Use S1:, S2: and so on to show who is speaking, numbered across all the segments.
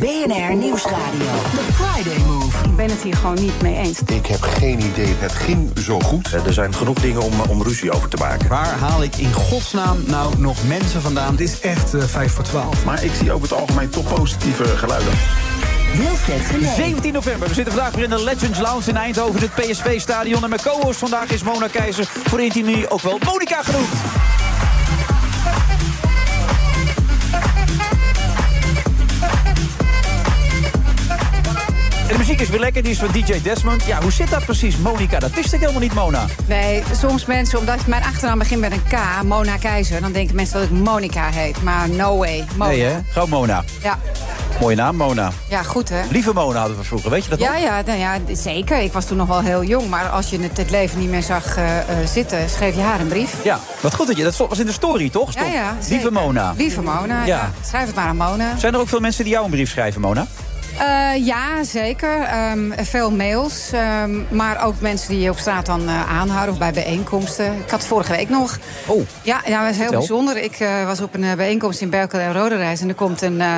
S1: BNR Nieuwsradio. The Friday Move.
S2: Ik ben het hier gewoon niet mee eens.
S3: Ik heb geen idee. Het ging zo goed.
S4: Eh, Er zijn genoeg dingen om, om ruzie over te maken.
S5: Waar haal ik in godsnaam nou nog mensen vandaan?
S6: Het is echt
S5: eh,
S6: uh, 5 voor 12.
S7: Maar ik zie over het algemeen toch positieve geluiden.
S1: Wilfred Genee.
S8: 17 november. We zitten vandaag weer in de Legends Lounge in Eindhoven, het PSV-stadion. En mijn co-host vandaag is Mona Keizer. Voor Intimie ook wel Monica genoemd. En de muziek is weer lekker, die is van DJ Desmond. Ja, hoe zit dat precies, Monica? Dat wist ik helemaal niet, Mona.
S2: Nee, soms mensen, omdat mijn achternaam begint met een K, Mona Keizer... dan denken mensen dat ik Monica heet, maar no way, Mona.
S8: Nee, hè? Gewoon Mona.
S2: Ja.
S8: Mooie naam, Mona.
S2: Ja, goed, hè?
S8: Lieve Mona hadden we vroeger, weet je dat
S2: Ja,
S8: nog?
S2: ja, nou ja, zeker. Ik was toen nog wel heel jong. Maar als je het, het leven niet meer zag eh, eh, zitten, schreef je haar een brief.
S8: Ja, wat goed dat je... Dat was in de story, toch?
S2: Ja,
S8: Stond.
S2: ja.
S8: Lieve
S2: zeker.
S8: Mona.
S2: Lieve Mona, ja.
S8: Ja.
S2: Schrijf het maar aan Mona.
S8: Zijn er ook veel mensen die jou een brief schrijven, Mona?
S2: Eh, ja, zeker. Ehm, veel mails. ehm, maar ook mensen die je op straat dan eh, aanhouden of bij bijeenkomsten. Ik had vorige week nog.
S8: Oh.
S2: Ja, ja dat is heel
S8: Vertel.
S2: bijzonder. Ik eh, was op een eh, bijeenkomst in Berkel en Roderijs. En er komt een, eh,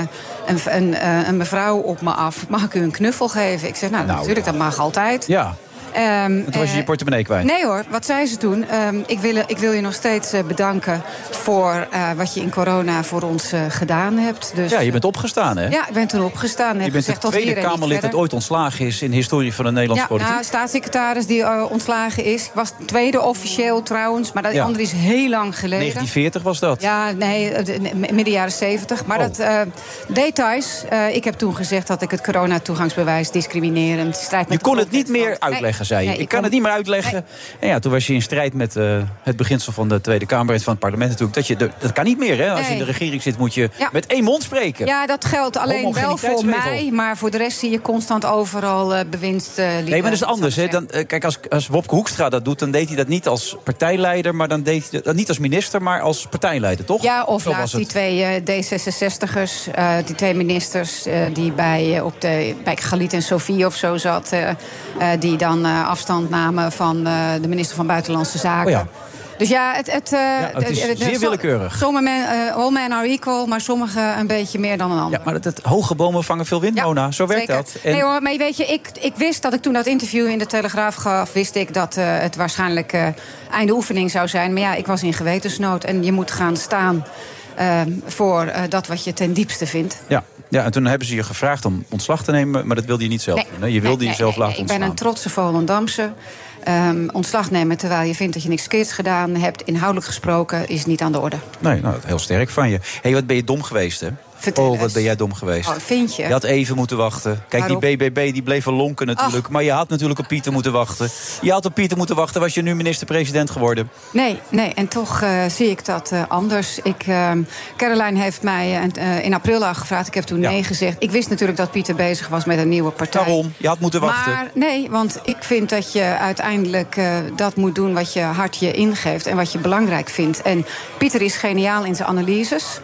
S2: een, een, eh, een mevrouw op me af. Mag ik u een knuffel geven? Ik zeg, nou,
S8: Nou,
S2: natuurlijk, dat mag altijd.
S8: Ja.
S2: Ehm,
S8: En toen was je
S2: eh,
S8: je portemonnee kwijt.
S2: Nee hoor, wat zei ze toen? Ehm, ik, wil, ik wil je nog steeds eh, bedanken voor eh, wat je in corona voor ons eh, gedaan hebt. Dus,
S8: Ja, je bent opgestaan, hè?
S2: Ja, ik ben toen opgestaan. en
S8: Je
S2: heb
S8: bent de
S2: gezegd, tot hier
S8: tweede
S2: en niet
S8: Kamerlid dat
S2: verder.
S8: ooit ontslagen is in de historie van de Nederlandse
S2: Ja,
S8: politiek.
S2: nou, staatssecretaris die eh, ontslagen is. Ik was tweede officieel trouwens, maar dat
S8: Ja.
S2: andere is heel lang geleden.
S8: 1940 was dat.
S2: Ja, nee, eh, de- nee, midden jaren zeventig. Maar
S8: Oh.
S2: dat, eh, details. eh, ik heb toen gezegd dat ik het coronatoegangsbewijs discriminerend strijd met
S8: Je
S2: de
S8: kon het niet
S2: grondwet
S8: meer
S2: vond.
S8: uitleggen,
S2: Nee,
S8: zei je.
S2: nee,
S8: ik kan
S2: kon-
S8: het niet meer uitleggen. En ja, toen was je in strijd met eh, het beginsel van de Tweede Kamer en van het parlement natuurlijk. Dat, je de- dat kan niet meer, hè? Als je in de
S2: Nee.
S8: regering zit, moet je
S2: Ja.
S8: met één mond spreken.
S2: Ja, dat geldt alleen wel voor
S8: Homogeniteitsregel.
S2: mij. Maar voor de rest zie je constant overal eh bewinst. eh, liepen,
S8: Nee, maar dat is
S2: zou ik
S8: anders. Hè?
S2: zeggen.
S8: Dan, eh, kijk, als, als Wopke Hoekstra dat doet, dan deed hij dat niet als partijleider, maar dan deed hij dat niet als minister, maar als partijleider, toch?
S2: Ja, of
S8: Zo was
S2: laatst die
S8: het.
S2: twee eh, D66'ers, eh, die twee ministers... eh, die bij, eh, op de, bij Galit en Sofie of zo zat... eh, eh, die dan eh, afstand namen van eh, de minister van Buitenlandse Zaken.
S8: Oh ja.
S2: Dus ja, het, het, eh,
S8: het is zeer
S2: zo-
S8: willekeurig.
S2: Sommige men, eh, all men are equal, maar sommigen een beetje meer dan een ander.
S8: Ja, maar dat, dat hoge bomen vangen veel wind,
S2: Ja,
S8: Mona. Zo werkt
S2: zeker.
S8: dat. En-
S2: Nee hoor, maar weet je, ik, ik wist dat ik toen dat interview in de Telegraaf gaf... wist ik dat eh, het waarschijnlijk eh, einde oefening zou zijn. Maar ja, ik was in gewetensnood en je moet gaan staan... eh, voor eh, dat wat je ten diepste vindt.
S8: ja, ja, en toen hebben ze je gevraagd om ontslag te nemen, maar dat wilde je niet zelf doen. hè? Je wilde
S2: nee, nee,
S8: jezelf
S2: nee,
S8: laten
S2: nee. Ik ben
S8: ontslaan.
S2: een trotse Volendamse. Ehm, ontslag nemen terwijl je vindt dat je niks verkeerds gedaan hebt... inhoudelijk gesproken, is niet aan de orde.
S8: Nee, nou, dat is heel sterk van je. Hé, hey, wat ben je dom geweest, hè?
S2: Vertel
S8: oh,
S2: eens.
S8: wat ben jij dom geweest.
S2: Oh, vind je?
S8: Je had even moeten wachten. Kijk, die
S2: Waarom?
S8: BBB die bleef wel lonken natuurlijk. Maar je had natuurlijk op Pieter moeten wachten. Je had op Pieter moeten wachten, was je nu minister-president geworden.
S2: Nee, nee, en toch eh, zie ik dat eh, anders. Ik, ehm, Caroline heeft mij eh, een- eh, in april al gevraagd. Ik heb toen
S8: Ja.
S2: nee gezegd. Ik wist natuurlijk dat Pieter bezig was met een nieuwe partij.
S8: Daarom, je had moeten wachten.
S2: Maar nee, want ik vind dat je uiteindelijk eh, dat moet doen wat je hart je ingeeft en wat je belangrijk vindt. En Pieter is geniaal in zijn analyses.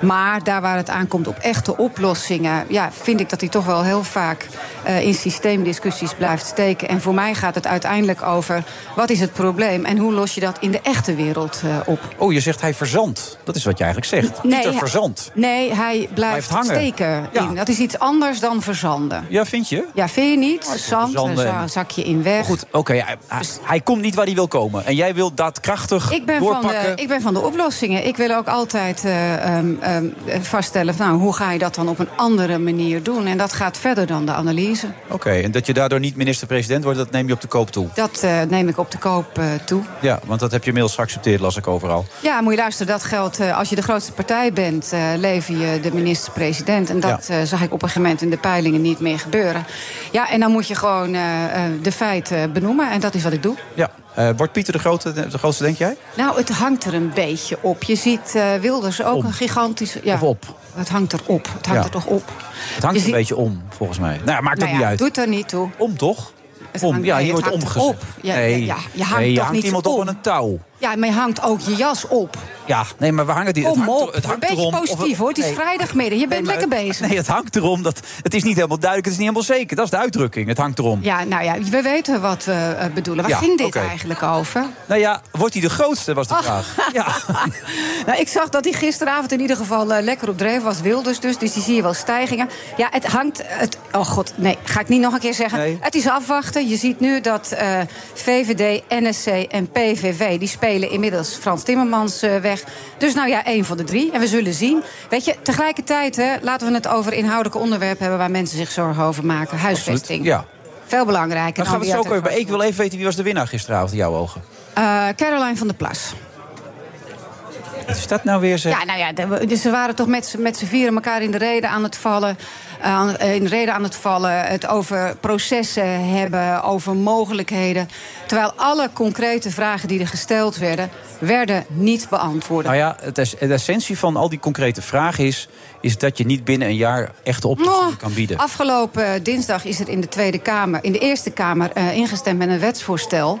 S2: Maar daar waar het aankomt op echte oplossingen, ja, vind ik dat hij toch wel heel vaak eh, in systeemdiscussies blijft steken. En voor mij gaat het uiteindelijk over wat is het probleem en hoe los je dat in de echte wereld eh, op.
S8: Oh, je zegt hij verzandt. Dat is wat je eigenlijk zegt. Pieter
S2: hij-
S8: verzandt.
S2: Nee, hij
S8: Blijft
S2: blijft,
S8: hangen.
S2: steken.
S8: Ja.
S2: In. Dat is iets anders dan verzanden.
S8: Ja, vind je?
S2: Ja, vind je niet? Zand,
S8: Nou, verzanden
S2: een za-
S8: en-
S2: zakje in weg.
S8: Goed, oké. hij, hij- hij komt niet waar hij wil komen. En jij wil daadkrachtig
S2: Ik ben, van
S8: doorpakken.
S2: de, ik ben van de oplossingen. Ik wil ook altijd eh, ehm, ehm, eh, vaststellen... van, nou, hoe ga je dat dan op een andere manier doen? En dat gaat verder dan de analyse.
S8: Oké, en dat je daardoor niet minister-president wordt, dat neem je op de koop toe.
S2: Dat eh, neem ik op de koop eh, toe.
S8: Ja, want dat heb je inmiddels geaccepteerd, las ik overal.
S2: Ja, moet je luisteren, dat geldt eh, als je de grootste partij bent... eh lever je de minister-president. En dat
S8: Ja.
S2: eh, zag ik op een gegeven moment in de peilingen niet meer gebeuren. Ja, eh, en dan moet je gewoon eh, eh, de feiten benoemen. En dat is wat ik doe.
S8: Ja. Uh, wordt Pieter de, grote, de grootste, denk jij?
S2: Nou, het hangt er een beetje op. Je ziet uh, Wilders ook
S8: Om.
S2: een gigantische... Ja,
S8: Of op?
S2: Het hangt erop. Het hangt
S8: Ja.
S2: er toch op.
S8: Het hangt
S2: Je
S8: een
S2: ziet-
S8: beetje om, volgens mij. Nou, ja, maakt
S2: Nou
S8: ook niet
S2: ja,
S8: uit.
S2: doet er niet toe.
S8: Om toch?
S2: Het
S8: Om,
S2: hangt-
S8: ja,
S2: nee,
S8: hier
S2: het
S8: wordt
S2: hangt
S8: omgezet.
S2: op. Ja, ja, ja, je hangt
S8: nee,
S2: toch
S8: hangt
S2: niet
S8: iemand op
S2: om?
S8: aan een touw.
S2: Ja, maar je hangt ook je jas op.
S8: Ja, nee, maar we hangen die.
S2: Kom
S8: hangt, er-
S2: op.
S8: het
S2: Een
S8: hangt
S2: beetje
S8: erom. of-
S2: positief hoor. Het is
S8: nee,
S2: vrijdagmiddag. Je bent
S8: nee, maar-
S2: lekker bezig.
S8: Nee, het hangt erom. Dat, het is niet helemaal duidelijk. Het is niet helemaal zeker. Dat is de uitdrukking. Het hangt erom.
S2: Ja, nou ja, we weten wat we eh, bedoelen. Waar
S8: Ja,
S2: ging dit
S8: oké.
S2: eigenlijk over?
S8: Nou ja, wordt hij de grootste, was de vraag. Ja.
S2: Nou, ik zag dat hij gisteravond in ieder geval eh, lekker op dreef was. Wilders dus, dus die zie je wel stijgingen. Ja, het hangt... Het, oh god, nee, ga ik niet nog een keer zeggen.
S8: Nee.
S2: Het is afwachten. Je ziet nu dat eh, VVD, NSC en PVV... die spelen inmiddels Frans Timmermans eh, weg. Dus nou ja, één van de drie. En we zullen zien. Weet je, tegelijkertijd hè, laten we het over inhoudelijke onderwerpen hebben... waar mensen zich zorgen over maken. Huisvesting.
S8: ja.
S2: Veel belangrijker.
S8: Dan gaan we
S2: dan
S8: het zo ook even
S2: wie uit
S8: bij. Ik
S2: het
S8: wil even weten wie was de winnaar gisteravond in jouw ogen.
S2: Eh, Caroline van der Plas.
S8: Wat is dat nou weer zeg?
S2: Ja, nou ja, de- dus ze waren toch met z'n- met z'n vieren elkaar in de reden aan het vallen. aan- eh, in de reden aan het vallen. Het over processen hebben, over mogelijkheden. Terwijl alle concrete vragen die er gesteld werden, werden niet beantwoord.
S8: Nou ja, het is, de essentie van al die concrete vragen is, is dat je niet binnen een jaar echte oplossingen
S2: Oh,
S8: kan bieden.
S2: Afgelopen eh, dinsdag is er in de Tweede Kamer, in de Eerste Kamer, eh, ingestemd met een wetsvoorstel.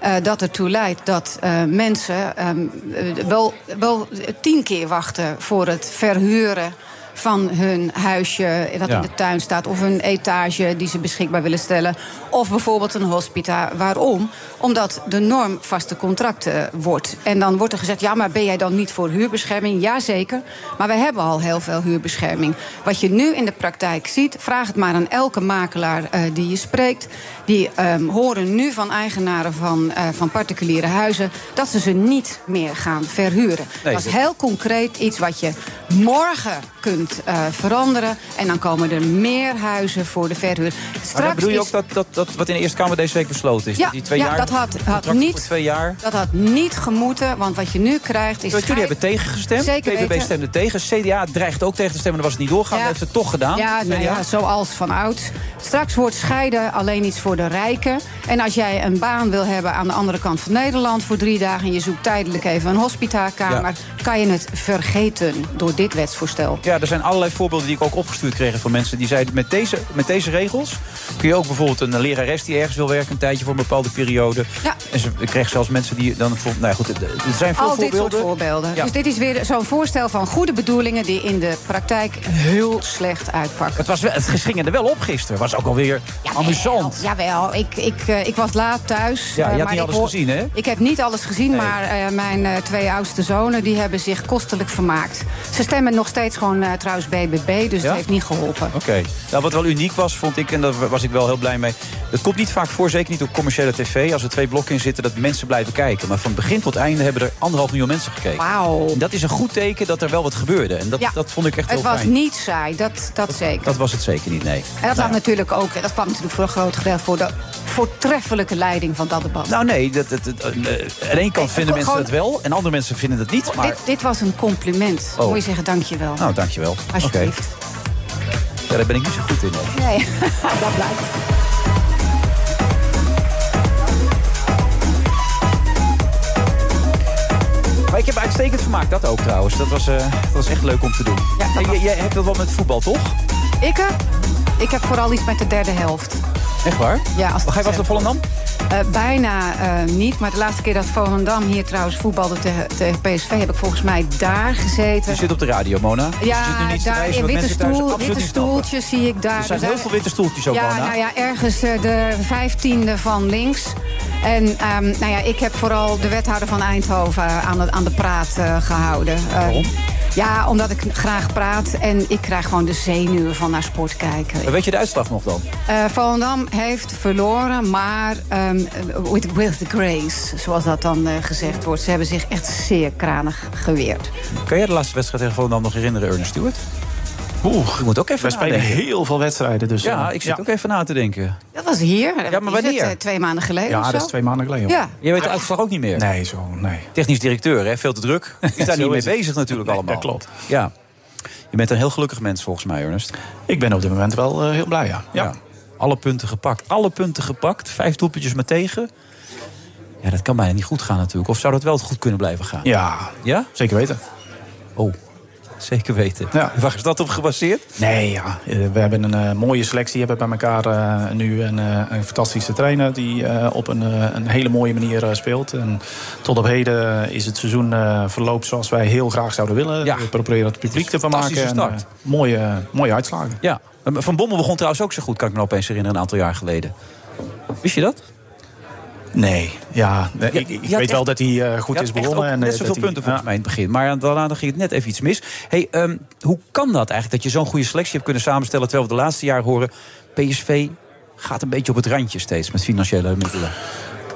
S2: eh, dat ertoe leidt dat eh, mensen ehm, eh, wel, wel tien keer wachten voor het verhuren. Van hun huisje dat
S8: Ja.
S2: in de tuin staat, of een etage die ze beschikbaar willen stellen, of bijvoorbeeld een hospita. Waarom? Omdat de norm vaste contracten wordt. En dan wordt er gezegd: ja, maar ben jij dan niet voor huurbescherming? Jazeker, maar wij hebben al heel veel huurbescherming. Wat je nu in de praktijk ziet, vraag het maar aan elke makelaar eh, die je spreekt. Die ehm, horen nu van eigenaren van, eh, van particuliere huizen dat ze ze niet meer gaan verhuren.
S8: Nee,
S2: dat is
S8: dat-
S2: heel concreet iets wat je morgen kunt eh, veranderen. En dan komen er meer huizen voor de verhuur.
S8: Maar dan
S2: Straks
S8: bedoel je
S2: is-
S8: ook dat, dat, dat wat in de Eerste Kamer deze week besloten is?
S2: Ja,
S8: dat die twee
S2: ja,
S8: jaar,
S2: dat had- had
S8: contracten
S2: niet-
S8: Voor twee jaar.
S2: dat had niet gemoeten, want wat je nu krijgt is.
S8: Want jullie hebben
S2: schijf-
S8: tegengestemd.
S2: Zeker
S8: PVV
S2: weten.
S8: stemde tegen. CDA dreigt ook tegen te stemmen. Dan was het niet doorgaan.
S2: Ja.
S8: Dat heeft het toch gedaan.
S2: Ja, nou
S8: CDA.
S2: ja, zoals van ouds. Straks wordt scheiden alleen iets voor de rijken. En als jij een baan wil hebben aan de andere kant van Nederland voor drie dagen en je zoekt tijdelijk even een hospitaalkamer, kan je het vergeten door dit wetsvoorstel.
S8: Ja, er zijn allerlei voorbeelden die ik ook opgestuurd kreeg van mensen. Die zeiden, met deze, met deze regels kun je ook bijvoorbeeld een lerares die ergens wil werken... een tijdje voor een bepaalde periode.
S2: Ja.
S8: En ze, ik kreeg zelfs mensen die dan... voor- Nou ja, goed, er er zijn veel
S2: Al dit soort
S8: voorbeelden.
S2: voorbeelden.
S8: Ja.
S2: Dus dit is weer zo'n voorstel van goede bedoelingen die in de praktijk heel slecht uitpakken.
S8: Het, was, wel- het ging er wel op gisteren. was ook alweer amusant.
S2: Jawel, ik, ik, eh, ik was laat thuis.
S8: Ja, je
S2: eh,
S8: had
S2: maar
S8: niet
S2: ik
S8: alles
S2: hoor-
S8: gezien, hè?
S2: Ik heb niet alles gezien,
S8: Nee.
S2: maar eh, mijn eh, twee oudste zonen... die hebben zich kostelijk vermaakt. Ze stemmen nog steeds gewoon eh, trouwens BBB, dus
S8: Ja?
S2: dat heeft niet geholpen.
S8: Oké. Nou, wat wel uniek was, vond ik, en daar was ik wel heel blij mee. Het komt niet vaak voor, zeker niet op commerciële tv, als er twee blokken in zitten, dat mensen blijven kijken. Maar van begin tot einde hebben er anderhalf miljoen mensen gekeken.
S2: Wauw.
S8: En dat is een goed teken dat er wel wat gebeurde. En dat,
S2: Ja.
S8: dat vond ik echt
S2: Het
S8: heel
S2: was
S8: fijn.
S2: niet saai, dat, dat zeker.
S8: Dat was het zeker niet, nee.
S2: en dat,
S8: nou,
S2: lag natuurlijk ook, eh, dat kwam natuurlijk voor een groot gedeelte voor de voortreffelijke leiding van dat debat.
S8: nou nee, dat, dat, dat- eh, eh, aan één kant vinden mensen
S2: gewoon-
S8: dat wel, en andere mensen vinden dat niet. Maar,
S2: dit, dit was een compliment.
S8: Oh.
S2: Moet je zeggen, dankjewel.
S8: nou, dankjewel. Oké.
S2: Alsjeblieft.
S8: Ja, daar ben ik niet zo goed in. hoor.
S2: Nee, dat blijkt.
S8: Maar ik heb uitstekend vermaakt, dat ook trouwens. Dat was, eh, dat was echt leuk om te doen.
S2: Ja, dat
S8: Hey,
S2: was-
S8: jij- jij hebt dat wel met voetbal, toch?
S2: Ik, eh, ik heb vooral iets met de derde helft.
S8: Echt waar?
S2: Ja, als het
S8: Ga je wel eens naar Volendam?
S2: Eh, bijna eh, niet, maar de laatste keer dat Volendam hier trouwens voetbalde tegen tegen PSV... heb ik volgens mij daar gezeten.
S8: Je zit op de radio, Mona. Dus je zit nu
S2: Ja,
S8: niet te
S2: daar
S8: wijzen
S2: in
S8: wat
S2: witte,
S8: mensen thuis
S2: stoel,
S8: absoluut
S2: witte
S8: niet snappen.
S2: stoeltjes zie ik daar.
S8: Er zijn
S2: Dus
S8: heel
S2: daar-
S8: veel witte stoeltjes ook,
S2: ja,
S8: Mona.
S2: nou ja, ergens eh, de vijftiende van links. En ehm, nou ja, ik heb vooral de wethouder van Eindhoven eh, aan de, aan de praat eh, gehouden. Eh,
S8: Waarom?
S2: Ja, omdat ik graag praat en ik krijg gewoon de zenuwen van naar sport kijken.
S8: Maar Weet je de uitslag nog dan?
S2: Eh Volendam heeft verloren, maar ehm, with, with grace, zoals dat dan eh, gezegd wordt. Ze hebben zich echt zeer kranig geweerd.
S8: Kun jij de laatste wedstrijd tegen Volendam nog herinneren, Ernest Stewart?
S7: Oeh,
S8: Je moet ook even
S7: wij spelen
S8: nadenken.
S7: heel veel wedstrijden. Dus,
S8: Ja,
S7: eh,
S8: ik zit ook even na te denken.
S2: Dat was hier.
S8: Ja, maar
S2: Is het,
S8: wanneer?
S2: eh, twee maanden geleden
S7: Ja,
S2: of zo?
S7: dat is twee maanden geleden.
S2: Ja.
S8: Jij weet de uitslag ook niet meer.
S7: Nee, zo, nee.
S8: Technisch directeur, hè? veel te druk. Is daar
S7: Zo
S8: niet mee
S7: is het.
S8: bezig natuurlijk
S7: Nee,
S8: allemaal.
S7: dat klopt.
S8: Ja. Je bent een heel gelukkig mens volgens mij, Ernest.
S7: Ik ben op dit moment wel eh, heel blij, ja. ja.
S8: Alle punten gepakt. Alle punten gepakt. Vijf doelpuntjes maar tegen. Ja, Ja, dat kan bijna niet goed gaan natuurlijk. Of zou dat wel goed kunnen blijven gaan?
S7: Ja,
S8: Ja?
S7: zeker weten.
S8: Oh, zeker weten.
S7: Ja.
S8: Waar is dat op gebaseerd?
S7: Nee, ja. eh, we hebben een eh, mooie selectie. We hebben bij elkaar eh, nu een, eh, een fantastische trainer die eh, op een, eh, een hele mooie manier eh, speelt. En tot op heden is het seizoen eh verloopt zoals wij heel graag zouden willen.
S8: Ja.
S7: Eh, We proberen het publiek
S8: Het is
S7: ervan
S8: een
S7: maken.
S8: fantastische
S7: En,
S8: start.
S7: eh, mooie, mooie uitslagen.
S8: Ja. Van Bommel begon trouwens ook zo goed, kan ik me opeens herinneren, een aantal jaar geleden. Wist je dat?
S7: Nee, ja, nee,
S8: Ja,
S7: ik, ik
S8: je had
S7: weet
S8: echt-
S7: wel dat hij eh, goed
S8: Ja,
S7: is
S8: echt
S7: begonnen.
S8: ook
S7: en, eh,
S8: net zoveel
S7: dat hij-
S8: punten volgens
S7: ja.
S8: mij in het begin. Maar daarna ging het net even iets mis. Hey, ehm, hoe kan dat eigenlijk dat je zo'n goede selectie hebt kunnen samenstellen... terwijl we de laatste jaren horen... PSV gaat een beetje op het randje steeds met financiële middelen.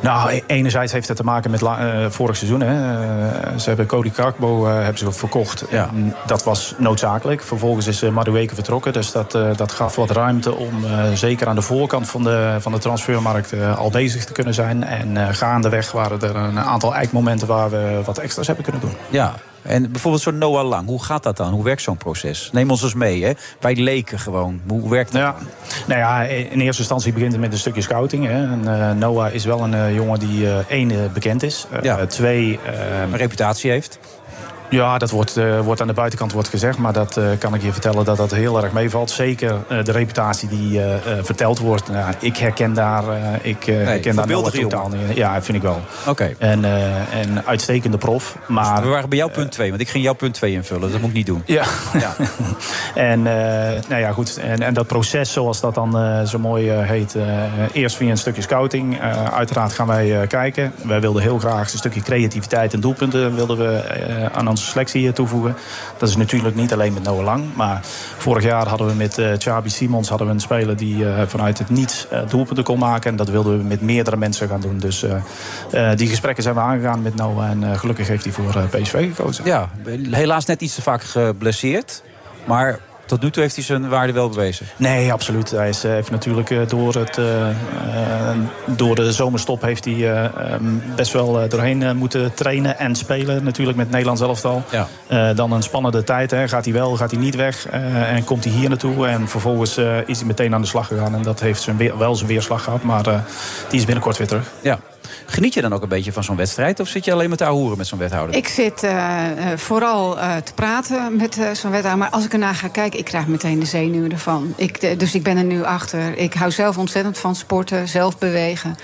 S7: Nou, e- enerzijds heeft het te maken met la- eh, vorig seizoen. Hè. Eh, ze hebben Cody Kakbo eh, hebben ze verkocht.
S8: Ja.
S7: En dat was noodzakelijk. Vervolgens is eh Madueke vertrokken. Dus dat, eh, dat gaf wat ruimte om eh, zeker aan de voorkant van de, van de transfermarkt eh, al bezig te kunnen zijn. En eh, gaandeweg waren er een aantal eikmomenten waar we wat extra's hebben kunnen doen.
S8: Ja, en bijvoorbeeld zo'n Noah Lang. Hoe gaat dat dan? Hoe werkt zo'n proces? Neem ons eens mee, hè? Wij leken gewoon. Hoe werkt dat?
S7: Ja. Nou ja, in eerste instantie begint het met een stukje scouting. Hè. En, eh, Noah is wel een eh, jongen die eh, één eh, bekend is. Eh,
S8: Ja.
S7: Twee, eh,
S8: Een reputatie heeft.
S7: Ja, dat wordt, eh, wordt aan de buitenkant wordt gezegd. Maar dat eh, kan ik je vertellen dat dat heel erg meevalt. Zeker eh, de reputatie die eh, eh, verteld wordt. Nou, ik herken daar, eh, ik, eh, herken daar Noah
S8: voorbeeldige
S7: totaal niet. Ja, vind ik wel.
S8: Oké.
S7: En eh, een uitstekende prof. Maar
S8: We waren bij jouw punt 2, want ik ging jouw punt 2 invullen. Dat moet ik niet doen.
S7: ja.
S8: Ja.
S7: en, eh, nou ja, goed. En, en dat proces, zoals dat dan eh, zo mooi eh, heet, eh, eerst via een stukje scouting. Eh, uiteraard gaan wij eh, kijken. Wij wilden heel graag een stukje creativiteit en doelpunten wilden we, eh, aan onze selectie eh, toevoegen. Dat is natuurlijk niet alleen met Noah Lang. Maar vorig jaar hadden we met eh Chabi Simons hadden we een speler die eh, vanuit het niets eh, doelpunten kon maken. En dat wilden we met meerdere mensen gaan doen. Dus eh, eh, die gesprekken zijn we aangegaan met Noah. En eh, gelukkig heeft hij voor eh, PSV gekozen.
S8: Ja, helaas net iets te vaak geblesseerd. Maar tot nu toe heeft hij zijn waarde wel bewezen.
S7: Nee, absoluut. Hij is, eh, heeft natuurlijk eh, door, het, eh, eh, door de zomerstop heeft hij, eh, ehm, best wel eh, doorheen eh, moeten trainen en spelen. Natuurlijk met het Nederlands elftal.
S8: Ja.
S7: Eh, dan een spannende tijd. Hè. Gaat hij wel, gaat hij niet weg? Eh, en komt hij hier naartoe? En vervolgens eh, is hij meteen aan de slag gegaan. En dat heeft zijn weer- wel zijn weerslag gehad. Maar eh, die is binnenkort weer terug.
S8: Ja. Geniet je dan ook een beetje van zo'n wedstrijd? Of zit je alleen met de ahoeren met zo'n wethouder?
S2: Ik zit eh, eh, vooral eh, te praten met eh, zo'n wethouder. Maar als ik ernaar ga kijken, ik krijg meteen de zenuwen ervan. Ik, eh, dus ik ben er nu achter. Ik hou zelf ontzettend van sporten, zelf bewegen.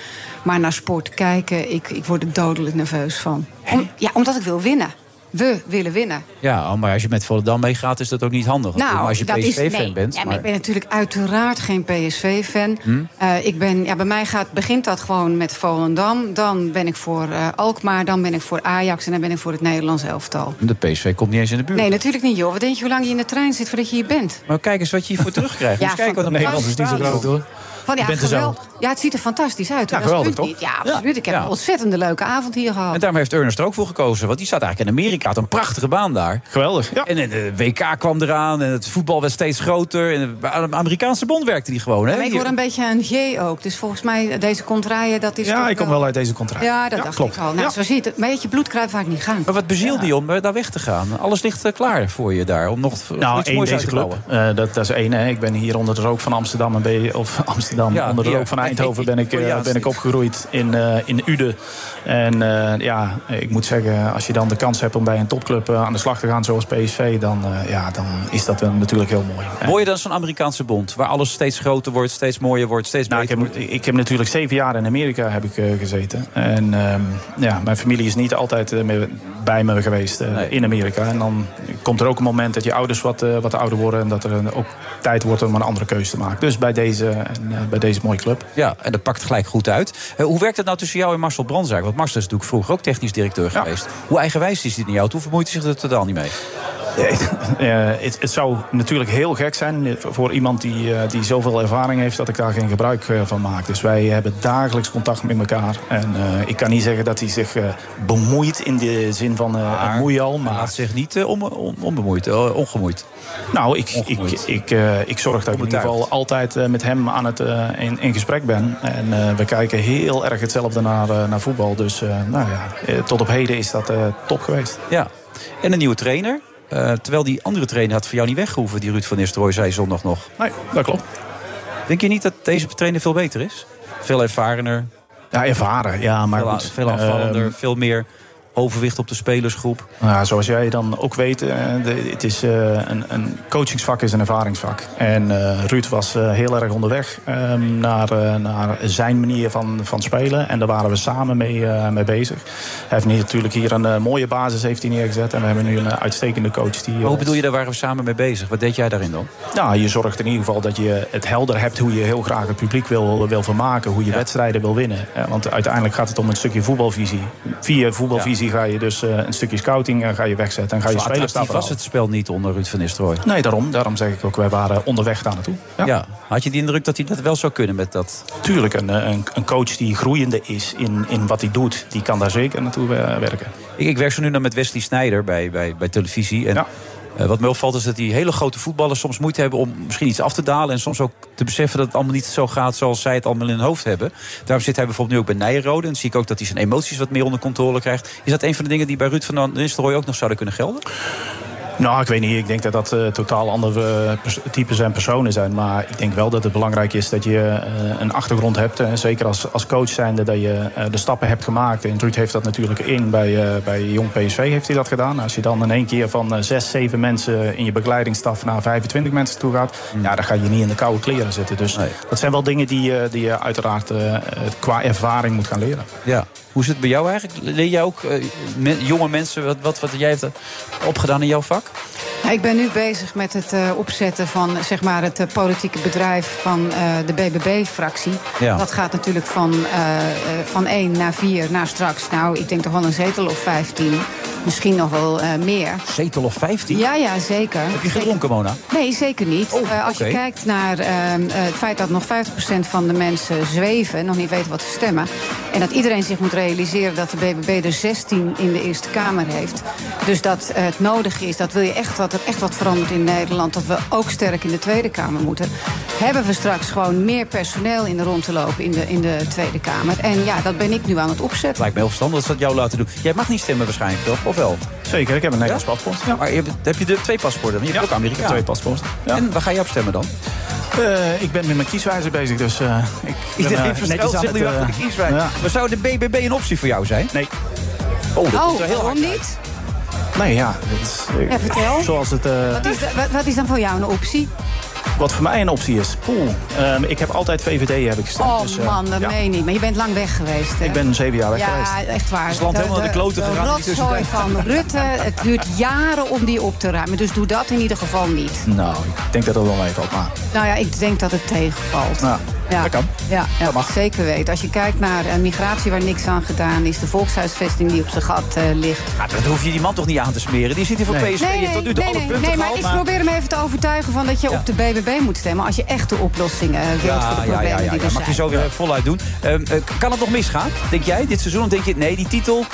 S2: Maar naar sport kijken, ik, ik word er dodelijk nerveus van. Om- ja, omdat ik wil winnen. We willen winnen. Nou,
S8: Ja, maar als je met Volendam meegaat is dat ook niet handig. Maar als je
S2: dat is-
S8: PSV-fan
S2: nee.
S8: bent.
S2: Ja, maar
S8: maar- Hm?
S2: ik ben natuurlijk uiteraard geen PSV-fan. Eh, ik ben, ja, bij mij gaat, begint dat gewoon met Volendam. Dan ben ik voor eh, Alkmaar, dan ben ik voor Ajax en dan ben ik voor het Nederlands elftal.
S8: De PSV komt niet eens in de buurt.
S2: Nee, natuurlijk niet, joh. Wat denk je hoe lang je in de trein zit voordat je hier bent?
S8: Maar kijk eens wat je hiervoor terugkrijgt.
S2: Ja,
S8: Eens kijken
S2: van-
S8: wat een
S2: Nee,
S8: Nederlands
S2: dat is niet zo
S8: stadion.
S2: groot, hoor. Van, ja,
S7: bent er zo.
S2: geweldig. Ja, het ziet er fantastisch uit. hoor.
S7: Ja,
S2: Dat is
S7: geweldig,
S2: het punt
S7: toch?
S2: niet. Ja, absoluut. Ik heb
S8: ja.
S2: een ontzettende leuke avond hier gehad.
S8: En daarmee heeft Ernest er ook voor gekozen. Want die staat eigenlijk in Amerika. Had een prachtige baan daar.
S7: Geweldig. Ja.
S8: En eh, de WK kwam eraan. En het voetbal werd steeds groter. En bij de Amerikaanse bond werkte die gewoon. Hè?
S2: maar ik
S8: Die-
S2: hoor een beetje een J ook. Dus volgens mij, eh, deze contraien, dat is
S7: Ja,
S2: toch
S7: ik kom wel uit deze contract.
S2: Ja, dat dacht
S7: klopt.
S2: ik al. Nou,
S7: Ja.
S2: zo zie je het. Een beetje bloedkruid waar ik niet gaan.
S8: Maar wat bezielde je om eh, daar weg te gaan? Alles ligt eh, klaar voor je daar. Om nog v-
S7: Nou,
S8: iets
S7: één
S8: moois uit
S7: deze
S8: te
S7: club.
S8: bouwen.
S7: Eh, dat, dat is één. Hè. Ik ben hier onder de rook van Amsterdam. En ben je- of Amsterdam,
S8: Ja,
S7: onder de
S8: ja.
S7: rook van Eindhoven ben ik, eh,
S8: Ja,
S7: ben ik
S8: precies.
S7: opgeroeid in, eh, in Uden. En eh, ja, ik moet zeggen, als je dan de kans hebt om bij een topclub eh, aan de slag te gaan zoals PSV, dan, eh, ja, dan is dat eh, natuurlijk heel mooi. En-
S8: Hoor je dan zo'n Amerikaanse bond? Waar alles steeds groter wordt, steeds mooier wordt, steeds
S7: Nou, ik,
S8: beter
S7: heb,
S8: wordt.
S7: ik heb natuurlijk zeven jaar in Amerika heb ik, eh, gezeten. En ehm, ja, mijn familie is niet altijd eh, me- bij me geweest eh,
S8: Nee.
S7: in Amerika. En dan komt er ook een moment dat je ouders wat, eh, wat ouder worden. En dat er een- ook tijd wordt om een andere keuze te maken. Dus bij deze, en, eh, bij deze mooie club.
S8: Ja, en dat pakt gelijk goed uit. Eh, hoe werkt het nou tussen jou en Marcel Brandzaak? Want Marcel is natuurlijk vroeger ook technisch directeur
S7: Ja.
S8: geweest. Hoe eigenwijs is dit naar jou toe? Vermoeit hij zich er totaal niet mee?
S7: Eh, het, het zou natuurlijk heel gek zijn voor iemand die, eh, die zoveel ervaring heeft dat ik daar geen gebruik eh, van maak. Dus wij hebben dagelijks contact met elkaar. En eh, ik kan niet zeggen dat hij zich eh, bemoeit in de zin van eh moei al.
S8: Hij
S7: Maar
S8: laat zich niet eh, on- on- onbemoeid, eh, ongemoeid.
S7: Nou, ik, ik,
S8: Ongemoeid.
S7: ik, eh, ik zorg dat ik in ieder
S8: Onbetuigd.
S7: geval altijd eh, met hem aan het, eh, in, in gesprek ben. En eh, we kijken heel erg hetzelfde naar, eh, naar voetbal. Dus eh, nou ja, eh, tot op heden is dat eh, top geweest.
S8: Ja. En een nieuwe trainer. Eh, terwijl die andere trainer had voor jou niet weggehoeven, die Ruud van Nistelrooy zei zondag nog.
S7: Nee, dat klopt.
S8: Denk je niet dat deze trainer veel beter is? Veel ervarener,
S7: Ja, ervaren. Ja, maar
S8: veel,
S7: goed.
S8: veel afvallender,
S7: Ehm,
S8: veel meer overwicht op de spelersgroep.
S7: Nou, ja, zoals jij dan ook weet, eh, de- het is, eh, een, een coachingsvak is een ervaringsvak. En eh, Ruud was eh, heel erg onderweg ehm, naar, eh, naar zijn manier van, van spelen. En daar waren we samen mee, eh, mee bezig. Hij heeft hier natuurlijk hier een eh, mooie basis heeft hij neergezet. En we hebben nu een eh, uitstekende coach. Die,
S8: Maar hoe
S7: ons-
S8: bedoel je, daar waren we samen mee bezig. Wat deed jij daarin dan?
S7: nou, je zorgt in ieder geval dat je het helder hebt hoe je heel graag het publiek wil, wil vermaken. Hoe je wedstrijden wil winnen. Eh, Want uiteindelijk gaat het om een stukje voetbalvisie. Via voetbalvisie ga je dus eh, een stukje scouting eh, ga je wegzetten. En ga je
S8: Zo
S7: spelers
S8: attractief
S7: daarvoor
S8: was
S7: halen.
S8: het spel niet onder Ruud van Nistelrooy.
S7: Nee, daarom. Daarom zeg ik ook, wij waren onderweg daar naartoe.
S8: Ja. Had je de indruk dat hij dat wel zou kunnen met dat?
S7: Tuurlijk, een, eh, een, een coach die groeiende is in, in wat hij doet, die kan daar zeker naartoe eh, werken.
S8: Ik, ik werk zo nu dan met Wesley Snijder bij, bij, bij televisie. En eh, wat me opvalt is dat die hele grote voetballers soms moeite hebben om misschien iets af te dalen. En soms ook te beseffen dat het allemaal niet zo gaat zoals zij het allemaal in hun hoofd hebben. Daarom zit hij bijvoorbeeld nu ook bij Nijrode. En zie ik ook dat hij zijn emoties wat meer onder controle krijgt. Is dat een van de dingen die bij Ruud van Nistelrooy ook nog zouden kunnen gelden?
S7: Nou, ik weet niet. Ik denk dat dat eh, totaal andere eh, pers- types en personen zijn. Maar ik denk wel dat het belangrijk is dat je eh, een achtergrond hebt. En zeker als, als coach zijnde dat je eh, de stappen hebt gemaakt. En Ruud heeft dat natuurlijk in. Bij, eh, bij Jong PSV heeft hij dat gedaan. Als je dan in één keer van eh, zes, zeven mensen in je begeleidingsstaf naar 25 mensen toe gaat. Ja, dan ga je niet in de koude kleren zitten. Dus dat zijn wel dingen die, je- die je uiteraard eh, eh, qua ervaring moet gaan leren.
S8: Ja. Hoe zit het bij jou eigenlijk? Leer jij ook eh, me- jonge mensen wat, wat, wat jij hebt eh, opgedaan in jouw vak?
S2: Nou, Ik ben nu bezig met het eh, opzetten van zeg maar, het eh, politieke bedrijf van eh, de BBB-fractie.
S9: Ja.
S2: Dat gaat natuurlijk van, eh, eh, van 1 naar 4 naar straks. Nou, ik denk toch wel een zetel of 15. Misschien nog wel eh, meer.
S8: Zetel of 15?
S2: Ja, ja, zeker.
S8: Heb je gedronken, Mona?
S2: Nee, zeker niet. Eh, als
S8: oké.
S2: je kijkt naar ehm, eh, het feit dat nog 50% van de mensen zweven... en nog niet weten wat ze stemmen... en dat iedereen zich moet realiseren dat de BBB er 16 in de Eerste Kamer heeft... dus dat eh, het nodig is, dat wil je echt dat er echt wat verandert in Nederland... dat we ook sterk in de Tweede Kamer moeten... hebben we straks gewoon meer personeel in de rond te lopen in de, in de Tweede Kamer. En ja, dat ben ik nu aan het opzetten.
S8: Het lijkt me heel verstandig dat ze dat jou laten doen. Jij mag niet stemmen waarschijnlijk, toch? Of wel?
S7: Zeker, ik heb een Nederlands paspoort.
S8: Maar je hebt, heb je de twee paspoorten? Want je hebt ook Amerikaan.
S7: twee paspoorten.
S8: En waar ga je op stemmen dan?
S7: Eh, ik ben met mijn kieswijzer bezig, dus eh, ik ben, eh,
S8: Iedereen
S7: netjes
S8: verschuilt
S7: aan
S8: zich
S7: het,
S8: nu achter de
S7: eh,
S8: kieswijk.
S7: ja.
S8: Maar zou de BBB een optie voor jou zijn?
S7: Nee.
S8: Oh, dat is wel heel
S2: waarom niet?
S7: Nee, ja. dat is, eh,
S2: Ja, vertel.
S7: Zoals het, eh,
S2: Wat is, da- wat- wat is dan voor jou een optie?
S7: wat voor mij een optie is. Poeh, ehm, ik heb altijd VVD heb ik gestemd.
S2: Oh
S7: dus, eh,
S2: man, dat
S7: ja.
S2: meen je niet. Maar je bent lang weg geweest. Hè?
S7: Ik ben zeven jaar weg
S2: ja,
S7: geweest.
S2: echt waar.
S7: Is het land helemaal naar de kloten gegaan in die
S2: rotzooi van Rutte. Het duurt jaren om die op te ruimen. Dus doe dat in ieder geval niet.
S7: Nou, ik denk dat dat wel even op maar.
S2: Nou ja, ik denk dat het tegenvalt.
S7: Nou,
S2: Ja,
S7: dat kan.
S2: Ja, ja, zeker weten. Als je kijkt naar eh, migratie waar niks aan gedaan is... de volkshuisvesting die op zijn gat eh, ligt...
S8: Ah, dat hoef je die man toch niet aan te smeren? Die zit hier voor
S2: Nee.
S8: PSV.
S2: Nee,
S8: je hebt tot nu toe
S2: nee,
S8: alle
S2: nee,
S8: punten
S2: nee, maar
S8: gehaald,
S2: ik probeer hem even te overtuigen van dat je op de BBB moet stemmen... als je echt de oplossingen eh, wilt voor de
S8: Ja, ja, ja,
S2: problemen
S8: ja,
S2: die
S8: ja.
S2: er
S8: Mag je
S2: zijn.
S8: zo weer eh, voluit doen. Ehm, eh, k- kan het nog misgaan, denk jij, dit seizoen? Of denk je, nee, die titel,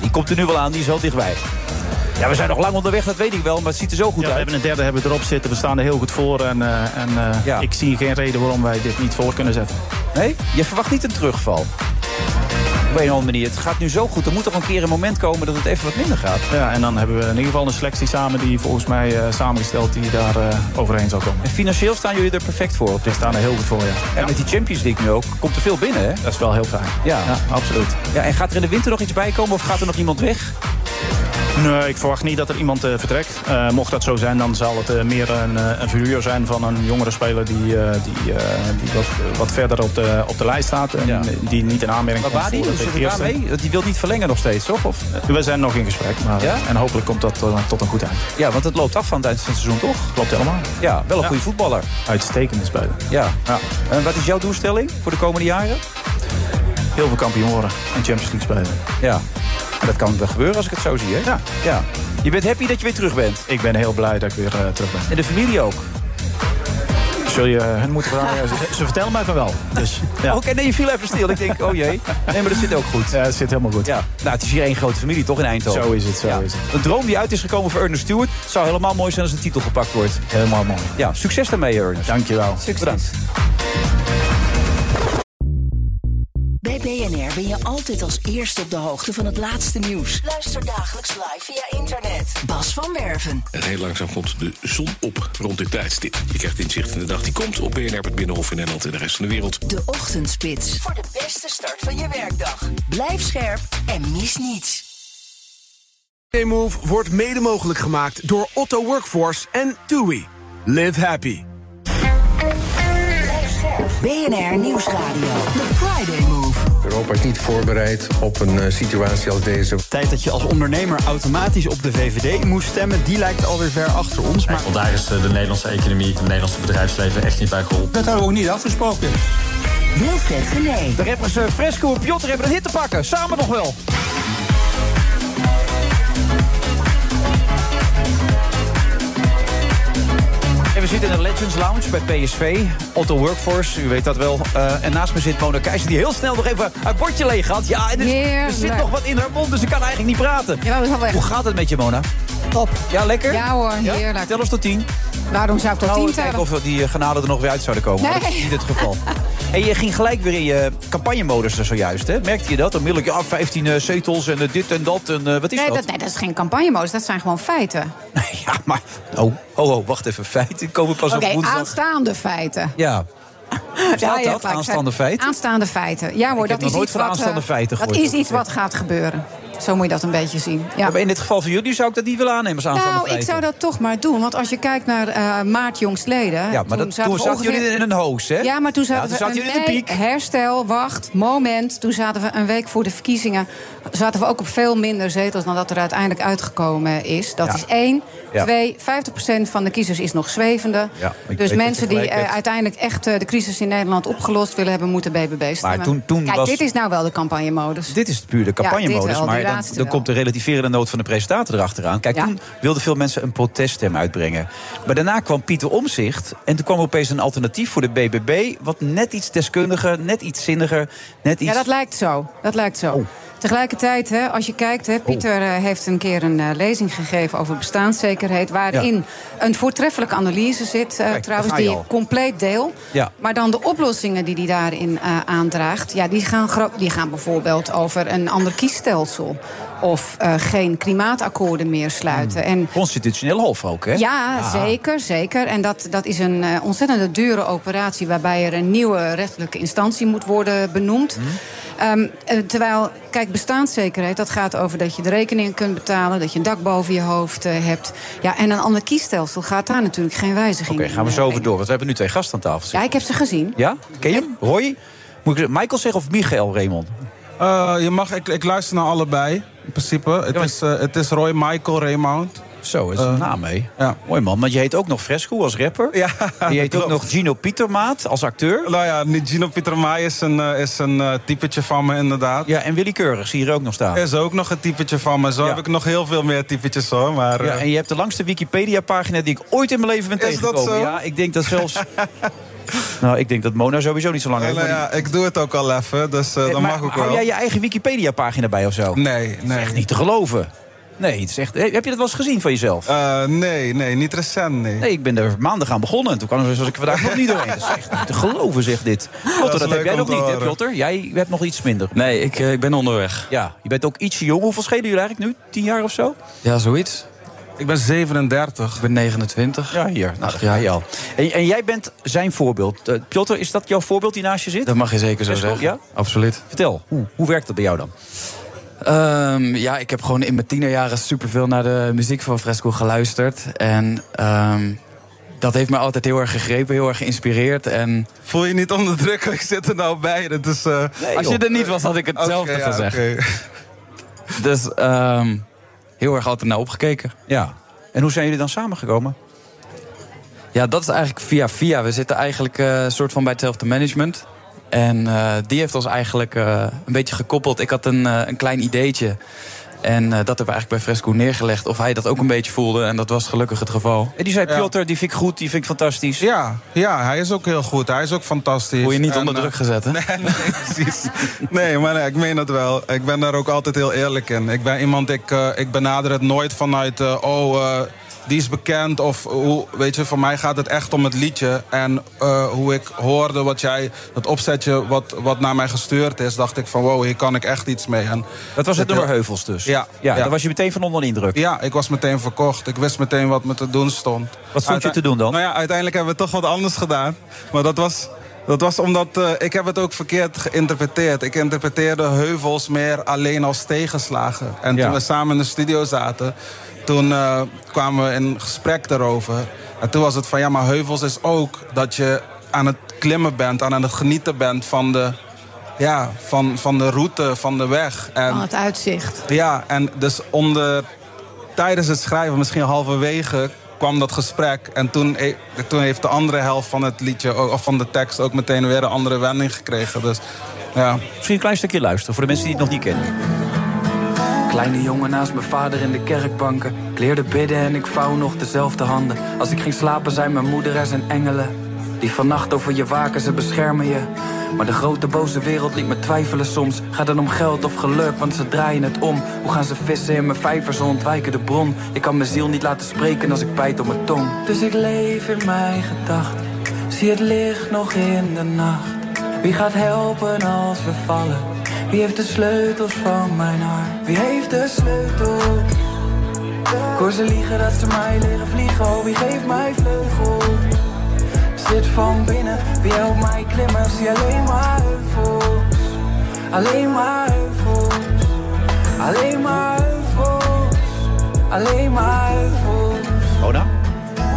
S8: die komt er nu wel aan, die is wel dichtbij. Ja, we zijn nog lang onderweg, dat weet ik wel, maar het ziet er zo goed
S7: Ja, we
S8: uit.
S7: hebben een derde hebben we erop zitten. We staan er heel goed voor. En, eh, en eh, ik zie geen reden waarom wij dit niet voor kunnen zetten.
S8: Nee? Je verwacht niet een terugval? Op een of andere manier. Het gaat nu zo goed. Er moet toch een keer een moment komen dat het even wat minder gaat.
S7: Ja, en dan hebben we in ieder geval een selectie samen die volgens mij eh, samengesteld die daar eh, overheen zal komen.
S8: En financieel staan jullie er perfect voor.
S7: We staan er heel goed voor, ja.
S8: En met die Champions League nu ook komt er veel binnen, hè?
S7: Dat is wel heel fijn.
S8: Ja. oh.
S7: absoluut.
S8: Ja, en gaat er in de winter nog iets bij komen of gaat er nog iemand weg?
S7: Nee, ik verwacht niet dat er iemand eh, vertrekt. Eh, mocht dat zo zijn, dan zal het eh, meer een, eh, een verhuur zijn van een jongere speler die, eh, die, eh, die wat, wat verder op de, op de lijst staat. En die niet in aanmerking
S8: Maar
S7: komt
S8: waar die?
S7: voor
S8: Hoe
S7: het
S8: zit het
S7: eerste.
S8: daarmee? Want Die wil niet verlengen nog steeds, toch? Of?
S7: We zijn nog in gesprek. Maar,
S8: Ja?
S7: En hopelijk komt dat eh, tot een goed eind.
S8: Ja, want het loopt af van het eind van het seizoen, toch?
S7: Klopt helemaal.
S8: Ja, wel een
S7: Ja.
S8: goede voetballer.
S7: Uitstekende speler.
S8: Ja. En wat is jouw doelstelling voor de komende jaren?
S7: Heel veel kampioen worden en Champions League spelen.
S8: Ja. En dat kan wel gebeuren als ik het zo zie, hè? Ja. ja. Je bent happy dat je weer terug bent.
S7: Ik ben heel blij dat ik weer eh, terug ben.
S8: En de familie ook.
S7: Zul je eh, hun moeten vragen? ze, ze vertellen mij van wel. Dus, ja.
S8: Oké, nee, je viel even stil. Ik denk, oh jee. Nee, maar dat zit ook goed.
S7: Ja, dat zit helemaal goed.
S8: Ja. Nou, het is hier één grote familie, toch, in Eindhoven?
S7: Zo is het, zo is het.
S8: Een droom die uit is gekomen voor Ernest Stewart. Het zou helemaal mooi zijn als een titel gepakt wordt.
S7: Helemaal mooi.
S8: Ja, succes daarmee, Ernest.
S7: Dankjewel.
S8: Succes. Bedankt.
S1: BNR ben je altijd als eerste op de hoogte van het laatste nieuws. Luister dagelijks live via internet. Bas van Werven.
S9: En heel langzaam komt de zon op rond dit tijdstip. Je krijgt inzicht in de dag die komt op BNR, het Binnenhof in Nederland en de rest van de wereld.
S1: De Ochtendspits. Voor de beste start van je werkdag. Blijf scherp en mis niets.
S10: Move wordt mede mogelijk gemaakt door Otto Workforce en TUI. Live happy.
S1: BNR Nieuwsradio. The Friday Move.
S3: Europa is niet voorbereid op een eh, situatie als deze.
S11: tijd dat je als ondernemer automatisch op de VVD moest stemmen, die lijkt alweer ver achter ons. Maar
S12: Want daar is eh, de Nederlandse economie, het Nederlandse bedrijfsleven echt niet bij geholpen.
S5: Dat hebben we ook niet afgesproken.
S1: Wilfred Genee.
S13: De rappers eh, Fresco en Piotr hebben een hit te pakken. Samen nog wel.
S8: En we zitten in de Legends Lounge bij PSV. Otto Workforce, u weet dat wel. Eh, en naast me zit Mona Keizer, die heel snel nog even haar bordje leeg had. Ja, en er, er zit
S2: Heerlijk.
S8: nog wat in haar mond, dus ze kan eigenlijk niet praten.
S2: Ja, dat is wel weg.
S8: Hoe gaat het met je, Mona?
S2: Top.
S8: Ja, lekker?
S2: Ja hoor, heerlijk.
S8: Tel ons tot tien.
S2: Waarom zou ik tot
S8: Nou,
S2: tien
S8: kijken
S2: tellen?
S8: of die eh, genade er nog weer uit zouden komen. maar dat is
S2: Nee.
S8: niet het geval. En je ging gelijk weer in je campagnemodus er zojuist, hè? Merkte je dat? Onmiddellijk, ja, 15 eh, zetels en eh, dit en dat en eh, wat is
S2: nee,
S8: dat?
S2: dat, nee, dat is geen campagnemodus, dat zijn gewoon feiten.
S8: Ja, maar... Oh, oh, oh, wacht even. Feiten komen pas
S2: Oké,
S8: op woensdag.
S2: aanstaande feiten.
S8: Ja,
S2: Ja,
S8: dat?
S2: je hebt gelijk.
S8: Aanstaande feiten?
S2: Aanstaande feiten. Ja hoor,
S8: Ik heb
S2: dat
S8: nog
S2: is
S8: nooit
S2: iets
S8: van
S2: wat,
S8: aanstaande
S2: eh,
S8: feiten
S2: Dat
S8: gehoord,
S2: is iets wat gaat gebeuren. Zo moet je dat een beetje zien. Ja.
S8: Maar in dit geval voor jullie zou ik dat niet willen aannemen als aanstaande
S2: Nou, ik
S8: feiten.
S2: zou dat toch maar doen. Want als je kijkt naar eh, maart jongstleden...
S8: Ja, maar dat, toen
S2: we
S8: zaten
S2: ongeveer-
S8: jullie in een hoos, hè?
S2: Ja, maar toen zaten,
S8: Ja,
S2: we
S8: jullie in de
S2: nee,
S8: piek.
S2: Herstel, wacht, moment. Toen zaten we een week voor de verkiezingen. zaten we ook op veel minder zetels dan dat er uiteindelijk uitgekomen is. Dat
S14: Ja.
S2: is één.
S14: Ja.
S2: Twee, 50% van de kiezers is nog zwevende.
S8: Ja, ik weet
S2: dus
S8: dat je
S2: mensen die
S8: gelijk
S2: eh,
S8: hebt.
S2: uiteindelijk echt eh, de crisis in Nederland opgelost willen hebben, moeten BBB stemmen.
S8: toen- toen
S2: Kijk,
S8: was-
S2: dit is nou wel de campagnemodus.
S8: Dit is puur de
S2: Ja,
S8: campagnemodus,
S2: dit wel, die
S8: maar dan,
S2: laatste
S8: dan
S2: wel.
S8: komt de relativerende noot van de presentator erachteraan. Kijk, toen wilden veel mensen een proteststem uitbrengen. Maar daarna kwam Pieter Omzicht en toen kwam opeens een alternatief voor de BBB... wat net iets deskundiger, net iets zinniger, net iets... Oh.
S2: Ja, dat lijkt zo. Dat lijkt zo. Tegelijkertijd, hè, als je kijkt, hè, Pieter eh, heeft een keer een eh, lezing gegeven over bestaanszekerheid. Waarin een voortreffelijke analyse zit, eh,
S14: daar
S2: trouwens,
S14: ga je
S2: die
S14: al.
S2: ik compleet deel.
S14: Ja.
S2: Maar dan de oplossingen die hij daarin eh, aandraagt, ja, die, gaan gro- die gaan bijvoorbeeld over een ander kiesstelsel. Of eh, geen klimaatakkoorden meer sluiten. En
S8: Constitutioneel hof ook, hè?
S2: ja,
S8: Ah.
S2: zeker, zeker. En dat, dat is een eh ontzettend dure operatie... waarbij er een nieuwe rechtelijke instantie moet worden benoemd.
S8: Hm.
S2: Ehm, eh, terwijl, kijk, bestaanszekerheid, dat gaat over dat je de rekening kunt betalen... dat je een dak boven je hoofd eh, hebt. Ja, en een ander kiesstelsel gaat daar natuurlijk geen wijziging
S8: Oké,
S2: in.
S8: gaan we zo over door, want we hebben nu twee gasten aan tafel.
S2: Ja, ik heb ze gezien.
S8: Ja? Ken je hem? Roy? Moet ik Michael zeggen of Michael, Raymond?
S6: Eh, je mag, ik, ik luister naar allebei, in principe. Het, is, eh, het is Roy Michael Raymond. Eh,
S8: Zo, is een naam mee. Mooi man, want je heet ook nog Fresco als rapper. Ja, je heet ook nog Gino Pietermaat als acteur.
S6: Nou ja, niet Gino Pieter Maai is een, eh, is een eh, typetje van me, inderdaad.
S8: Ja, en Willy Keurig zie je er ook nog staan.
S6: Is ook nog een typetje van me. Zo heb ik nog heel veel meer typetjes hoor. Maar, eh,
S8: Ja, en je hebt de langste Wikipedia-pagina die ik ooit in mijn leven ben
S6: Is dat
S8: tegengekomen.
S6: zo?
S8: Ja, ik denk dat zelfs. nou, ik denk dat Mona sowieso niet zo lang
S6: Eh,
S8: heeft.
S6: nou
S8: maar die-
S6: ja, ik doe het ook al even, dus eh, dat
S8: maar
S6: mag ook
S8: hou
S6: wel.
S8: jij je eigen Wikipedia-pagina bij of zo?
S6: Nee, nee.
S8: Dat is echt niet te geloven. Nee, het is echt... Heb je dat wel eens gezien van jezelf?
S6: Eh, nee, nee, niet recent, nee.
S8: Nee, ik ben er maandag aan begonnen. En toen kwam er zoals ik er vandaag nog niet doorheen. Dat is echt niet te geloven, zegt dit. Potter, dat,
S15: leuk
S8: heb jij
S15: om
S8: nog
S15: te
S8: niet, hè,
S15: horen.
S8: Potter? Jij hebt nog iets minder.
S15: Nee, ik, eh, ik ben onderweg.
S8: Ja, je bent ook ietsje jong. Hoeveel schelen jullie eigenlijk nu? Tien jaar of zo?
S15: Ja, zoiets.
S6: Ik ben 37.
S15: Ik ben 29.
S8: Ja, hier. Nou, dat ga je al. En, en jij bent zijn voorbeeld. Eh, Piotr, is dat jouw voorbeeld die naast je zit?
S15: Dat mag je zeker zo
S8: Best wel,
S15: zeggen.
S8: Ja?
S15: Absoluut.
S8: Vertel, hoe, hoe werkt dat bij jou dan?
S15: Ehm, ja, ik heb gewoon in mijn tienerjaren superveel naar de muziek van Fresco geluisterd. En ehm, dat heeft me altijd heel erg gegrepen, heel erg geïnspireerd. En...
S6: Voel je niet onder druk, ik zit er nou bij. Dat is, eh,
S15: Als je er niet was, had ik
S6: Oké,
S15: hetzelfde
S6: ja,
S15: gezegd.
S6: oké.
S15: Dus ehm, heel erg altijd naar opgekeken.
S8: Ja. En hoe zijn jullie dan samengekomen?
S15: Ja, dat is eigenlijk via via. We zitten eigenlijk eh soort van bij hetzelfde management. En eh, die heeft ons eigenlijk eh, een beetje gekoppeld. Ik had een, eh, een klein ideetje. En eh, dat hebben we eigenlijk bij Fresco neergelegd. Of hij dat ook een beetje voelde. En dat was gelukkig het geval.
S8: En die zei,
S6: Ja.
S8: Piotr, die vind ik goed, die vind ik fantastisch.
S6: Ja, ja, hij is ook heel goed. Hij is ook fantastisch.
S15: Word je niet
S6: En,
S15: onder
S6: eh,
S15: druk gezet, hè?
S6: Nee, nee, precies. Nee, maar nee, ik meen het wel. Ik ben daar ook altijd heel eerlijk in. Ik ben iemand, ik, eh, ik benader het nooit vanuit... eh, oh, eh, die is bekend. Of hoe, weet je, voor mij gaat het echt om het liedje. En eh, hoe ik hoorde wat jij, dat opzetje wat, wat naar mij gestuurd is, dacht ik van wow, hier kan ik echt iets mee. En
S8: Dat was het nummer Heuvels dus?
S6: Ja.
S8: Ja, daar was je meteen van onder de indruk?
S6: Ja, ik was meteen verkocht. Ik wist meteen wat me te doen stond.
S8: Wat stond je te doen dan?
S6: Nou ja, uiteindelijk hebben we toch wat anders gedaan. Maar dat was, dat was omdat eh, ik heb het ook verkeerd geïnterpreteerd. Ik interpreteerde heuvels meer alleen als tegenslagen. En
S14: Ja.
S6: toen we samen in de studio zaten, toen eh, kwamen we in gesprek daarover. En toen was het van ja, maar heuvels is ook dat je aan het klimmen bent, aan het genieten bent van de, ja, van, van de route, van de weg. En,
S2: Van het uitzicht.
S6: ja, en dus onder, tijdens het schrijven, misschien halverwege, kwam dat gesprek. En toen, he- toen heeft de andere helft van het liedje, o- of van de tekst, ook meteen weer een andere wending gekregen. Dus, ja.
S8: Misschien een klein stukje luisteren voor de mensen die het nog niet kennen.
S16: Kleine jongen naast mijn vader in de kerkbanken. Ik leerde bidden en ik vouw nog dezelfde handen. Als ik ging slapen, zijn mijn moeder en zijn engelen. Die vannacht over je waken, ze beschermen je. Maar de grote boze wereld liet me twijfelen soms. Gaat het om geld of geluk, want ze draaien het om. Hoe gaan ze vissen in mijn vijver, ze ontwijken de bron. Ik kan mijn ziel niet laten spreken als ik bijt op mijn tong. Dus ik leef in mijn gedachten. Zie het licht nog in de nacht. Wie gaat helpen als we vallen? Wie heeft de sleutels van mijn hart? Wie heeft de sleutel? Ik hoor ze liegen dat ze mij leren vliegen. Oh, wie geeft mij vleugel? Zit van binnen, wie helpt mij klimmen? Zie alleen maar heuvels. Alleen maar heuvels. Alleen maar heuvels. Alleen maar heuvels.
S8: Oda?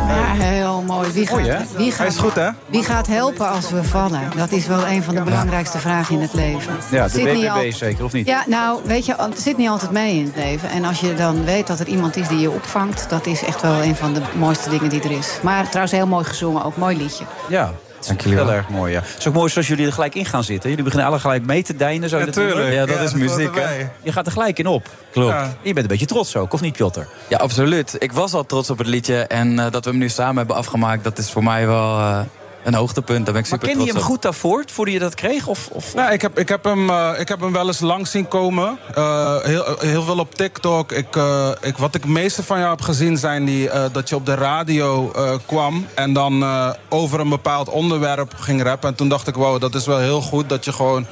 S2: Ja, heel mooi. Wie gaat,
S6: Mooi, hè?
S2: wie gaat,
S6: Hij is goed, hè?
S2: Wie gaat helpen als we vallen? Dat is wel een van de belangrijkste vragen in het leven.
S8: Ja, de
S2: Zit niet
S8: BBB
S2: al-
S8: zeker, of niet?
S2: Ja, nou, weet je, het zit niet altijd mee in het leven. En als je dan weet dat er iemand is die je opvangt... dat is echt wel een van de mooiste dingen die er is. Maar trouwens heel mooi gezongen, ook mooi liedje.
S8: Ja. Dank jullie wel. Heel erg mooi, ja. Het is ook mooi zoals jullie er gelijk in gaan zitten. Jullie beginnen alle gelijk mee te deinen. Zo
S6: Ja,
S8: dat doen we.
S6: tuurlijk.
S8: Ja, dat
S6: Ja,
S8: is
S6: dat
S8: muziek,
S6: hoort
S8: hè.
S6: erbij.
S8: Je gaat er gelijk in op. Klopt. Je bent een beetje trots ook, of niet, Piotr?
S15: Ja, absoluut. Ik was al trots op het liedje. En eh, dat we hem nu samen hebben afgemaakt, dat is voor mij wel eh, een hoogtepunt. Daar ben ik super
S8: Ken je
S15: trots
S8: hem
S15: op.
S8: goed daarvoor, voordat je dat kreeg? Of, of...
S6: Nou, ik, heb, ik, heb hem, eh, ik heb hem wel eens langs zien komen. Eh, heel, heel veel op TikTok. Ik, eh, ik, wat ik meeste van jou heb gezien zijn die, eh, dat je op de radio eh, kwam... en dan eh, over een bepaald onderwerp ging rappen. En toen dacht ik, wow, dat is wel heel goed dat je gewoon...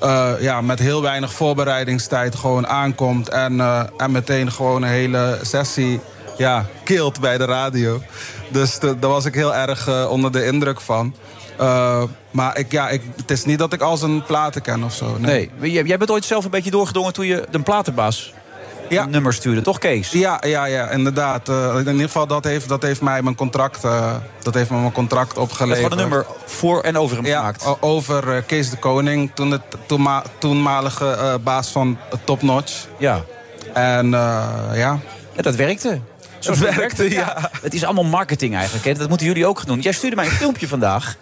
S6: eh, ja, met heel weinig voorbereidingstijd gewoon aankomt... en, eh, en meteen gewoon een hele sessie ja, kilt bij de radio. Dus de- daar was ik heel erg eh, onder de indruk van. Eh, maar ik, ja, ik, het is niet dat ik al zijn platen ken of zo. Nee.
S8: Nee. Jij, jij bent ooit zelf een beetje doorgedrongen toen je de platenbaas een nummer stuurde, toch Kees?
S6: Ja, ja, ja, inderdaad. Eh, in ieder geval, dat heeft, dat heeft mij mijn contract, eh, dat heeft me mijn contract
S8: Dat is
S6: opgeleverd.
S8: gewoon een nummer voor en over hem gemaakt.
S6: O- Over eh, Kees de Koning, toen de toenma- toenmalige eh, baas van Topnotch. Top Notch.
S8: Ja.
S6: En eh, ja.
S8: dat werkte. Zo
S6: Het werkte,
S8: ja. Het is allemaal marketing eigenlijk. Hè. Dat moeten jullie ook gaan doen. Jij stuurde mij een filmpje vandaag.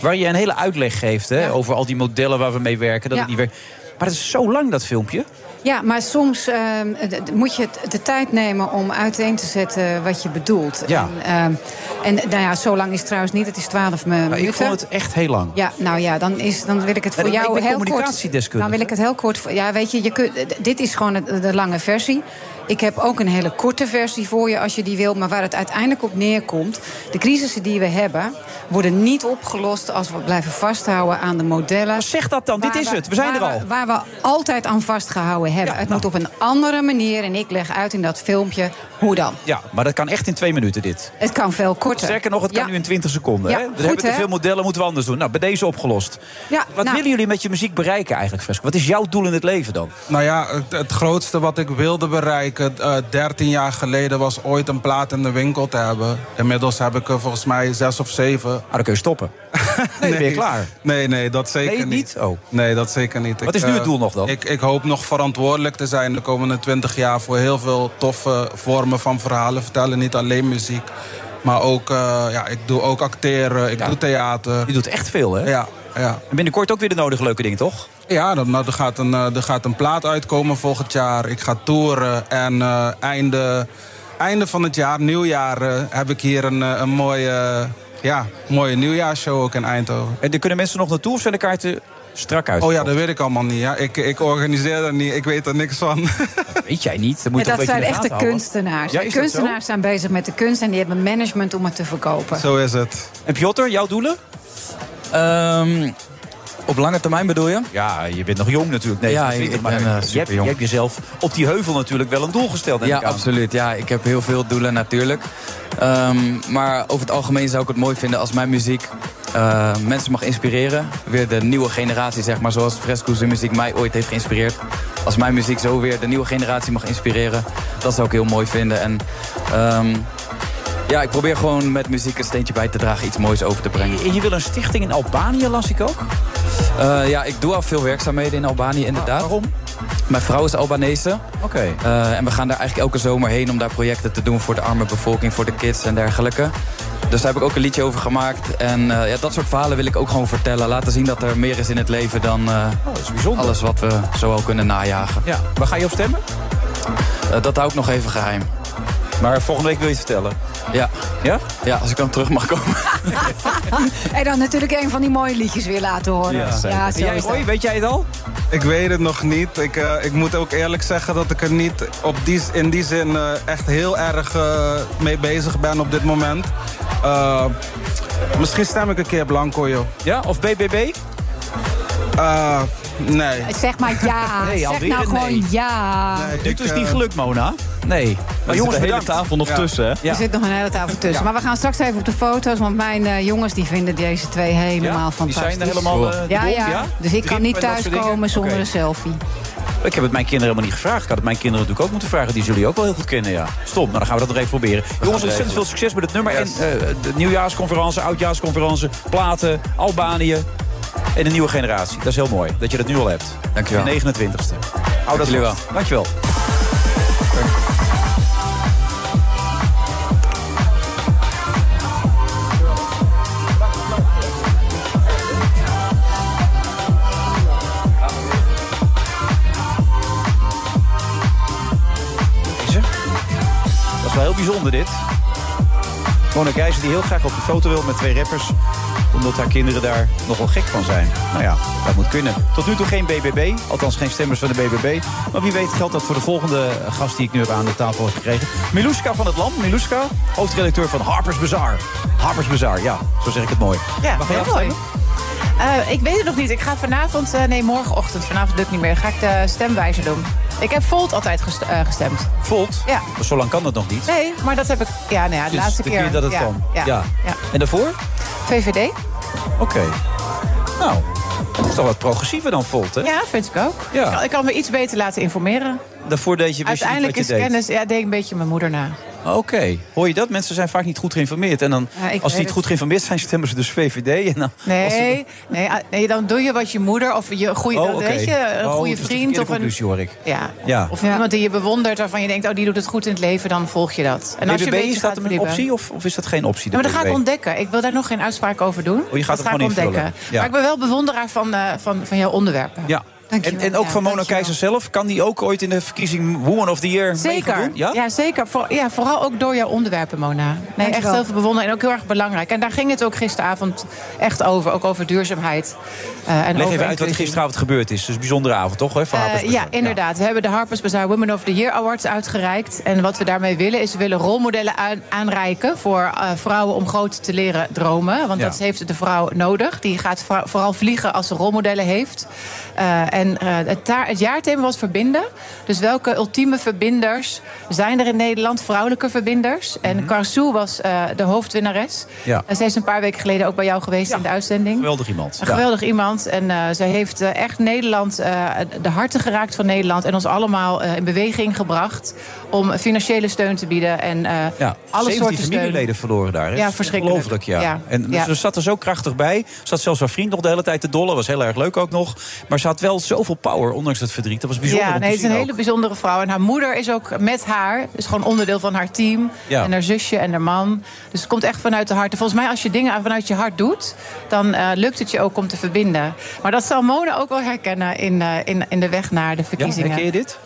S8: Waar je een hele uitleg geeft hè, over al die modellen waar we mee werken. Dat
S2: Ja. Eh,
S8: het niet werkt. Maar het is zo lang, dat filmpje.
S2: Ja, maar soms ehm, d- d- moet je t- de tijd nemen om uiteen te zetten wat je bedoelt.
S8: Ja.
S2: En, ehm, en nou ja, zo lang is het trouwens niet. Het is 12 mi- minuten.
S8: Maar Nou, ik vond het echt heel lang.
S2: Ja, nou ja, dan, is, dan wil ik het
S8: Ja,
S2: voor
S8: ik- ik
S2: jou
S8: ben
S2: heel kort.
S8: communicatiedeskundige.
S2: Dan wil ik het heel kort. voor- Ja, weet je, je kunt, d- dit is gewoon de, de lange versie. Ik heb ook een hele korte versie voor je als je die wil. Maar waar het uiteindelijk op neerkomt. De crisissen die we hebben, worden niet opgelost als we blijven vasthouden aan de modellen.
S8: Nou, Zeg dat dan, dit is het, we zijn er al. nou.
S2: Waar we altijd aan vastgehouden hebben. het moet op een andere manier. En ik leg uit in dat filmpje hoe dan.
S8: Ja, maar dat kan echt in twee minuten dit.
S2: Het kan veel korter.
S8: Sterker nog, het kan
S2: Ja.
S8: nu in 20 seconden.
S2: Ja,
S8: hè? We
S2: goed,
S8: hebben te
S2: hè?
S8: veel modellen, moeten we anders doen. Nou, bij deze opgelost.
S2: Ja,
S8: Wat
S2: nou,
S8: willen jullie met je muziek bereiken eigenlijk, Fresco? Wat is jouw doel in het leven dan?
S6: Nou ja, het, het grootste wat ik wilde bereiken eh, 13 jaar geleden was ooit een plaat in de winkel te hebben. Inmiddels heb ik er volgens mij zes of zeven. Ah,
S8: dan kun je stoppen.
S6: nee,
S8: ben je klaar.
S6: Nee, nee, dat zeker
S8: Nee,
S6: niet.
S8: Oh.
S6: Nee, dat zeker niet.
S8: Wat is nu het
S6: eh,
S8: doel nog dan?
S6: Ik, ik hoop nog verantwoordelijk te zijn de komende 20 jaar voor heel veel toffe vormen van verhalen vertellen. Niet alleen muziek, maar ook, eh, ja, ik doe ook acteren, ik doe theater.
S8: Je doet echt veel, hè?
S6: Ja, ja.
S8: En binnenkort ook weer de nodige leuke dingen, toch?
S6: Ja, dan, nou, er, gaat een, eh, er gaat een plaat uitkomen volgend jaar. Ik ga toeren. En eh, einde, einde van het jaar, nieuwjaar, eh, heb ik hier een, eh, een mooie, ja, mooie nieuwjaarshow ook in Eindhoven.
S8: En daar kunnen mensen nog naartoe of zijn de kaarten strak uit.
S6: Oh ja, dat weet ik allemaal niet. Ja. Ik, ik organiseer dat niet. Ik weet er niks van.
S8: Weet jij niet?
S2: Ja, dat zijn echte kunstenaars.
S6: Ja, is dat
S2: kunstenaars zijn bezig met de kunst en die hebben management om het te verkopen.
S6: Zo is het.
S8: En Piotr, jouw doelen?
S15: Ehm,
S8: op lange termijn bedoel je? Ja, je bent nog jong natuurlijk. Nee,
S15: Ja,
S8: ja,
S15: ik
S8: maar
S15: ben, eh,
S8: je, hebt,
S15: superjong.
S8: je hebt jezelf op die heuvel natuurlijk wel een doel gesteld. neem
S15: Ja,
S8: ik aan.
S15: absoluut. Ja, ik heb heel veel doelen natuurlijk. Ehm, maar over het algemeen zou ik het mooi vinden als mijn muziek eh, mensen mag inspireren. Weer de nieuwe generatie, zeg maar, zoals Fresco's muziek mij ooit heeft geïnspireerd. Als mijn muziek zo weer de nieuwe generatie mag inspireren, dat zou ik heel mooi vinden. En ehm, ja, ik probeer gewoon met muziek een steentje bij te dragen, iets moois over te brengen.
S8: En je wil een stichting in Albanië, las ik ook?
S15: Eh, ja, ik doe al veel werkzaamheden in Albanië, inderdaad. waarom? Mijn vrouw is Albanese. Oké. en we gaan daar eigenlijk elke zomer heen om daar projecten te doen voor de arme bevolking, voor de kids en dergelijke. Dus daar heb ik ook een liedje over gemaakt. En eh, ja, dat soort verhalen wil ik ook gewoon vertellen. Laten zien dat er meer is in het leven dan eh,
S8: Oh,
S15: alles wat we zo al kunnen najagen.
S8: Ja. Waar ga je op stemmen?
S15: Eh, dat hou ik nog even geheim.
S8: Maar volgende week wil je het vertellen?
S15: Ja.
S8: Ja?
S15: Ja, als ik dan terug mag komen.
S2: en dan natuurlijk een van die mooie liedjes weer laten horen.
S6: En
S2: zo is dat.
S8: weet jij het al?
S6: Ik weet het nog niet. Ik, eh, ik moet ook eerlijk zeggen dat ik er niet op die, in die zin eh, echt heel erg eh, mee bezig ben op dit moment. Eh, misschien stem ik een keer blanco, joh. Eh,
S8: Ja, of BBB?
S6: nee.
S2: Zeg maar ja.
S8: Nee,
S2: zeg
S8: alweer
S2: nou
S8: een
S2: gewoon
S8: nee. eh,
S2: ja.
S8: Dit is
S6: eh,
S8: niet gelukt, Mona. Nee. Maar
S12: jongens,
S8: jongens, de hele
S12: bedankt.
S8: tafel nog
S12: Ja.
S8: tussen. hè?
S2: Er zit nog een hele tafel tussen. Maar we gaan straks even op de foto's, want mijn eh, jongens die vinden deze twee helemaal
S8: Ja? Die
S2: fantastisch.
S8: zijn er helemaal, eh,
S2: ja,
S8: dol op,
S2: ja.
S8: ja?
S2: Dus ik kan
S8: Grip
S2: niet
S8: en dat soort dingen?
S2: thuiskomen zonder
S8: Oké.
S2: een selfie.
S8: Ik heb het mijn kinderen helemaal niet gevraagd. Ik had het mijn kinderen natuurlijk ook moeten vragen. Die zullen jullie ook wel heel goed kennen, ja. Stom, nou dan gaan we dat nog even proberen. Jongens, ontzettend veel succes met het nummer. En eh, de nieuwjaarsconferentie, oudjaarsconferentie, platen, Albanië. En de nieuwe generatie. Dat is heel mooi, dat je dat nu al hebt.
S15: Dankjewel.
S8: De 29ste. Hou dat
S15: Dankjewel.
S8: wel. Dankjewel. Deze. Dat is wel heel bijzonder dit. Mona Keijzer die heel graag op de foto wil met twee rappers. Omdat haar kinderen daar nogal gek van zijn. Nou ja, dat moet kunnen. Tot nu toe geen BBB. Althans geen stemmers van de BBB. Maar wie weet geldt dat voor de volgende gast die ik nu heb aan de tafel heb gekregen. Miluska van het Land. Miluska, hoofdredacteur van Harper's Bazaar. Harper's Bazaar, ja. Zo zeg ik het mooi.
S14: Ja,
S8: Mag je
S14: heel
S8: afstemmen?
S14: Eh, ik weet het nog niet. Ik ga vanavond, eh, nee morgenochtend, vanavond lukt niet meer, ga ik de stemwijzer doen. Ik heb Volt altijd gest- eh, gestemd.
S8: Volt?
S14: Ja.
S8: Zo lang kan dat nog niet.
S14: Nee, maar dat heb ik, ja, nou ja, de
S8: Dit is
S14: laatste
S8: de
S14: keer.
S8: dat het
S14: ja,
S8: kan.
S14: Ja, ja.
S8: En daarvoor?
S14: VVD?
S8: Oké. Nou, dat is toch wat progressiever dan Volt, hè?
S14: Ja, vind ik ook.
S8: Ja.
S14: Ik, kan, ik kan me iets beter laten informeren.
S8: Daarvoor deed je wist je niet
S14: Uiteindelijk is
S8: wat je deed.
S14: kennis, ja, deed ik een beetje mijn moeder na.
S8: Oké, hoor je dat? Mensen zijn vaak niet goed geïnformeerd. En dan,
S14: Ja, ik
S8: als
S14: weet
S8: ze niet
S14: het.
S8: goed geïnformeerd zijn, stemmen ze dus VVD. En dan, als ze-
S14: Nee, nee, ah, nee, dan doe je wat je moeder of je goede,
S8: Oh, oké.
S14: weet je, een
S8: Oh,
S14: goede
S8: dat is de
S14: vriend of
S8: verkeerde
S14: een.
S8: conclusie, hoor ik.
S14: Ja.
S8: Ja.
S14: Of iemand die je bewondert, waarvan je denkt, oh, die doet het goed in het leven, dan volg je dat.
S8: BBB,
S14: je een beetje
S8: is dat
S14: gaat
S8: een
S14: flibben-
S8: optie of, of is dat geen optie?
S14: Ja, maar dat
S8: de
S14: ga ik
S8: BBB?
S14: ontdekken. Ik wil daar nog geen uitspraak over doen.
S8: Oh, je gaat
S14: dat
S8: het
S14: ga ik
S8: gewoon invullen.
S14: ontdekken.
S8: Ja.
S14: Maar ik ben wel bewonderaar van, eh, van, van jouw onderwerpen.
S8: Ja. En, en ook
S14: Ja,
S8: van Mona Keizer zelf. Kan die ook ooit in de verkiezing Woman of the Year
S14: Zeker.
S8: meegaan doen?
S14: Ja, zeker. Voor, ja, vooral ook door jouw onderwerpen, Mona. Nee, echt
S8: Dankjewel.
S14: heel veel bewonderen en ook heel erg belangrijk. En daar ging het ook gisteravond echt over. Ook over duurzaamheid. eh, en
S8: Leg
S14: over
S8: even uit wat
S14: inclusie.
S8: er gisteravond gebeurd is. Dus een bijzondere avond, toch? Hè, voor
S14: Eh,
S8: Harper's Bazaar?
S14: ja, inderdaad. We hebben de Harper's Bazaar Women of the Year Awards uitgereikt. En wat we daarmee willen is, we willen rolmodellen aan- aanreiken... voor eh, vrouwen om groot te leren dromen. Want
S17: Ja.
S14: dat heeft de vrouw nodig. Die gaat vra- vooral vliegen als ze rolmodellen heeft. Eh, en eh, het, ta- het jaarthema was verbinden. Dus welke ultieme verbinders zijn er in Nederland? Vrouwelijke verbinders. En Karsu was eh, de hoofdwinnares.
S8: Ja.
S14: En zij is een paar weken geleden ook bij jou geweest in de uitzending.
S8: Geweldig iemand.
S14: Een
S8: Ja.
S14: geweldig iemand. En eh, zij heeft eh, echt Nederland, eh, de harten geraakt van Nederland. En ons allemaal eh, in beweging gebracht om financiële steun te bieden. En eh,
S8: Ja,
S14: alle
S8: 17
S14: soorten steun.
S8: familieleden verloren daar. hè?
S14: Ja,
S8: Dat is
S14: verschrikkelijk.
S8: Ongelooflijk, ja.
S14: Ja,
S8: En
S14: ja.
S8: ze zat er zo krachtig bij. Ze zat zelfs haar vriend nog de hele tijd te dollen. Was heel erg leuk ook nog. Maar ze had wel zoveel power, ondanks het verdriet. Dat was bijzonder
S14: Ja,
S8: om
S14: nee,
S8: te
S14: het is een
S8: zien ook.
S14: hele bijzondere vrouw. En haar moeder is ook met haar, is gewoon onderdeel van haar team.
S8: Ja.
S14: En haar zusje en haar man. Dus het komt echt vanuit de hart. En volgens mij, als je dingen vanuit je hart doet, dan eh, lukt het je ook om te verbinden. Maar dat zal Mona ook wel herkennen in, eh, in, in de weg naar de verkiezingen.
S8: herken je dit?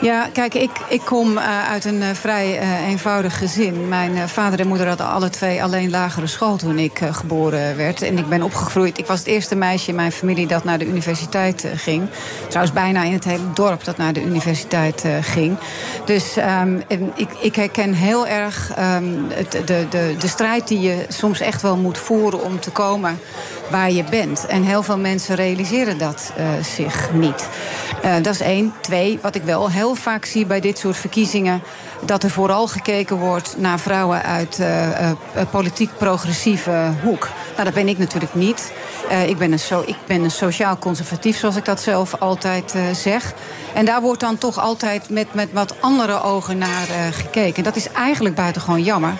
S2: Ja, kijk, ik, ik kom eh, uit een eh, vrij eh, eenvoudig gezin. Mijn eh, vader en moeder hadden alle twee alleen lagere school toen ik eh, geboren werd. En ik ben opgegroeid. Ik was het eerste meisje in mijn familie dat naar de universiteit eh, ging. Trouwens, bijna in het hele dorp dat naar de universiteit eh, ging. Dus ehm, en ik, ik herken heel erg ehm, het, de, de, de strijd die je soms echt wel moet voeren om te komen waar je bent. En heel veel mensen realiseren dat eh, zich niet. Eh, dat is één. Twee, wat ik wel heel vaak zie bij dit soort verkiezingen... dat er vooral gekeken wordt naar vrouwen uit eh, eh, politiek progressieve hoek. Nou, dat ben ik natuurlijk niet. Eh, ik, ben een so ik ben een sociaal conservatief, zoals ik dat zelf altijd eh, zeg. En daar wordt dan toch altijd met, met wat andere ogen naar eh, gekeken. Dat is eigenlijk buitengewoon jammer.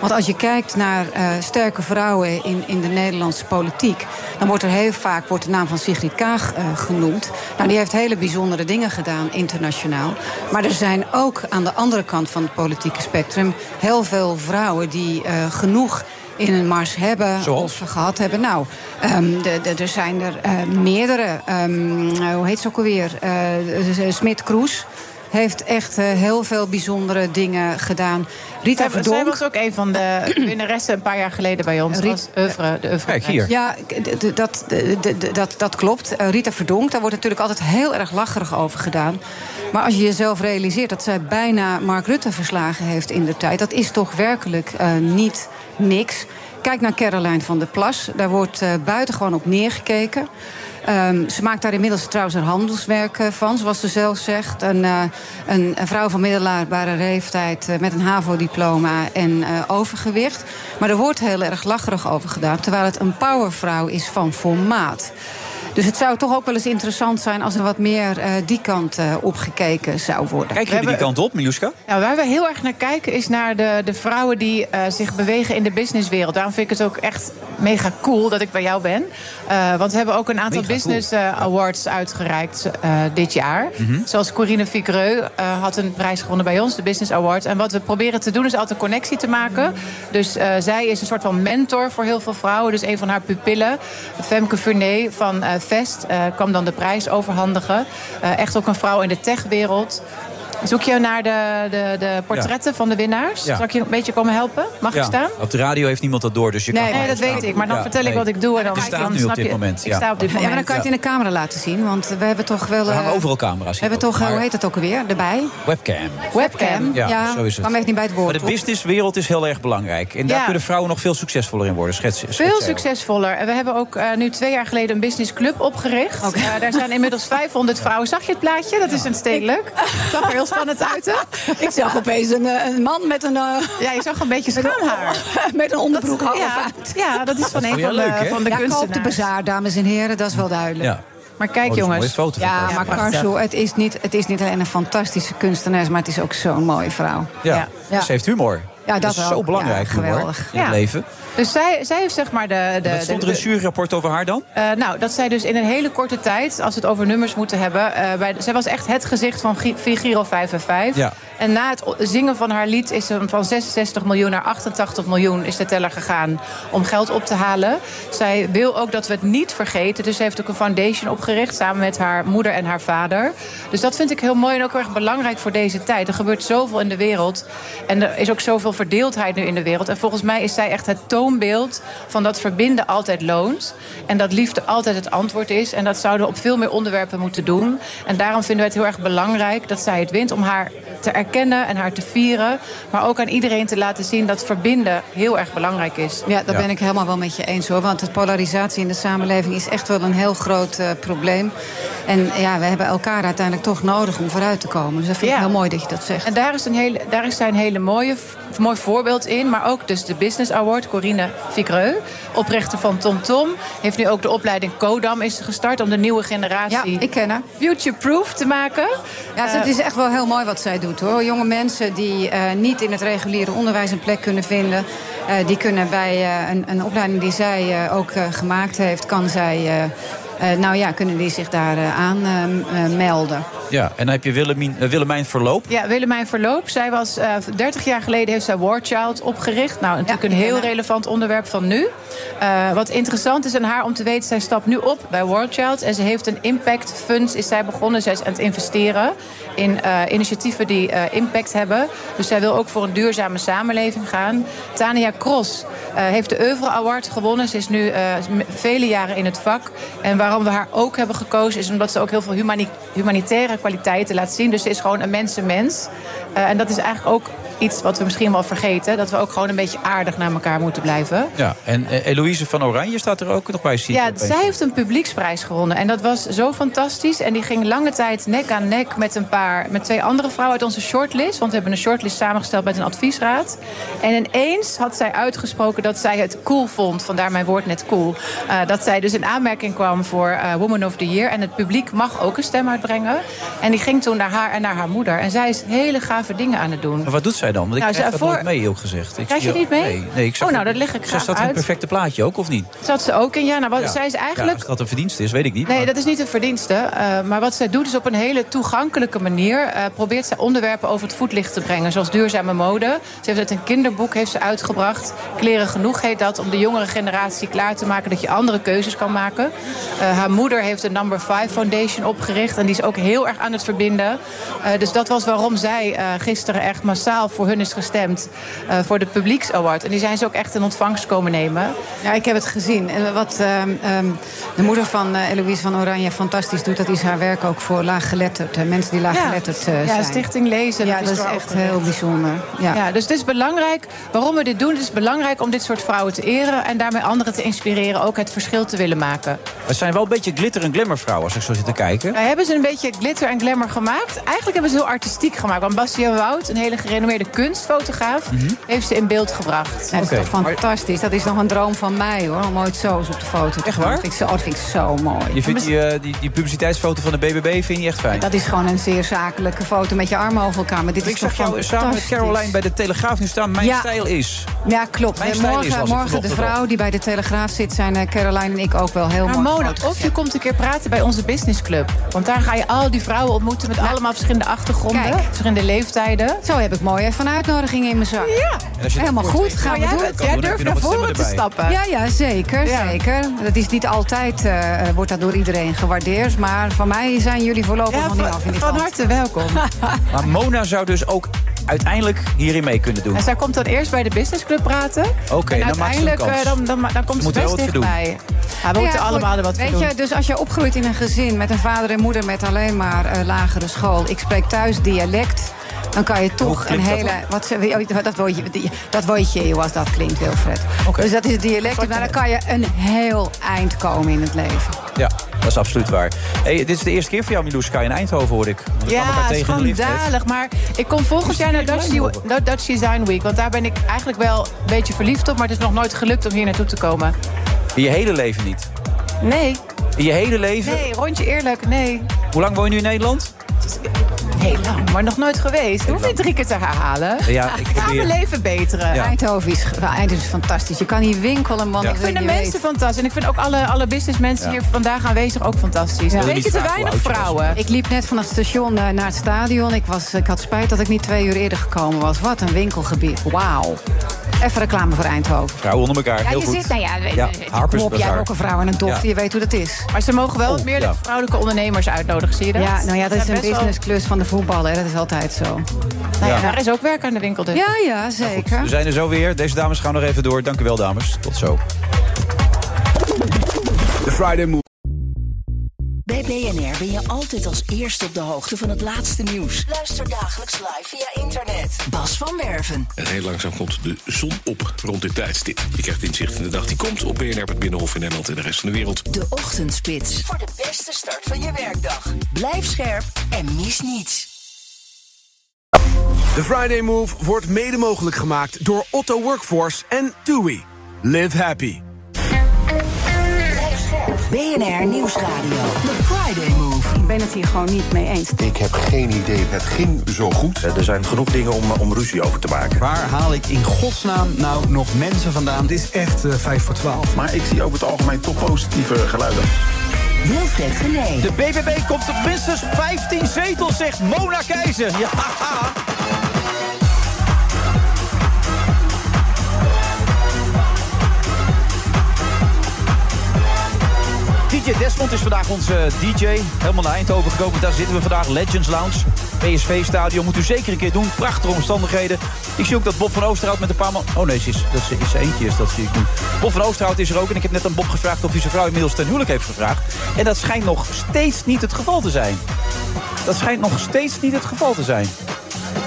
S2: Want als je kijkt naar eh, sterke vrouwen in, in de Nederlandse politiek... dan wordt er heel vaak wordt de naam van Sigrid Kaag eh, genoemd. Nou, die heeft hele bijzondere dingen gedaan internationaal. Maar er zijn ook aan de andere kant van het politieke spectrum... heel veel vrouwen die eh, genoeg in een mars hebben of gehad hebben. Nou, ehm, de- de- er zijn er eh, meerdere. Ehm, eh, hoe heet ze ook alweer? Eh Smit Kroes heeft echt eh, heel veel bijzondere dingen gedaan. Rita
S14: zij, zij
S2: Verdonk...
S14: was ook een van de winnaressen een paar jaar geleden bij ons.
S2: Riet-
S14: was Oeuvre, de Oeuvre.
S2: Ja, d- d- dat, d- d- dat, dat klopt. Eh, Rita Verdonk, daar wordt natuurlijk altijd heel erg lacherig over gedaan. Maar als je jezelf realiseert dat zij bijna Mark Rutte verslagen heeft in de tijd... dat is toch werkelijk eh, niet niks. Kijk naar Caroline van der Plas. Daar wordt eh, buitengewoon op neergekeken. Ehm, ze maakt daar inmiddels trouwens een handelswerk eh, van, zoals ze zelf zegt. Een, eh, een, een vrouw van middelbare leeftijd eh, met een HAVO-diploma en eh, overgewicht. Maar er wordt heel erg lacherig over gedaan, terwijl het een powervrouw is van formaat. Dus het zou toch ook wel eens interessant zijn als er wat meer eh, die kant eh, opgekeken zou worden.
S8: Kijk jullie die kant op, Miljuska?
S14: Nou, waar we heel erg naar kijken is naar de, de vrouwen die eh, zich bewegen in de businesswereld. Daarom vind ik het ook echt mega cool dat ik bij jou ben. Eh, want we hebben ook een aantal
S17: Mega cool.
S14: business eh, awards uitgereikt eh, dit jaar.
S17: Mhm.
S14: Zoals Corinne Ficreu eh, had een prijs gewonnen bij ons, de Business Award. En wat we proberen te doen is altijd een connectie te maken. Dus eh, zij is een soort van mentor voor heel veel vrouwen. Dus een van haar pupillen, Femke Furnee van eh, Vest, eh, kwam dan de prijs overhandigen. Eh, echt ook een vrouw in de techwereld. Zoek je naar de, de, de portretten van de winnaars?
S8: Ja.
S14: Zal ik je een beetje komen helpen? Mag
S8: Ja.
S14: ik staan?
S8: Op de radio heeft niemand dat door, dus je
S14: Nee,
S8: kan
S14: nee, dat weet ik, maar dan vertel ik wat ik doe en dan-
S8: ik sta
S14: dan
S8: nu op
S14: snap
S8: dit
S14: je-
S8: moment.
S14: ik sta op dit
S2: Ja, maar dan kan je het in de camera laten zien, want we hebben toch wel...
S8: Er
S2: eh,
S8: hangen overal camera's
S2: we
S8: hier
S2: hebben
S8: ook,
S2: toch, eh,
S8: maar-
S2: hoe heet het ook alweer, erbij?
S8: Webcam.
S2: Webcam.
S8: Ja,
S2: Ja,
S8: zo is het.
S2: kwam echt niet bij het woord.
S8: Maar de businesswereld is heel erg belangrijk. En daar
S14: Ja.
S8: kunnen vrouwen nog veel succesvoller in worden. Schets, schets
S14: Veel
S8: jij.
S14: succesvoller. En we hebben ook eh, nu twee jaar geleden een businessclub opgericht. Eh, daar zijn inmiddels 500 vrouwen. Zag je het plaatje? Dat is een stedelijk. Zag er heel spannend uit, hè?
S2: Ik zag opeens een, eh, een man met een...
S14: Ja, je zag een beetje schaamhaar.
S2: Met een onderbroek half
S14: ja,
S2: uit.
S14: ja, dat is van een van de, van de
S2: ja, koop de
S14: kunstenaars.
S2: bazaar, dames en heren, dat is wel duidelijk.
S8: Ja.
S14: Maar kijk,
S8: Oh, dat is een
S14: jongens.
S8: mooie foto van
S2: Ja,
S8: Carso.
S2: maar
S8: Ja, prachtig.
S2: Carso, het is, niet, het is niet alleen een fantastische kunstenaar, maar het is ook zo'n mooie vrouw.
S8: Ja.
S2: Ja.
S8: Ze heeft humor.
S2: Ja, dat
S8: is
S2: wel.
S8: zo belangrijk,
S2: Ja,
S8: humor, in
S2: geweldig.
S8: het
S14: Ja.
S8: leven.
S14: Dus zij, zij heeft zeg maar de... de
S8: Wat stond er
S14: de-
S8: een juryrapport over haar dan?
S14: Eh, nou, dat zij dus in een hele korte tijd, als we het over nummers moeten hebben. eh, bij, zij was echt het gezicht van Gi- Via Giro 5 en 5.
S8: Ja.
S14: En na het o- zingen van haar lied is ze van 66 miljoen naar 88 miljoen is de teller gegaan om geld op te halen. Zij wil ook dat we het niet vergeten. Dus ze heeft ook een foundation opgericht samen met haar moeder en haar vader. Dus dat vind ik heel mooi en ook heel erg belangrijk voor deze tijd. Er gebeurt zoveel in de wereld. En er is ook zoveel verdeeldheid nu in de wereld. En volgens mij is zij echt het toonbeeld van dat verbinden altijd loont. En dat liefde altijd het antwoord is. En dat zouden we op veel meer onderwerpen moeten doen. En daarom vinden we het heel erg belangrijk dat zij het wint. Om haar te erkennen en haar te vieren. Maar ook aan iedereen te laten zien dat verbinden heel erg belangrijk is.
S2: Ja, dat ben ik helemaal wel met je eens hoor. Want de polarisatie in de samenleving is echt wel een heel groot eh, probleem. En ja, we hebben elkaar uiteindelijk toch nodig om vooruit te komen. Dus dat vind ik heel mooi dat je dat zegt.
S14: En daar is, een hele, daar is zij een hele mooie, f- mooi voorbeeld in. Maar ook dus de Business Award, Corine Ficreu, oprichter van TomTom. Heeft nu ook de opleiding Kodam is gestart om de nieuwe generatie...
S2: ik ken haar.
S14: Future-proof te maken. Eh,
S2: Ja, het is echt wel heel mooi wat zij doet hoor. Jonge mensen die eh, niet in het reguliere onderwijs een plek kunnen vinden, eh, die kunnen bij eh, een, een opleiding die zij eh, ook eh, gemaakt heeft, kan zij, ehm, eh, eh, nou ja, kunnen die zich daar eh, aan eh, m- eh, melden.
S8: Ja, en dan heb je Willemien, eh, Willemijn Verloop.
S14: Ja, Willemijn Verloop. Zij was eh 30 jaar geleden heeft zij War Child opgericht. Nou, natuurlijk een heel relevant onderwerp van nu. Eh, wat interessant is aan haar om te weten, zij stapt nu op bij War Child. En ze heeft een impact funds, is zij begonnen. Zij is aan het investeren in eh, initiatieven die eh, impact hebben. Dus zij wil ook voor een duurzame samenleving gaan. Tania Cross eh, heeft de Euvre Award gewonnen. Ze is nu eh, m- vele jaren in het vak. En waarom we haar ook hebben gekozen is omdat ze ook heel veel humani- humanitaire kwaliteiten laat zien. Dus ze is gewoon een mensenmens. Eh, en dat is eigenlijk ook iets wat we misschien wel vergeten. Dat we ook gewoon een beetje aardig naar elkaar moeten blijven.
S8: Ja, en eh, Eloïse van Oranje staat er ook nog bij. zie ik
S14: Ja,
S8: opeens.
S14: zij heeft een publieksprijs gewonnen. En dat was zo fantastisch. En die ging lange tijd nek aan nek met een paar, met twee andere vrouwen uit onze shortlist. Want we hebben een shortlist samengesteld met een adviesraad. En ineens had zij uitgesproken dat zij het cool vond. Vandaar mijn woord net cool. Eh, dat zij dus in aanmerking kwam voor eh, Woman of the Year. En het publiek mag ook een stem uitbrengen. En die ging toen naar haar en naar haar moeder. En zij is hele gave dingen aan het doen.
S8: Maar wat doet zij dan? Want ik
S14: Nou,
S8: krijg
S14: ze-
S8: dat
S14: voor-
S8: nooit mee, ook gezegd. Ik
S14: Krijg
S8: zie-
S14: je niet mee?
S8: Nee, nee ik zag
S14: Oh, nou, dat leg ik
S8: Ze
S14: graag
S8: staat in een
S14: uit.
S8: perfecte plaatje ook, of niet?
S14: Zat ze ook in? Ja, nou, wat,
S8: Ja.
S14: zij is
S8: Ja,
S14: eigenlijk...
S8: als dat een verdienste is, weet ik niet.
S14: Nee, dat is niet een verdienste. eh, maar wat zij doet is op een hele toegankelijke manier... eh, probeert zij onderwerpen over het voetlicht te brengen. Zoals duurzame mode. Ze heeft uit een kinderboek heeft ze uitgebracht. Kleren genoeg heet dat. Om de jongere generatie klaar te maken dat je andere keuzes kan maken. Eh, haar moeder heeft de Number 5 Foundation opgericht. En die is ook heel erg aan het verbinden. Eh, dus dat was waarom zij eh, gisteren echt massaal voor hun is gestemd. eh, voor de Publieks Award. En die zijn ze ook echt in ontvangst komen nemen.
S2: Ja, ik heb het gezien. En wat ehm, ehm, de moeder van eh, Eloïse van Oranje fantastisch doet, dat is haar werk ook voor laaggeletterd. hè, mensen die laaggeletterd eh,
S14: ja,
S2: zijn.
S14: Stichting Lezen.
S2: Ja, dat is
S14: daar ook
S2: echt
S14: een
S2: heel bijzonder. Ja.
S14: Ja, dus het is belangrijk waarom we dit doen. Het is belangrijk om dit soort vrouwen te eren en daarmee anderen te inspireren ook het verschil te willen maken.
S8: Het zijn wel een beetje glitter- en glamour-vrouwen, als ik zo zit te kijken.
S14: Nou, hebben ze een beetje glitter en glamour gemaakt? Eigenlijk hebben ze heel artistiek gemaakt. Want Bastiaan Wout, een hele gerenommeerde kunstfotograaf, heeft ze in beeld gebracht.
S2: Ja, dat is toch fantastisch. Dat is nog een droom van mij hoor, om ooit zo eens op de foto te Echt
S8: waar?
S2: Dat vind ik zo, oh, dat vind ik zo mooi.
S8: Je vindt die, eh, die, die publiciteitsfoto van de BBB vind je echt fijn.
S2: Dat is gewoon een zeer zakelijke foto met je armen over elkaar. Maar dit
S8: ik
S2: is toch
S8: zag jou samen met
S2: fantastisch.
S8: Caroline bij de Telegraaf nu staan. Mijn
S2: Ja.
S8: stijl is.
S2: Ja, klopt.
S8: Mijn
S2: En
S8: stijl is, las
S2: morgen
S8: ik
S2: morgen de
S8: vanochtend
S2: vrouw
S8: al.
S2: die bij de Telegraaf zit, zijn eh, Caroline en ik ook wel heel mooi.
S14: Ramona, of je komt een keer praten bij onze businessclub. Want daar ga je al die vrouwen ontmoeten met allemaal verschillende achtergronden, verschillende leeftijden.
S2: Zo heb ik mooi even een uitnodiging in mijn zak. Ja,
S14: En als je
S2: helemaal
S14: het voor
S2: goed.
S14: tegen-
S2: Gaan
S14: Maar
S2: we
S14: Oh, jij
S2: doen.
S14: bent- jij Kan durft doen, dan naar wat voren stemmen te erbij. stappen.
S2: Ja, ja zeker, zeker. Dat is niet altijd, eh, wordt dat door iedereen gewaardeerd. Maar van mij zijn jullie voorlopig nog niet af.
S14: Van harte welkom.
S8: Maar Mona zou dus ook uiteindelijk hierin mee kunnen doen.
S14: En zij komt dan eerst bij de businessclub praten.
S8: Oké,
S14: en
S8: dan maakt ze een
S14: uiteindelijk
S8: kans.
S14: eh, dan, dan, dan, komt ze
S8: moet wel
S14: best
S8: wat voor doen.
S14: dichtbij. Ja, we
S2: Nou Ja,
S14: moeten
S2: goed.
S14: allemaal er wat voor
S2: Weet
S14: doen.
S2: je, dus als je opgroeit in een gezin met een vader en moeder met alleen maar eh, lagere school. Ik spreek thuis dialect. Dan kan je toch een
S1: klinkt dat
S2: hele.
S1: dan?
S2: Wat, ze- oh, dat woordje, dat woordje Jeeuws, dat klinkt, Wilfred. Dus dat is dialect. Maar dan kan je een heel eind komen in het leven.
S8: Ja, dat is absoluut waar. Hey, dit is de eerste keer voor jou, Milouska, in Eindhoven, hoor ik. Want we kwamen elkaar
S14: Ja,
S8: tegen in de lift net.
S14: schandalig. Maar ik kom volgend jaar naar Dutch, Dutch- Dutch Design Week. Want daar ben ik eigenlijk wel een beetje verliefd op. Maar het is nog nooit gelukt om hier naartoe te komen.
S8: In je hele leven niet.
S14: Nee.
S8: In je hele leven?
S14: Nee, rondje eerlijk, nee.
S8: Hoe lang woon je nu in Nederland?
S14: Heel lang, maar nog nooit geweest. Hoef niet drie keer te herhalen.
S8: Ja, ik
S14: Ga mijn
S8: probeer-
S14: leven beteren.
S8: Ja.
S2: Eindhoven is, Eindhoven is fantastisch. Dus Je kan hier winkelen, man.
S14: Ik vind de mensen fantastisch. En ik vind ook alle, alle businessmensen
S2: Ja.
S14: hier vandaag aanwezig ook fantastisch. Een beetje te weinig vrouwen.
S2: Ik liep net van het station eh, naar het stadion. Ik, was, ik had spijt dat ik niet twee uur eerder gekomen was. Wat een winkelgebied. Wauw. Even reclame voor Eindhoven.
S8: Vrouwen onder elkaar,
S2: Ja,
S8: heel
S2: je
S8: goed.
S2: zit, nou ja, we- we-
S8: Harper's
S2: kom op, jij hebt
S8: Bazaar.
S2: ook een vrouw en een dochter.
S8: Ja. Oh,
S2: Je weet hoe dat is.
S14: Maar ze mogen wel wat meer
S8: ja.
S14: vrouwelijke ondernemers uitnodigen, zie je dat?
S2: Ja, nou ja, dat
S14: Ze
S2: is
S14: zijn
S2: een
S14: best wel-
S2: businessklus van de voetballer. Dat is altijd zo.
S14: Nou ja,
S8: Ja. Dus-
S14: daar is ook werk aan de winkel dus.
S2: Ja, ja, zeker.
S8: We zijn er zo weer. Deze dames gaan nog even door. Dank u wel, dames. Tot zo.
S10: De Friday Move.
S1: Bij BNR ben je altijd als eerste op de hoogte van het laatste nieuws. Luister dagelijks live via internet. Bas van Werven.
S9: En heel langzaam komt de zon op rond dit tijdstip. Je krijgt inzicht in de dag die komt op BNR, het Binnenhof in Nederland en de rest van de wereld.
S1: De Ochtendspits. Voor de beste start van je werkdag. Blijf scherp en mis niets.
S10: De Friday Move wordt mede mogelijk gemaakt door Otto Workforce en TUI. Live happy.
S1: BNR Nieuwsradio. The Friday Move.
S2: Ik ben het hier gewoon niet mee eens.
S4: Ik heb geen idee. Het ging zo goed. Eh, Er zijn genoeg dingen om, om ruzie over te maken.
S5: Waar haal ik in godsnaam nou nog mensen vandaan? Dit is echt eh, 5 voor 12.
S4: Maar ik zie over het algemeen toch positieve geluiden.
S1: Wilfred Genee.
S13: De BBB komt op minstens 15 zetels, zegt Mona Keizer. Ja, DJ Desmond is vandaag onze eh, DJ. Helemaal naar Eindhoven gekomen. Daar zitten we vandaag. Legends Lounge. PSV Stadion. Moet u zeker een keer doen. Prachtige omstandigheden. Ik zie ook dat Bob van Oosterhout met een paar man... Oh nee, ze is, dat is, is er eentje. Is, dat zie ik nu. Bob van Oosterhout is er ook. En ik heb net aan Bob gevraagd of hij zijn vrouw inmiddels ten huwelijk heeft gevraagd. En dat schijnt nog steeds niet het geval te zijn. Dat schijnt nog steeds niet het geval te zijn.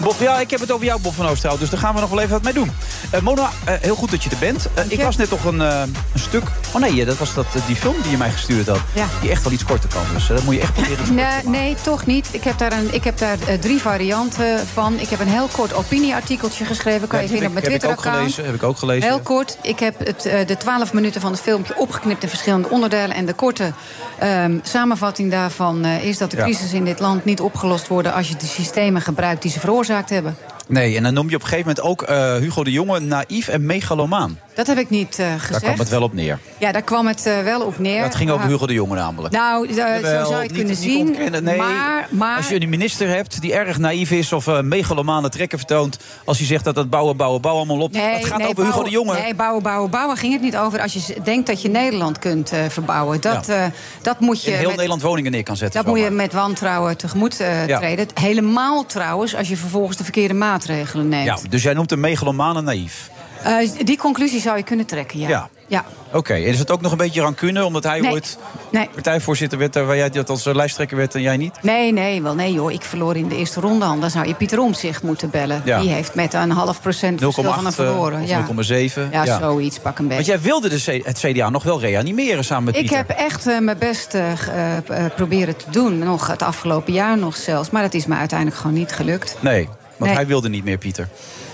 S13: Bob, ja, ik heb het over jou, Bob van Oosterhout. Dus daar gaan we nog wel even wat mee doen. Eh, Mona, eh, heel goed dat je er bent. Eh, ik was net nog een, eh, een stuk... Oh nee, ja, dat was dat, eh, die film die je mij gestuurd had.
S2: Ja.
S13: Die echt wel iets korter kan. Dus eh, dat moet je echt proberen.
S2: Nee, nee, toch niet. Ik heb daar, een, ik heb daar eh, drie varianten van. Ik heb een heel kort opinieartikeltje geschreven. Kan je vinden op mijn
S8: heb ik ook
S2: Twitter-account.
S8: gelezen. Heb ik ook gelezen.
S2: Heel kort, ik heb het, eh, de 12 minuten van het filmpje opgeknipt in verschillende onderdelen. En de korte ehm, samenvatting daarvan eh, is dat de
S8: Ja.
S2: crisis in dit land niet opgelost worden als je de systemen gebruikt die ze veroorzaakt hebben.
S8: Nee, en dan noem je op een gegeven moment ook eh, Hugo de Jonge naïef en megalomaan.
S2: Dat heb ik niet eh,
S8: Daar kwam
S2: gezegd.
S8: het wel op neer.
S2: Ja, daar kwam het eh, wel op neer.
S8: Ja, het ging over
S2: Maar-
S8: Hugo de Jonge namelijk.
S2: Nou, eh,
S8: Jawel,
S2: zo zou je het
S8: niet-
S2: kunnen
S8: niet
S2: zien.
S8: ontkennen, nee.
S2: Maar, maar
S8: Als je een minister hebt die erg naïef is of eh megalomane trekken vertoont... als hij zegt dat dat bouwen, bouwen, bouwen allemaal op... dat gaat over Hugo de
S2: bouwen-
S8: Jonge.
S2: Nee, bouwen, bouwen, bouwen ging het niet over. Als je z- denkt dat je Nederland kunt eh, verbouwen, dat, eh, dat moet je.
S8: in heel
S2: met-
S8: Nederland woningen neer kan zetten.
S2: dat moet je met wantrouwen tegemoet eh,
S8: Ja.
S2: treden. Helemaal trouwens als je vervolgens de verkeerde maatregelen neemt.
S8: ja, dus jij noemt hem megalomane naïef.
S2: Eh, die conclusie zou je kunnen trekken, ja.
S8: Ja. Oké, en is het ook nog een beetje rancune... omdat hij
S2: Nee.
S8: ooit
S2: Nee.
S8: partijvoorzitter werd... eh, waar jij dat als eh, lijsttrekker werd en jij niet?
S2: Nee, nee, wel nee joh. Ik verloor in de eerste ronde al. Dan zou je Pieter Omtzigt moeten bellen.
S8: Ja.
S2: Die heeft met een half procent
S8: 0,8
S2: verschil van hem
S8: eh,
S2: verloren.
S8: of
S2: ja.
S8: 0,7.
S2: Ja, zoiets, pak een
S8: Want
S2: beetje.
S8: jij wilde de C- het CDA nog wel reanimeren samen met
S2: Ik
S8: Pieter.
S2: heb echt eh, mijn best eh, g- eh, p- eh, proberen te doen. Nog het afgelopen jaar nog zelfs. Maar dat is me uiteindelijk gewoon niet gelukt.
S8: Nee, want
S2: Nee.
S8: hij wilde niet meer, Pieter.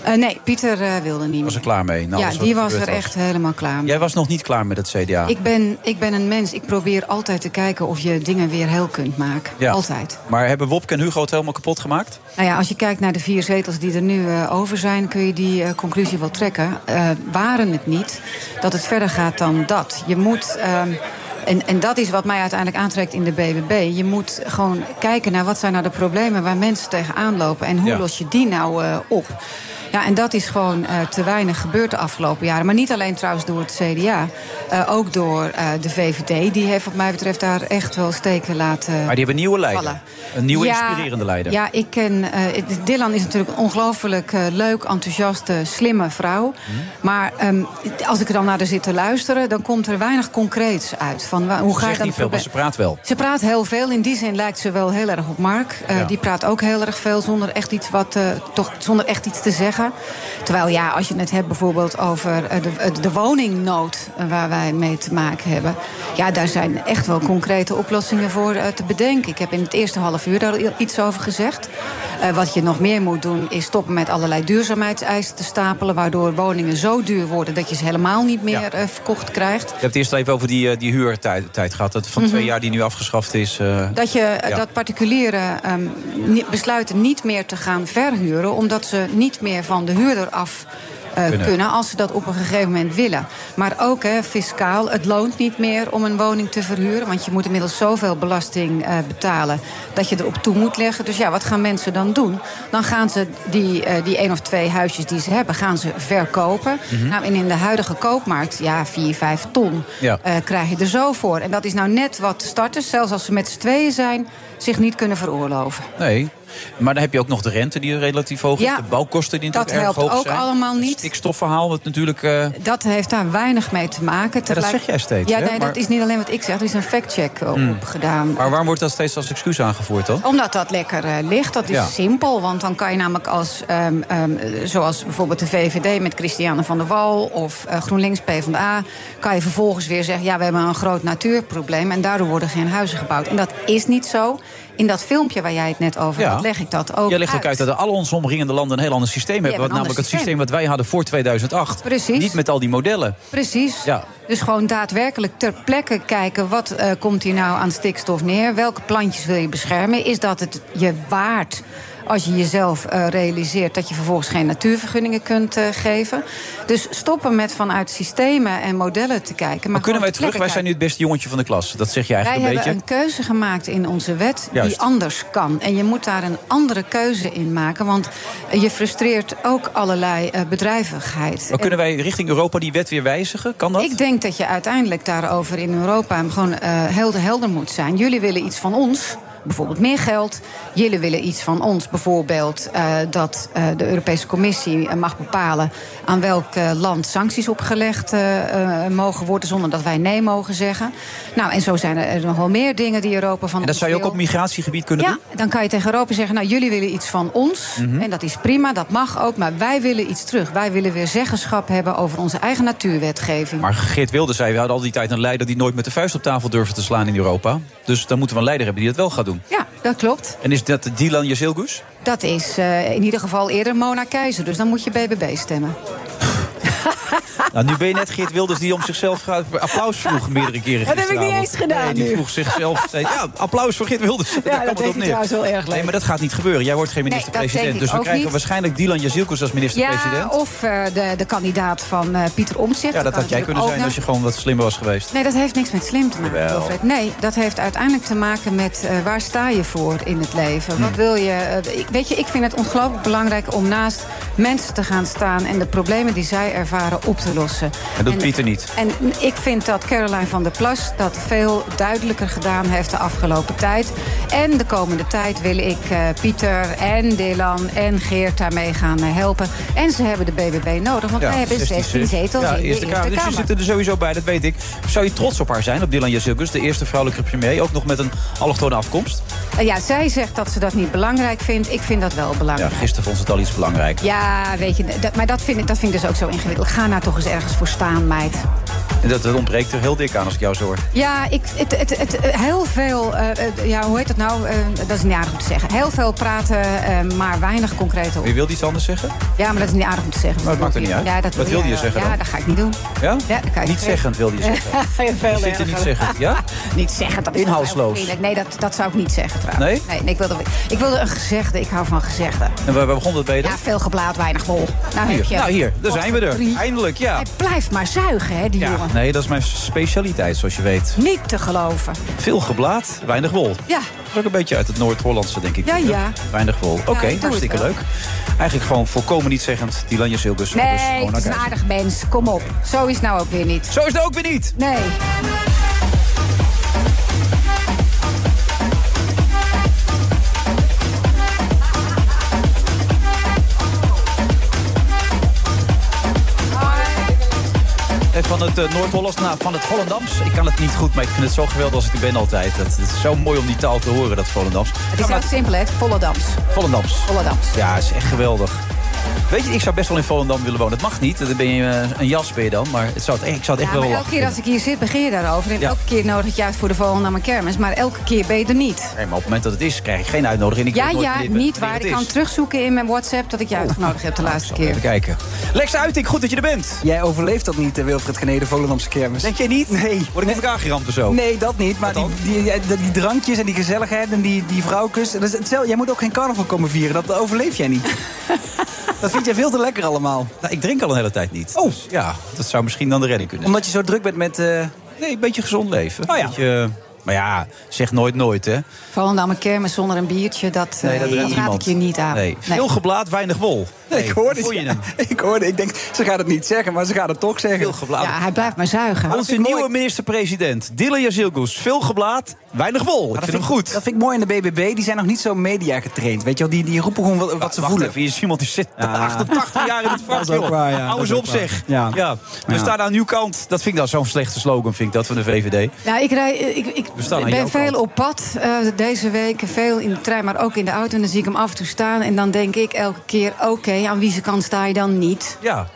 S2: Eh, nee, Pieter eh, wilde niet
S8: Was er
S2: meer.
S8: klaar mee? na alles
S2: ja,
S8: wat
S2: die was
S8: gebeurd
S2: er echt helemaal klaar mee.
S8: Jij was nog niet klaar met het CDA.
S2: Ik, ben, ik ben een mens. Ik probeer altijd te kijken of je dingen weer heel kunt maken.
S8: Ja.
S2: Altijd.
S8: Maar hebben Wopke en Hugo het helemaal kapot gemaakt?
S2: Nou ja, als je kijkt naar de vier zetels die er nu eh, over zijn, kun je die eh, conclusie wel trekken. Eh, waren het niet dat het verder gaat dan dat? Je moet. ehm, en, en dat is wat mij uiteindelijk aantrekt in de BBB. Je moet gewoon kijken naar wat zijn nou de problemen waar mensen tegenaan lopen. En hoe
S17: Ja.
S2: los je die nou eh, op? Ja, en dat is gewoon eh, te weinig gebeurd de afgelopen jaren. Maar niet alleen trouwens door het CDA. eh, ook door eh, de VVD. Die heeft wat mij betreft daar echt wel steken laten
S8: Maar die hebben een nieuwe leider.
S2: vallen.
S8: Een nieuwe
S2: Ja,
S8: inspirerende leider.
S2: Ja, ik ken. eh, Dylan is natuurlijk een ongelooflijk eh, leuk, enthousiaste, slimme vrouw.
S8: Mhm.
S2: Maar ehm, als ik er dan naar haar zit te luisteren, dan komt er weinig concreets uit. Van, wa- hoe
S8: ze
S2: ga je
S8: zegt
S2: dan
S8: niet veel, maar ze praat wel.
S2: Ze praat heel veel. In die zin lijkt ze wel heel erg op Mark. Eh,
S8: Ja.
S2: Die praat ook heel erg veel zonder echt, iets wat, eh, toch, zonder echt iets te zeggen. Terwijl ja, als je het hebt bijvoorbeeld over eh, de, eh, de woningnood eh, waar wij mee te maken hebben. Ja, daar zijn echt wel concrete oplossingen voor eh, te bedenken. Ik heb in het eerste half uur daar i- iets over gezegd. Eh, wat je nog meer moet doen is stoppen met allerlei duurzaamheidseisen te stapelen. Waardoor woningen zo duur worden dat je ze helemaal niet meer eh, verkocht krijgt.
S8: Je hebt het eerst even over die, eh, die huurtijd tijd gehad. Dat van
S2: Mhm.
S8: twee jaar die nu afgeschaft is. eh,
S2: Dat, je,
S8: Ja.
S2: dat particulieren ehm, ni- besluiten niet meer te gaan verhuren... omdat ze niet meer van de huurder af eh,
S8: Kunnen.
S2: kunnen. als ze dat op een gegeven moment willen. Maar ook hè, fiscaal, het loont niet meer om een woning te verhuren... want je moet inmiddels zoveel belasting eh, betalen dat je erop toe moet leggen. Dus ja, wat gaan mensen dan doen? Dan gaan ze die, eh, die één of twee huisjes die ze hebben, gaan ze verkopen.
S17: Mhm.
S2: Nou, en in de huidige koopmarkt, ja, 4, 5 ton...
S17: Ja.
S2: eh, krijg je er zo voor. En dat is nou net wat starters, zelfs als ze met z'n tweeën zijn, zich niet kunnen veroorloven.
S8: Nee. Maar dan heb je ook nog de rente die relatief hoog is.
S2: Ja,
S8: de bouwkosten die
S2: dat
S8: natuurlijk erg
S2: helpt
S8: hoog
S2: ook
S8: zijn.
S2: allemaal
S8: Het
S2: niet.
S8: stikstofverhaal wat natuurlijk... eh,
S2: Dat heeft daar weinig mee te maken.
S8: dat zeg jij steeds,
S2: Ja,
S8: hè?
S2: nee,
S8: Maar-
S2: dat is niet alleen wat ik zeg. Er is een factcheck eh,
S8: Hmm.
S2: opgedaan.
S8: Maar waarom wordt dat steeds als excuus aangevoerd dan?
S2: Omdat dat lekker eh, ligt, dat is
S8: Ja.
S2: simpel. Want dan kan je namelijk als, ehm, ehm, eh, zoals bijvoorbeeld de VVD met Christiane van der Wal... of eh, GroenLinks PvdA, kan je vervolgens weer zeggen... ja, we hebben een groot natuurprobleem en daardoor worden geen huizen gebouwd. En dat is niet zo. In dat filmpje waar jij het net over
S8: Ja.
S2: had, leg ik dat ook
S8: Jij legt ook
S2: uit.
S8: uit dat alle onze omringende landen een heel ander systeem hebben.
S2: hebben
S8: Wat
S2: een
S8: namelijk
S2: ander
S8: het systeem wat wij hadden voor 2008.
S2: Precies.
S8: Niet met al die modellen.
S2: Precies.
S8: Ja.
S2: Dus gewoon daadwerkelijk ter plekke kijken... wat eh, komt hier nou aan stikstof neer? Welke plantjes wil je beschermen? Is dat het je waard als je jezelf eh, realiseert... dat je vervolgens geen natuurvergunningen kunt eh, geven? Dus stoppen met vanuit systemen en modellen te kijken.
S8: Maar kunnen wij
S2: gewoon ter
S8: terug? Wij
S2: plekke
S8: zijn nu het beste jongetje van de klas. Dat zeg je eigenlijk
S2: wij
S8: een beetje.
S2: hebben een keuze gemaakt in onze wet
S8: Juist.
S2: die anders kan. En je moet daar een andere keuze in maken. Want je frustreert ook allerlei eh, bedrijvigheid.
S8: Maar kunnen wij richting Europa die wet weer wijzigen? Kan dat?
S2: Ik denk dat je uiteindelijk daarover in Europa gewoon eh, heel helder moet zijn. Jullie willen iets van ons. Bijvoorbeeld meer geld. Jullie willen iets van ons. Bijvoorbeeld eh, dat eh, de Europese Commissie eh, mag bepalen aan welk eh, land sancties opgelegd eh, eh, mogen worden zonder dat wij nee mogen zeggen. Nou, en zo zijn er nog wel meer dingen die Europa van
S8: En dat
S2: ons
S8: zou je ook
S2: wil.
S8: op migratiegebied kunnen
S2: Ja,
S8: doen?
S2: dan kan je tegen Europa zeggen: Nou, jullie willen iets van ons.
S8: Mhm.
S2: En dat is prima, dat mag ook. Maar wij willen iets terug. Wij willen weer zeggenschap hebben over onze eigen natuurwetgeving.
S8: Maar Geert Wilders zei, we hadden al die tijd een leider... die nooit met de vuist op tafel durfde te slaan in Europa. Dus dan moeten we een leider hebben die dat wel gaat doen.
S2: Ja, dat klopt.
S8: En is dat Dylan Jezilgus?
S2: Dat is eh, in ieder geval eerder Mona Keizer. Dus dan moet je BBB stemmen.
S8: Nou, nu ben je net Geert Wilders die om zichzelf gaat- applaus vroeg meerdere keren
S17: Dat heb ik niet
S8: gisteravond.
S17: eens gedaan
S8: Nee, die
S17: nu.
S8: vroeg zichzelf steeds, ja, applaus voor Geert Wilders. Daar kwam
S17: dat
S8: het
S17: deed
S8: op
S17: hij
S8: neer.
S17: trouwens wel erg leuk.
S8: Nee, maar dat gaat niet gebeuren. Jij wordt geen
S2: Nee, dat
S8: minister-president.
S2: denk ik
S8: dus we
S2: ook
S8: krijgen
S2: niet.
S8: waarschijnlijk Dylan Jezilkus als minister-president.
S2: Ja, of eh, de, de kandidaat van eh, Pieter Omtzigt.
S8: Ja, dat
S2: kan
S8: had jij
S2: natuurlijk
S8: kunnen
S2: ook
S8: zijn
S2: nog.
S8: als je gewoon wat slimmer was geweest.
S2: Nee, dat heeft niks met slim te maken,
S8: Jawel.
S2: Wilfred. Nee, dat heeft uiteindelijk te maken met eh, waar sta je voor in het leven?
S8: Hm.
S2: Wat wil je? eh, ik- weet je, ik vind het ongelooflijk belangrijk om naast mensen te gaan staan en de problemen die zij ervaren op te lossen.
S8: Dat doet Pieter niet.
S2: En ik vind dat Caroline van der Plas dat veel duidelijker gedaan heeft de afgelopen tijd. En de komende tijd wil ik eh, Pieter en Dylan en Geert daarmee gaan eh, helpen. En ze hebben de BBB nodig, want wij hebben 16, zetels
S8: ja,
S2: in de Eerste Kamer.
S8: Dus je zit er sowieso bij, dat weet ik. Zou je trots op haar zijn, op Dylan Jezilkus, de eerste vrouwelijke premier, ook nog met een allochtone afkomst?
S2: Eh, Ja, zij zegt dat ze dat niet belangrijk vindt. Ik vind dat wel
S8: Ja,
S2: belangrijk.
S8: gisteren vond ze het al iets belangrijk.
S2: Ja, weet je, dat, maar dat vind, ik, dat vind ik dus ook zo ingewikkeld. Ga nou toch eens ergens voor staan, meid.
S8: En dat, dat ontbreekt er heel dik aan als ik jou zo hoor.
S2: Ja, ik, het, het, het, heel veel, eh, eh, ja, hoe heet dat nou? Eh, dat is niet aardig om te zeggen. Heel veel praten, eh, maar weinig concrete op.
S8: Je wilde iets anders zeggen?
S2: Ja, maar dat is niet aardig om te zeggen.
S8: Maar het Nou, maakt er niet uit.
S2: Ja, dat
S8: Wat wilde
S2: jij
S8: je
S2: wel.
S8: zeggen
S2: Ja,
S8: dan?
S2: dat ga ik niet doen.
S8: Ja?
S2: Ja, dat kan je
S8: Niet zeggend wilde je zeggen.
S2: veel
S8: Je zit er niet zeggen, ja?
S2: Niet zeggen, dat is
S8: Inhoudsloos.
S2: wel heel vriendelijk. Nee, dat, dat zou ik niet zeggen trouwens.
S8: Nee?
S2: nee, ik, wilde, ik wilde een gezegde, ik hou van gezegden.
S8: En waar, waar begon dat bij dan?
S2: Ja, veel geblaad, weinig wol. Nou, heb
S8: hier.
S2: je.
S8: nou hier, daar
S2: Wat
S8: zijn we
S2: voor drie.
S8: er. Eindelijk, ja.
S2: Hij blijft maar zuigen, hè, die jongen.
S8: Nee, dat is mijn specialiteit, zoals je weet.
S2: Niet te geloven.
S8: Veel geblaad, weinig wol.
S2: Ja.
S8: Dat is ook een beetje uit het Noord-Hollandse, denk ik.
S2: Ja, ja.
S8: Weinig wol. Oké,
S2: ik doe het
S8: hartstikke
S2: wel.
S8: leuk. Eigenlijk gewoon volkomen niet zeggend, Dylan Jezilkus. dus
S2: Nee,
S8: gewoon
S2: het is een
S8: naar
S2: aardig mens. Kom op. Zo is het nou ook weer niet.
S8: Zo is het ook weer niet.
S2: Nee.
S8: Eh, Van het eh, Noord-Hollands naar van het Volendams. Ik kan het niet goed, maar ik vind het zo geweldig als ik er ben altijd. Het, het is zo mooi om die taal te horen, dat Volendams.
S2: Het is ook simpel, hè? Volledams.
S8: Volendams.
S2: Volledams.
S8: Ja, is echt geweldig. Weet je, ik zou best wel in Volendam willen wonen. Het mag niet, dan ben je eh, een jas ben je dan. Maar het zou het, echt- ik zou
S2: Ja,
S8: het echt
S2: maar
S8: wel
S2: elke keer als ik hier zit, begin je daarover. En
S8: Ja.
S2: elke keer nodig je uit voor de volgende naar mijn kermis. Maar elke keer ben je er niet.
S8: Nee, maar op het moment dat het is, krijg ik geen uitnodiging. Ik
S2: Ja,
S8: weet nooit
S2: ja,
S8: wanneer-
S2: niet
S8: wanneer
S2: waar.
S8: het
S2: Ik kan
S8: is.
S2: terugzoeken in mijn WhatsApp dat ik je uitgenodigd heb de laatste keer.
S8: Even kijken. Lex Uiting, goed dat je er bent.
S17: Jij overleeft dat niet, de Wilfred Genede Volendamse kermis.
S8: Denk jij niet?
S17: Nee.
S8: Word ik in elkaar geramd of
S2: Mm.
S8: zo?
S17: Nee, dat niet. Maar die, die, die, die drankjes en die gezelligheid en die, die vrouwkus. Dat is hetzelfde. Jij moet ook geen carnaval komen vieren. Dat overleef jij niet. dat vind jij veel te lekker allemaal.
S8: Nou, ik drink al een hele tijd niet. Oh. ja, dat zou misschien dan de redding kunnen
S17: Omdat je zo druk bent met... eh,
S8: zijn. Nee, een beetje gezond leven. Oh ja. maar ja, zeg nooit nooit, hè.
S2: Volendam mijn kermis zonder een biertje, dat, eh,
S8: Nee, dat redt
S2: raad ik
S8: niemand.
S2: je niet
S17: Ah,
S2: aan.
S8: Nee. Veel geblaad, weinig wol.
S17: Nee, ik hoorde
S8: voel
S17: het.
S8: je hem?
S17: Ik hoorde Ik denk, ze gaat het niet zeggen, maar ze gaat het toch zeggen. Heel
S8: geblaad.
S2: Ja, hij blijft maar zuigen.
S8: Onze nieuwe minister-president, Dylan Jazilgus. Veel geblaad, weinig wol. Ik vind hem goed.
S17: Dat vind ik mooi in de BBB. Die zijn nog niet zo media getraind. Weet je wel, die, die roepen gewoon wat, wat ze
S8: Wacht
S17: voelen.
S8: even, hier is iemand die zit
S17: Ja.
S8: 88 jaar in het vak,
S17: Dat is ook
S8: joh.
S17: waar, ja.
S8: Hou
S17: Dat
S8: eens
S17: is
S8: op,
S17: ook waar.
S8: zeg. Ja.
S17: Ja.
S8: We
S17: Ja.
S8: staan aan uw kant. Dat vind ik dan zo'n slechte slogan, vind ik, dat van de VVD.
S2: Nou, ik, rij, ik, ik
S8: We staan aan jouw
S2: ben veel
S8: kant.
S2: op pad eh, deze week. Veel in de trein, maar ook in de auto. En dan zie ik hem af en toe staan. En dan denk ik elke keer, oké, aan wie zijn kant sta je dan niet?
S8: Ja.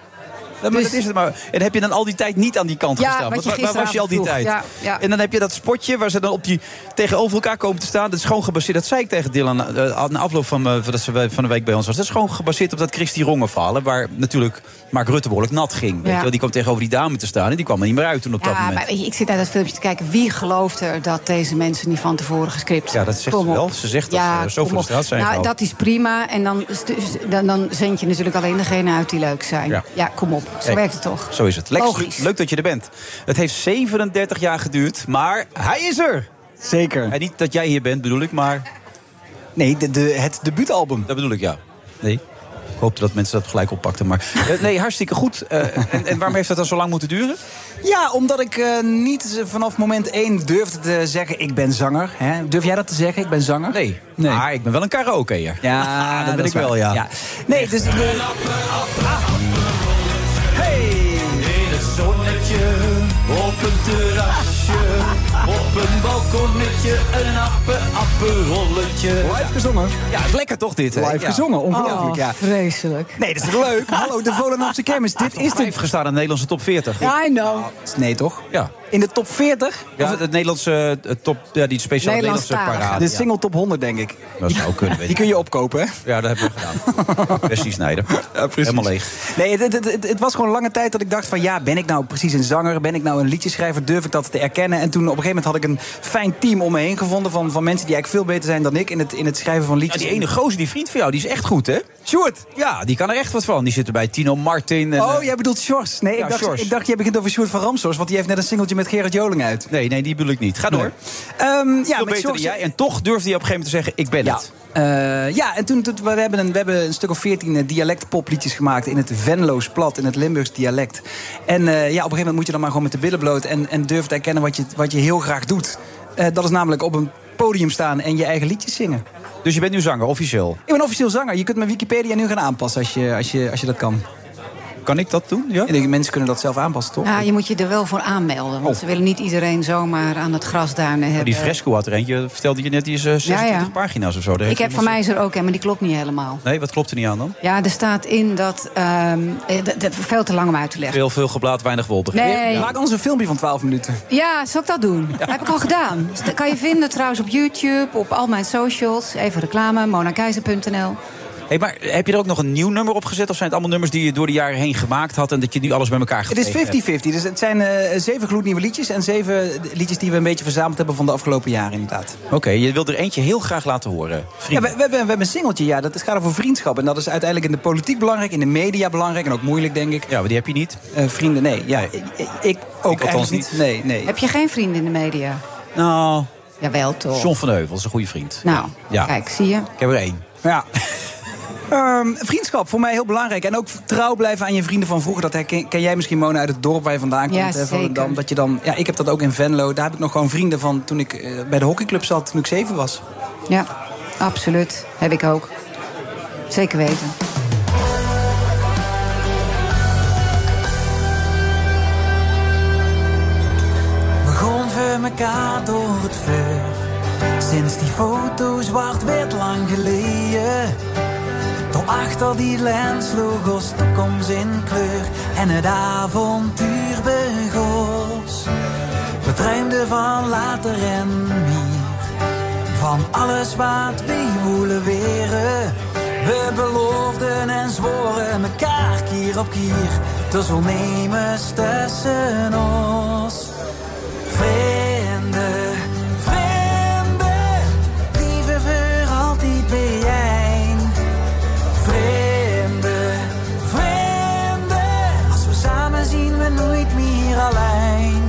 S8: Ja, maar dat is het maar. En heb je dan al die tijd niet aan die kant
S2: Dus- Ja,
S8: gestaan?
S2: wat je
S8: waar, waar was je al die tijd?
S2: gisteravond vroeg. Ja, ja.
S8: En dan heb je dat spotje waar ze dan op die, tegenover elkaar komen te staan. Dat is gewoon gebaseerd. Dat zei ik tegen Dylan eh, aan de afloop van, eh, van dat ze bij- van de week bij ons was. Dat is gewoon gebaseerd op dat Christy Rongen verhaal. hè, Waar natuurlijk Mark Rutte behoorlijk nat ging. Weet
S2: Ja.
S8: je wel? Die kwam tegenover die dame te staan. En die kwam er niet meer uit toen op dat
S2: Ja,
S8: moment.
S2: maar weet je, ik zit naar dat filmpje te kijken. Wie geloofde er dat deze mensen niet van tevoren gescript
S8: Ja, dat zegt
S2: Kom
S8: ze
S2: op.
S8: wel. Ze zegt dat ze zo voor
S2: kom
S8: de
S2: op.
S8: straat zijn
S2: Nou,
S8: gehouden.
S2: dat is prima. En dan, stu- dan, dan zend je natuurlijk alleen degene uit die leuk zijn.
S8: Ja.
S2: Ja, kom op. Zo
S8: Kijk,
S2: werkt het toch?
S8: Zo is het. Lex,
S2: Logisch.
S8: leuk dat je er bent. Het heeft 37 jaar geduurd, maar hij is er.
S17: Zeker.
S8: En niet dat jij hier bent, bedoel ik, maar...
S17: Nee, de, de, het debuutalbum.
S8: Dat bedoel ik, ja. Nee. Ik hoopte dat mensen dat gelijk oppakten, maar... Eh, nee, hartstikke goed. Eh, en, en waarom heeft dat dan zo lang moeten duren?
S17: Ja, omdat ik eh, niet vanaf moment één durfde te zeggen... ik ben zanger. Hè? Durf jij dat te zeggen? Ik ben zanger? Nee.
S8: Nee. Maar ik ben wel een karaokeër.
S17: Ja,
S8: dat ben
S17: is
S8: ik wel,
S17: waar.
S8: ja.
S17: Nee, dus... de-
S18: In het zonnetje, op een terrasje, op een balkonnetje, een appe, apperolletje.
S17: Live gezongen?
S8: Ja, het is lekker toch dit, hè?
S17: Live
S8: Ja.
S17: gezongen, ongelooflijk,
S8: Oh,
S17: ja.
S2: Vreselijk.
S17: Nee, dat is toch leuk? Hallo, de Volendamse kermis. Dit is de...
S8: Vijf gestaan in de Nederlandse top 40.
S17: I know. Nee, toch?
S8: Ja.
S17: Nou, In de top 40?
S8: Ja, het Nederlandse eh, top... Ja, die speciale Nederlandse parade.
S17: De
S8: ja.
S17: single top 100, denk ik.
S8: Dat zou kunnen, weet
S17: Die
S8: ik.
S17: kun je opkopen, hè?
S8: Ja, dat hebben we gedaan. Bestie Snijder. Helemaal leeg.
S17: Nee, het, het, het, het was gewoon lange tijd dat ik dacht van... ja, ben ik nou precies een zanger? Ben ik nou een liedjeschrijver? Durf ik dat te erkennen? En toen op een gegeven moment had ik een fijn team om me heen gevonden... van, van mensen die eigenlijk veel beter zijn dan ik in het, in het schrijven van
S8: Ja,
S17: liedjes.
S8: die ene gozer, die vriend van jou, die is echt goed, hè?
S17: Sjoerd!
S8: Ja, die kan er echt wat van. Die zit er bij Tino Martin. En,
S17: Oh,
S8: eh,
S17: jij bedoelt Sjors. Nee,
S8: Ja,
S17: ik, dacht,
S8: Sjors.
S17: ik dacht, jij begint over Sjoerd van Ramsors... want die heeft net een singeltje met Gerard Joling uit.
S8: Nee, nee, die bedoel ik niet. Ga door.
S17: Ehm, ja,
S8: Veel
S17: met
S8: beter
S17: Sjors-
S8: dan jij. En toch durfde hij op een gegeven moment te zeggen, ik ben het.
S17: Eh, ja, en toen, toen- we, hebben een, we hebben een stuk of veertien eh, dialectpopliedjes gemaakt... in het Venloos plat, in het Limburgs dialect. En eh, ja, op een gegeven moment moet je dan maar gewoon met de billen bloot... en, en durven te erkennen wat je, wat je heel graag doet. Eh, dat is namelijk op een podium staan en je eigen liedjes zingen.
S8: Dus je bent nu zanger, officieel.
S17: Ik ben officieel zanger. Je kunt mijn Wikipedia nu gaan aanpassen als je, als je, als je dat kan.
S8: Kan ik dat doen? Ja?
S17: mensen kunnen dat zelf aanpassen, toch?
S2: Ja, je moet je er wel voor aanmelden. Want ze willen niet iedereen zomaar aan het grasduinen
S8: Oh. Maar
S2: hebben.
S17: eh,
S8: die fresco had er eentje, vertelde je net, die is eh, 26
S2: Ja, ja.
S8: pagina's of zo. Daar
S2: Ik
S8: heeft
S2: heb,
S8: iemand-
S2: voor mij is er ook een, maar die klopt niet helemaal.
S8: Nee, wat klopt er niet aan dan?
S2: Ja, er staat in dat... ehm, eh, dat- dat- veel te lang om uit te leggen.
S8: Veel, veel geblaad, weinig wol. begrijp ik?
S2: Nee.
S8: Ja.
S17: Maak ons een filmpje van 12 minuten.
S2: Ja, zal ik dat doen? Dat heb ik al gedaan. Dus dat kan je vinden trouwens op YouTube, op al mijn socials. Even reclame, monakeizer.nl.
S8: Hey, maar heb je er ook nog een nieuw nummer op gezet? Of zijn het allemaal nummers die je door de jaren heen gemaakt had... en dat je nu alles bij elkaar
S17: Het is
S8: gekregen
S17: 50-50.
S8: hebt?
S17: Dus het zijn eh, zeven gloednieuwe liedjes... en zeven eh, liedjes die we een beetje verzameld hebben van de afgelopen jaren, inderdaad.
S8: Oké, je wilt er eentje heel graag laten horen.
S17: Ja, we, we, hebben, we hebben een singeltje, ja. Dat is- gaat over vriendschap. En dat is uiteindelijk in de politiek belangrijk, in de media belangrijk. En ook moeilijk, denk ik. Eh,
S8: Ja, maar die heb je niet.
S17: vrienden, nee. Ja, ik, ik- ik ook
S8: althans
S17: althans niet. Nee, nee.
S2: Heb je geen vrienden in de media?
S8: Nou...
S2: Jawel, toch?
S8: John van Heuvel is een goede vriend.
S2: Nou,
S8: Ja.
S2: kijk, zie je?
S8: Ik heb er één.
S17: Ja. Ehm, vriendschap, voor mij heel belangrijk. En ook trouw blijven aan je vrienden van vroeger. Dat herken ken jij misschien, Mona, uit het dorp waar je vandaan
S2: Ja,
S17: komt. hè,
S2: zeker.
S17: Volendam. dat je dan, ja, ik heb dat ook in Venlo. Daar heb ik nog gewoon vrienden van toen ik eh, bij de hockeyclub zat, toen ik zeven was.
S2: Ja, absoluut. Heb ik ook. Zeker weten.
S18: Begon we elkaar door het vuur. Sinds die foto zwart-wit lang geleden. Toen achter die lens sloeg ons toekomst in kleur. En het avontuur begon. We droomden van later en meer. Van alles wat we woelen weren. We beloofden en zworen elkaar kier op kier. Dus ondernemers tussen ons. Vrienden, vrienden, die we voor altijd bijeen. Vrienden, vrienden, als we samen zien we nooit meer alleen.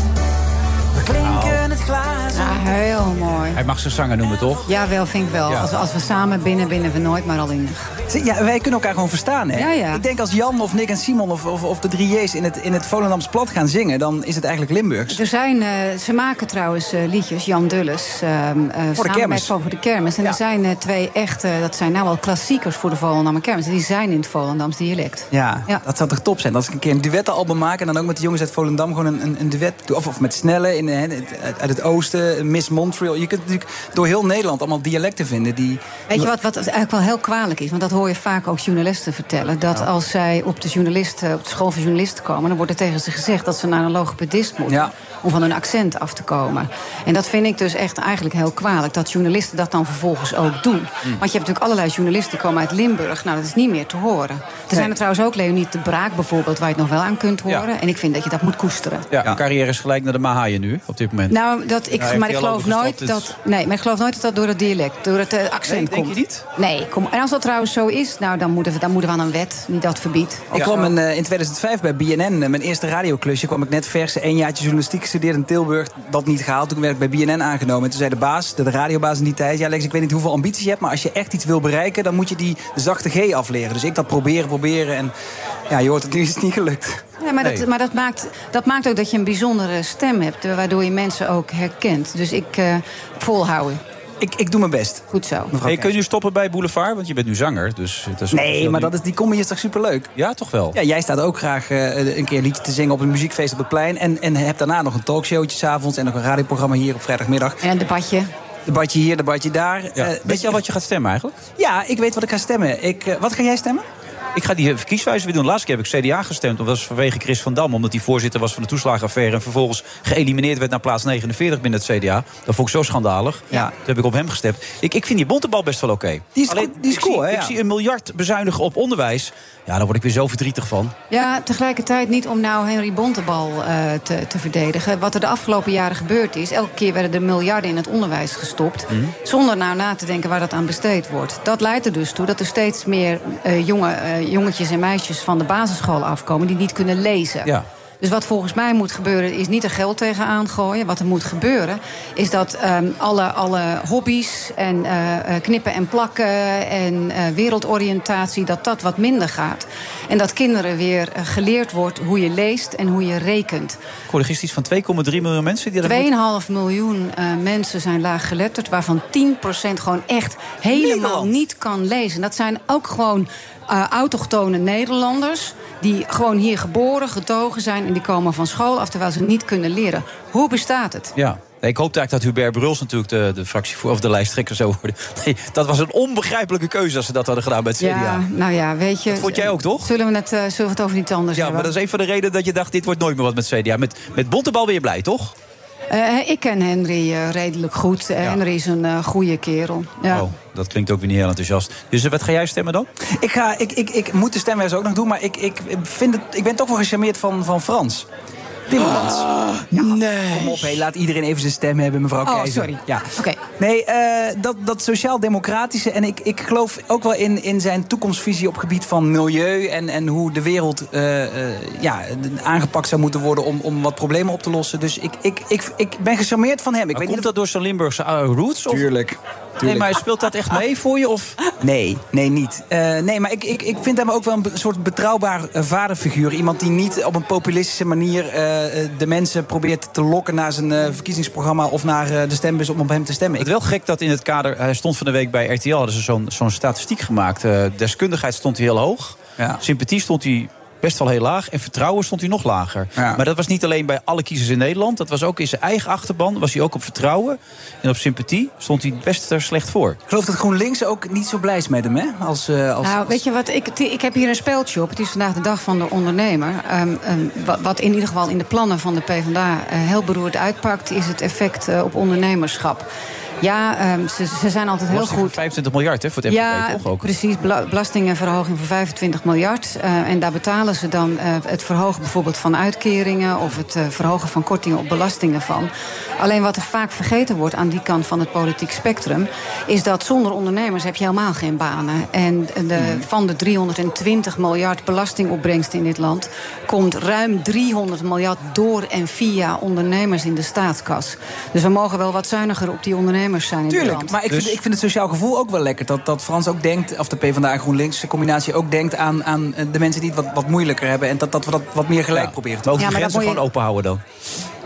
S18: We klinken het glazen.
S2: Ja, heel mooi.
S8: Oh. Hij mag zijn zanger noemen, toch?
S2: Jawel, vind ik wel.
S8: Ja.
S2: Als, als we samen binnen, binnen we nooit, maar al in.
S17: Ja, wij kunnen elkaar gewoon verstaan, hè?
S2: Ja, ja.
S17: Ik denk als Jan of Nick en Simon of, of, of de drie J's in het, in het Volendams plat gaan zingen... dan is het eigenlijk Limburgs.
S2: Er zijn, eh, ze maken trouwens eh, liedjes, Jan Dulles, ehm, eh, samen
S17: kermis.
S2: met Van voor de Kermis. En er zijn eh, twee echte, dat zijn nou wel klassiekers voor de Volendamse Kermis. Die zijn in het Volendams dialect.
S17: Ja, dat zou toch top zijn? Als ik een keer een duettenalbum maak en dan ook met de jongens uit Volendam gewoon een, een, een duet doe. Of, of met Snelle in, hè, het- uit, uit het oosten, Miss Mond Montreal. Je kunt natuurlijk door heel Nederland allemaal dialecten vinden die...
S2: Weet je wat, wat eigenlijk wel heel kwalijk is? Want dat hoor je vaak ook journalisten vertellen. Dat als zij op de, journalisten, op de school van journalisten komen... dan wordt er tegen ze gezegd dat ze naar een logopedist moeten... om van hun accent af te komen. En dat vind ik dus echt eigenlijk heel kwalijk. Dat journalisten dat dan vervolgens ook doen. Want je hebt natuurlijk allerlei journalisten die komen uit Limburg. Nou, dat is niet meer te horen. Er zijn er trouwens ook Leonie de Braak bijvoorbeeld... waar je het nog wel aan kunt horen. En ik vind dat je dat moet koesteren.
S8: Ja, Mijn carrière is gelijk naar de Mahaaien nu, op dit moment.
S2: Nou, dat ik,
S8: Ja, heeft
S2: maar
S8: hij
S2: ik
S8: al
S2: geloof
S8: overgestapt,
S2: nooit
S8: dus-
S2: dat. Nee, maar ik geloof nooit dat dat door het dialect, door het eh, accent
S17: Nee, denk
S2: komt.
S17: je niet?
S2: Nee, kom. En als dat trouwens zo is, nou dan moeten we, dan moeten we aan een wet die dat verbiedt.
S17: Ik kwam in, eh, in 2005 bij BNN, eh, mijn eerste radioklusje, kwam ik net vers. Een jaartje journalistiek gestudeerd in Tilburg, dat niet gehaald. Toen werd ik bij BNN aangenomen. En toen zei de baas, de de radiobaas in die tijd... ja Lex, ik weet niet hoeveel ambities je hebt, maar als je echt iets wil bereiken... dan moet je die zachte G afleren. Dus ik dat proberen, proberen. En ja, je hoort het nu is het niet gelukt.
S2: Ja, maar
S17: Nee.
S2: dat, maar dat, maakt, dat maakt ook dat je een bijzondere stem hebt, eh, waardoor je mensen ook herkent. Dus ik eh, volhouden.
S17: Ik, ik doe mijn best.
S2: Goed zo.
S8: Hey, kun je nu stoppen bij Boulevard? Want je bent nu zanger. Dus dat is
S17: Nee, maar dat is, die comedy is toch superleuk?
S8: Ja, toch wel?
S17: Ja, jij staat ook graag eh, een keer een liedje te zingen op een muziekfeest op het plein. En, en hebt daarna nog een talkshowtje s'avonds en nog een radioprogramma hier op vrijdagmiddag.
S2: En een debatje.
S17: Debatje hier, debatje daar. Eh,
S8: weet je al wat je gaat stemmen eigenlijk?
S17: Ja, ik weet wat ik ga stemmen. Ik, eh, wat ga jij stemmen?
S8: Ik ga die verkieswijze weer doen. Laatst keer heb ik CDA gestemd. Dat was vanwege Chris van Dam. Omdat hij voorzitter was van de toeslagenaffaire. En vervolgens geëlimineerd werd naar plaats 49 binnen het CDA. Dat vond ik zo schandalig. Ja. Toen heb ik op hem gestemd. Ik, ik vind die bontebal best wel oké.
S17: Die is
S8: Alleen,
S17: goed- die is
S8: ik
S17: cool,
S8: zie,
S17: hè,
S8: Ik
S17: ja.
S8: zie een miljard bezuinigen op onderwijs. Ja, daar word ik weer zo verdrietig van.
S2: Ja, tegelijkertijd niet om nou Henry Bontebal eh, te, te verdedigen. Wat er de afgelopen jaren gebeurd is, elke keer werden er miljarden in het onderwijs gestopt.
S8: Mm.
S2: Zonder nou na te denken waar dat aan besteed wordt. Dat leidt er dus toe dat er steeds meer eh, jonge, eh, jongetjes en meisjes van de basisschool afkomen die niet kunnen lezen.
S8: Ja.
S2: Dus wat volgens mij moet gebeuren, is niet er geld tegenaan gooien. Wat er moet gebeuren, is dat ehm, alle, alle hobby's en eh, eh, knippen en plakken en eh, wereldoriëntatie, dat dat wat minder gaat. En dat kinderen weer eh, geleerd wordt hoe je leest en hoe je rekent.
S8: Ik hoorde gisteren iets van 2,3 miljoen mensen. Die dat moeten-
S2: 2,5 miljoen eh, mensen zijn laaggeletterd, waarvan 10% gewoon echt helemaal niet kan lezen. Dat zijn ook gewoon eh, autochtone Nederlanders die gewoon hier geboren, getogen zijn en die komen van school af terwijl ze niet kunnen leren. Hoe bestaat het?
S8: Ja. Nee, Ik hoopte eigenlijk dat Hubert Bruls natuurlijk de, de fractievoor of de lijsttrekker zou worden. Nee, dat was een onbegrijpelijke keuze als ze dat hadden gedaan bij het CDA.
S2: Ja, nou ja, weet je.
S8: Dat vond jij ook, toch?
S2: Zullen we het, eh, zullen we het over iets anders
S8: Ja,
S2: hebben?
S8: maar dat is een van de redenen dat je dacht, dit wordt nooit meer wat met CDA. Met, met Bontebal ben je blij, toch?
S2: Eh, ik ken Henry eh, redelijk goed. Henry is een eh, goede kerel. Ja.
S8: Oh, dat klinkt ook weer niet heel enthousiast. Dus eh, wat ga jij stemmen dan?
S17: Ik, ga, ik, ik, ik moet de stemwijze ook nog doen, maar ik, ik, vind het, ik ben toch wel gecharmeerd van, van Frans.
S2: Ah,
S17: Timmermans. nee. Kom op, hé, laat iedereen even zijn stem hebben, mevrouw
S2: Oh,
S17: Keizer.
S2: sorry.
S17: Ja.
S2: Oké.
S17: Nee, eh, dat, dat sociaal-democratische. En ik, ik geloof ook wel in, in zijn toekomstvisie op het gebied van milieu. En, en hoe de wereld eh, eh, ja, d- aangepakt zou moeten worden om, om wat problemen op te lossen. Dus ik, ik, ik, ik ben gecharmeerd van hem. Ik weet
S8: komt
S17: niet
S8: dat door zijn Limburgse eh, roots? Of?
S17: Tuurlijk.
S8: Nee, maar speelt dat echt mee voor je? Of?
S17: Nee, nee, niet. Eh, nee, maar ik, ik, ik vind hem ook wel een be- soort betrouwbaar eh, vaderfiguur. Iemand die niet op een populistische manier eh, eh, de mensen probeert te lokken naar zijn eh, verkiezingsprogramma of naar eh, de stembus om op hem te stemmen.
S8: Het is wel gek dat in het kader, hij stond van de week bij RTL, hadden ze zo'n zo'n statistiek gemaakt. Eh, deskundigheid stond hij heel hoog. Sympathie stond hij best wel heel laag. En vertrouwen stond hij nog lager. Maar dat was niet alleen bij alle kiezers in Nederland. Dat was ook in zijn eigen achterban. Was hij ook op vertrouwen en op sympathie stond hij best er slecht voor.
S17: Ik geloof dat GroenLinks ook niet zo blij is met hem, hè? Als, eh, als...
S2: Nou, weet je wat, ik, ik heb hier een speeltje op. Het is vandaag de dag van de ondernemer. Ehm, ehm, wa- wat in ieder geval in de plannen van de PvdA eh, heel beroerd uitpakt... is het effect eh, op ondernemerschap. Ja, ehm, ze, ze zijn altijd heel
S8: Belasting van
S2: goed...
S8: 25 miljard hè, voor het
S2: Ja,
S8: MKB toch ook?
S2: precies. Bela- Belastingenverhoging van 25 miljard. Eh, en daar betalen ze dan eh, het verhogen bijvoorbeeld van uitkeringen... of het eh, verhogen van kortingen op belastingen van. Alleen wat er vaak vergeten wordt aan die kant van het politiek spectrum... is dat zonder ondernemers heb je helemaal geen banen. En de,
S8: Hmm.
S2: van de 320 miljard belastingopbrengst in dit land... komt ruim 300 miljard door en via ondernemers in de staatskas. Dus we mogen wel wat zuiniger op die ondernemers zijn in dit land.
S17: Tuurlijk, maar ik,
S8: Dus-
S17: vind, ik vind het sociaal gevoel ook wel lekker. Dat, dat Frans ook denkt, of de PvdA en GroenLinks de combinatie ook denkt aan, aan eh, de mensen die het wat, wat moeilijker hebben. En dat, dat we dat wat meer gelijk proberen te
S8: Maar ook
S17: doen.
S8: de grenzen gewoon open houden dan.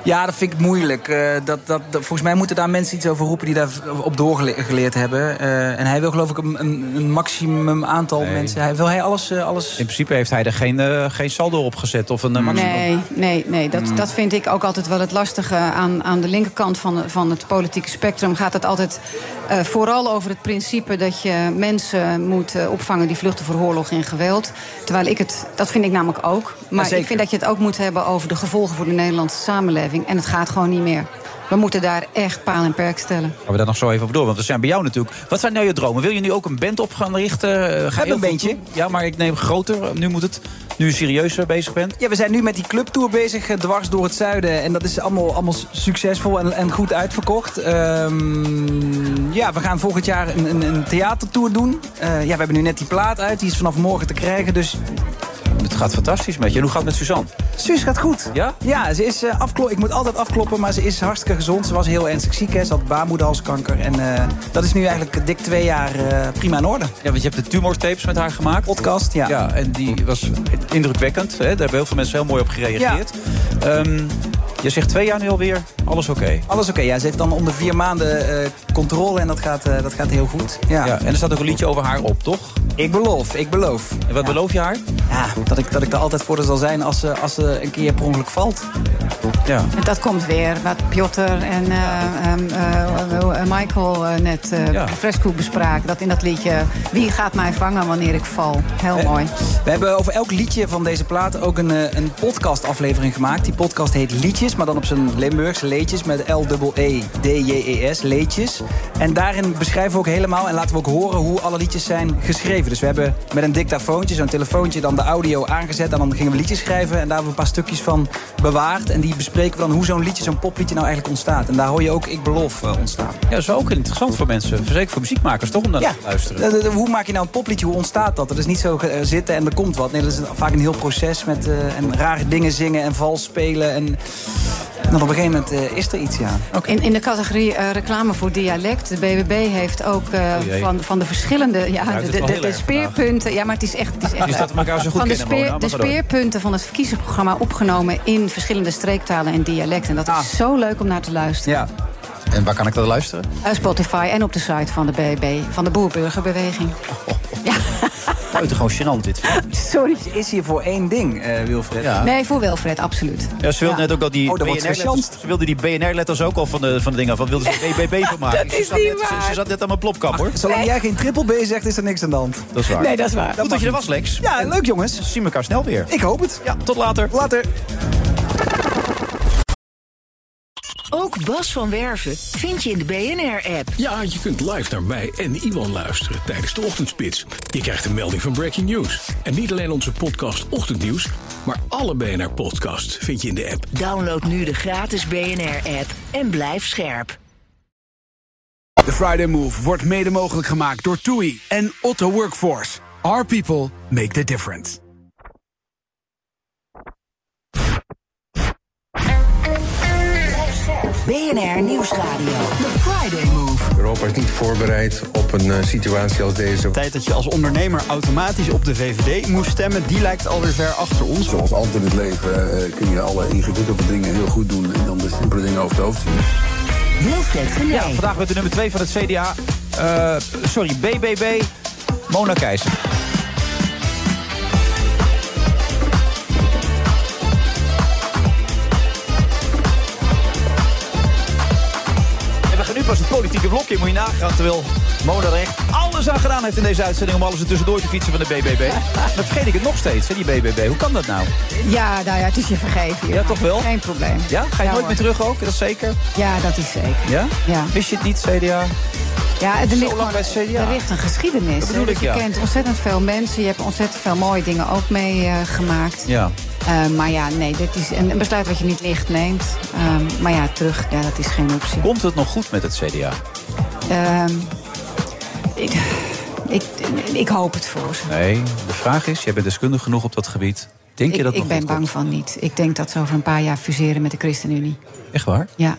S17: Ja, dat vind ik moeilijk. Eh, dat, dat, dat- volgens mij moeten daar mensen iets over roepen die daar v- op doorgeleerd hebben. Eh, en hij wil geloof ik een, een, een maximum aantal mensen. Hij, wil hij alles, eh, alles...
S8: In principe heeft hij er geen, eh, geen saldo op gezet of een eh, maximum.
S2: Nee, nee, nee dat, dat vind ik ook altijd wel het lastige. Aan, aan de linkerkant van, van het politieke spectrum gaat het altijd eh, vooral over het principe dat je mensen moet eh, opvangen die vluchten voor oorlog en geweld. Terwijl ik het, dat vind ik namelijk ook. Maar
S17: zeker.
S2: ik vind dat je het ook moet hebben over de gevolgen voor de Nederlandse samenleving. En het gaat gewoon niet meer. We moeten daar echt paal en perk stellen.
S8: Gaan we daar nog zo even op door, want we zijn bij jou natuurlijk. Wat zijn nou je dromen? Wil je nu ook een band op gaan richten? Eh, Ga je heel
S17: een
S8: veel
S17: bandje.
S8: doen? Ja, maar ik neem groter. Nu moet het. Nu je serieuzer bezig bent.
S17: Ja, we zijn nu met die clubtour bezig, eh, dwars door het zuiden. En dat is allemaal, allemaal succesvol en, en goed uitverkocht. Ehm, ja, we gaan volgend jaar een, een, een theatertour doen. Eh, ja, we hebben nu net die plaat uit, die is vanaf morgen te krijgen. Dus
S8: Het gaat fantastisch met je. En hoe gaat het met Suzanne?
S17: Suus gaat goed.
S8: Ja?
S17: Ja, ze is eh afklo- ik moet altijd afkloppen, maar ze is hartstikke gezond. Ze was heel ernstig ziek, hè. ze had baarmoederhalskanker. En eh, dat is nu eigenlijk dik twee jaar eh, prima in orde.
S8: Ja, want je hebt de tumortapes met haar gemaakt.
S17: Podcast, ja.
S8: Ja, en die was indrukwekkend. Hè? Daar hebben heel veel mensen heel mooi op gereageerd. Ehm, je zegt twee jaar nu alweer. Alles oké.
S17: Alles oké, ja, ze heeft dan onder vier maanden eh, controle en dat gaat, eh, dat gaat heel goed. Ja.
S8: Ja, en er staat ook een liedje over haar op, toch?
S17: Ik beloof, ik beloof.
S8: En wat beloof je haar?
S17: Ja, dat ik, dat ik er altijd voor haar zal zijn als ze, als ze een keer per ongeluk valt.
S8: Ja.
S2: En dat komt weer, wat Piotr en eh, ehm, eh, eh, Michael eh, net eh
S17: Ja.
S2: fresco bespraken. Dat in dat liedje, wie gaat mij vangen wanneer ik val?
S17: Eh.
S2: Heel mooi.
S17: We hebben over elk liedje van deze plaat ook een, eh, een podcastaflevering gemaakt. Die podcast heet Liedjes, maar dan op zijn Limburgs Leedjes met E L-E-E-D-J-E-S, Leedjes. En daarin beschrijven we ook helemaal en laten we ook horen hoe alle liedjes zijn geschreven. Dus we hebben met een dictafoontje, zo'n telefoontje, dan de audio aangezet. En dan gingen we liedjes schrijven en daar hebben we een paar stukjes van bewaard. En die bespreken we dan hoe zo'n liedje, zo'n popliedje nou eigenlijk ontstaat. En daar hoor je ook Ik Beloof eh, ontstaan.
S8: Ja, dat is wel ook interessant voor mensen. Zeker voor muziekmakers, toch? Om daar
S17: Ja.
S8: naar te luisteren.
S17: Eh, eh, Hoe maak je nou een popliedje? Hoe ontstaat dat? Dat is niet zo eh, zitten en er komt wat. Nee, dat is vaak een heel proces met eh, en rare dingen zingen en vals spelen. En dan op een gegeven moment eh, is er iets, ja.
S2: In, in de categorie eh, reclame voor dialect, de BBB heeft ook eh,
S17: Oh jee.
S2: van, van de verschillende ja,
S17: het
S2: de,
S17: is
S2: de,
S17: wel heel
S2: de
S17: erg Dus
S2: speerpunten. Ja, maar het is echt. Het is echt
S8: Je staat elkaar zo goed
S2: van de,
S8: kennen, Mona, maar
S2: de
S8: ga door.
S2: speerpunten van het verkiezingsprogramma opgenomen in verschillende streektalen en dialecten. En dat is zo leuk om naar te luisteren.
S17: Ah. Ja.
S8: En waar kan ik dat luisteren?
S2: Uit Spotify en op de site van de BBB, van de Boerburgerbeweging.
S8: Buitengewoon gênant dit.
S17: Sorry. Is hier voor één ding, eh, Wilfred?
S8: Ja.
S2: Nee, voor Wilfred, absoluut.
S8: Ah. Ja, ze wilde net ook dat die
S17: Oh, dat wordt
S8: BNR-letters... Ze wilde die BNR-letters ook al van de, van de dingen af. Wat wilde ze BBB van maken?
S17: Dat
S8: Ze
S17: is
S8: zat
S17: niet
S8: net- ze-
S17: waar.
S8: Ze zat net aan mijn plopkap, hoor.
S17: Zolang jij geen triple B zegt, is er niks aan de hand.
S8: Dat is waar.
S17: Nee, dat is waar.
S8: Goed dat je er was, Lex.
S17: Ja, leuk jongens.
S8: We zien elkaar snel weer.
S17: Ik hoop het.
S8: Ja, tot later.
S17: Later.
S1: Ook Bas van Werven vind je in de BNR-app.
S9: Ja, je kunt live naar mij en Iwan luisteren tijdens de ochtendspits. Je krijgt een melding van Breaking News. En niet alleen onze podcast Ochtendnieuws, maar alle BNR-podcasts vind je in de app.
S1: Download nu de gratis BNR-app en blijf scherp.
S10: De Friday Move wordt mede mogelijk gemaakt door TUI en Otto Workforce. Our people make the difference.
S1: BNR Nieuwsradio. The Friday Move.
S19: Europa is niet voorbereid op een eh, situatie als deze.
S11: tijd dat je als ondernemer automatisch op de VVD moest stemmen, die lijkt alweer ver achter ons.
S20: Zoals altijd in het leven eh, kun je alle ingewikkelde dingen heel goed doen en dan de simpele dingen over het hoofd zien.
S1: Wilfred Genee.
S8: Ja, vandaag met de nummer 2 van het CDA. Eh, sorry, BBB. Mona Keijzer. En we gaan nu pas het politieke blokje, moet je nagaan. Terwijl Mona er echt alles aan gedaan heeft in deze uitzending... om alles er tussendoor te fietsen van de BBB. Dan vergeet ik het nog steeds, hè, die BBB. Hoe kan dat nou?
S2: Ja, nou ja, het is je vergeven.
S8: Ja, toch wel?
S2: Geen probleem.
S8: Ja? Ga je nooit meer terug ook? Dat is zeker?
S2: Ja, dat is zeker.
S8: Ja?
S2: Ja.
S8: Wist je het niet, CDA?
S2: Ja, er
S8: Zo
S2: ligt,
S8: lang
S2: gewoon-
S8: bij het CDA.
S2: er ligt een geschiedenis.
S8: Dat bedoel
S2: hè.
S8: ik,
S2: je
S8: ja.
S2: kent ontzettend veel mensen. Je hebt ontzettend veel mooie dingen ook meegemaakt. Eh,
S8: Ja.
S2: maar ja, nee, dit is een een besluit wat je niet licht neemt. Ehm, maar ja, terug, ja, dat is geen optie.
S8: Komt het nog goed met het CDA?
S2: Ehm, ik, ik, ik hoop het voor ze.
S8: Nee, de vraag is, jij bent deskundig genoeg op dat gebied. Denk je
S2: ik
S8: dat
S2: ik
S8: nog
S2: ben
S8: goed
S2: bang van niet. Ik denk dat ze over een paar jaar fuseren met de ChristenUnie.
S8: komt? Echt waar?
S2: Ja.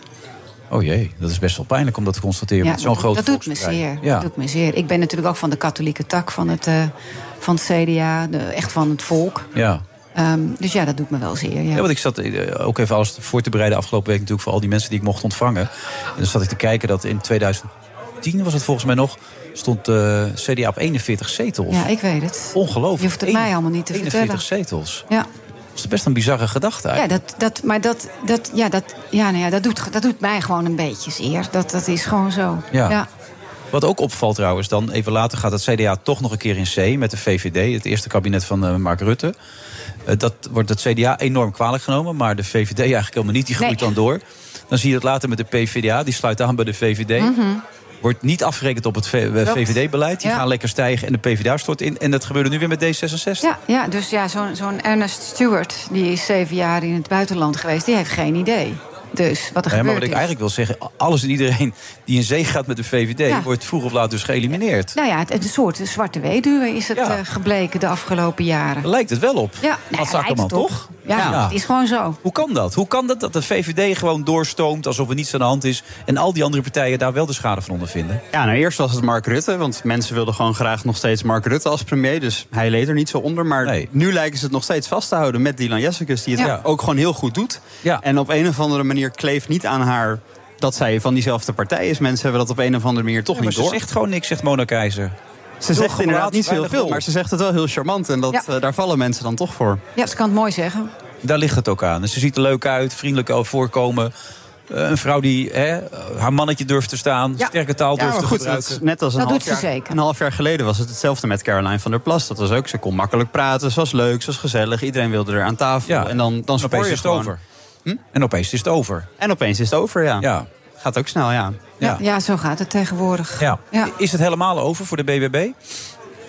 S8: Oh jee, dat is best wel pijnlijk om dat te constateren
S2: Ja,
S8: met zo'n grote
S2: dat doet me
S8: volkspartij.
S2: zeer.
S8: Ja.
S2: Dat doet me zeer. Ik ben natuurlijk ook van de katholieke tak van het, eh, van het CDA, de, echt van het volk.
S8: ja.
S2: Ehm, dus ja, dat doet me wel zeer. Ja.
S8: Ja, want ik zat eh, ook even alles voor te bereiden afgelopen week natuurlijk voor al die mensen die ik mocht ontvangen. En dan zat ik te kijken dat in 2010 was het volgens mij nog, stond eh CDA op 41 zetels.
S2: Ja, ik weet het.
S8: Ongelooflijk.
S2: Je hoeft het mij allemaal niet te
S8: 41
S2: vertellen.
S8: zetels.
S2: Ja.
S8: Dat is best een bizarre gedachte
S2: Ja,
S8: eigenlijk.
S2: dat, dat, maar dat, dat, ja, dat, ja, nou ja, dat, doet, dat doet mij gewoon een beetje zeer. Dat, dat is gewoon zo.
S8: Ja. Wat ook opvalt trouwens, dan even later gaat het CDA toch nog een keer in C met de VVD, het eerste kabinet van eh, Mark Rutte. Eh, dat wordt het CDA enorm kwalijk genomen, maar de VVD eigenlijk helemaal niet, die groeit dan door. Dan zie je dat later met de PVDA, die sluit aan bij de VVD.
S2: Mhm.
S8: Wordt niet afgerekend op het eh,
S2: Klopt.
S8: VVD-beleid. Die
S2: Ja.
S8: gaan lekker stijgen en de PvdA stort in. En dat gebeurde nu weer met D66.
S2: Ja, ja, dus ja, zo'n zo'n Ernest Stewart, die is zeven jaar in het buitenland geweest, die heeft geen idee. Dus wat er
S8: Ja, maar
S2: gebeurt
S8: wat ik
S2: is.
S8: eigenlijk wil zeggen, alles en iedereen die in zee gaat met de VVD...
S2: Ja.
S8: wordt vroeg of laat dus geëlimineerd.
S2: Nou ja, het, het een soort zwarte weduwe is het eh, gebleken de afgelopen jaren.
S8: Lijkt het wel op.
S2: Ja, nou,
S8: Mats
S2: lijkt
S8: Akkerman,
S2: het op.
S8: toch?
S2: Ja, het is gewoon zo.
S8: Hoe kan dat? Hoe kan dat dat de VVD gewoon doorstoomt alsof er niets aan de hand is... en al die andere partijen daar wel de schade van ondervinden?
S11: Ja, nou eerst was het Mark Rutte, want mensen wilden gewoon graag nog steeds Mark Rutte als premier. Dus hij leed er niet zo onder. Maar nu lijken ze het nog steeds vast te houden met Dylan Jessicus, die het
S8: Ja.
S11: ook gewoon heel goed doet. En op een of andere manier kleeft niet aan haar dat zij van diezelfde partij is. Mensen hebben dat op een of andere manier toch
S8: Ja, maar
S11: niet
S8: ze
S11: door.
S8: zegt gewoon niks, zegt Mona Keizer.
S11: Ze
S8: Heel
S11: zegt inderdaad
S8: geblaat,
S11: niet zo heel
S8: weinig
S11: veel,
S8: lol.
S11: maar ze zegt het wel heel charmant. En dat,
S2: Ja.
S11: eh, daar vallen mensen dan toch voor.
S2: Ja, ze kan het mooi zeggen.
S8: Daar ligt het ook aan. En Ze ziet er leuk uit, vriendelijk voorkomen. Eh, een vrouw die hè, haar mannetje durft te staan, sterke taal
S11: Ja,
S8: durft
S11: maar
S8: te
S11: goed, dat
S8: gebruiken.
S11: is net als een,
S2: Dat
S11: half
S2: doet ze
S11: jaar,
S2: zeker.
S11: een half jaar geleden was het hetzelfde met Caroline van der Plas. Dat was ook, ze kon makkelijk praten, ze was leuk, ze was gezellig. Iedereen wilde er aan tafel. en dan, dan
S8: en
S11: spoor
S8: opeens
S11: je
S8: is het
S11: gewoon. Hm?
S8: over. En opeens is het over.
S11: En opeens is het over, ja.
S8: Ja.
S11: Gaat ook snel, ja.
S2: Ja. zo gaat het tegenwoordig.
S8: Ja.
S2: Ja.
S8: Is het helemaal over voor de BBB?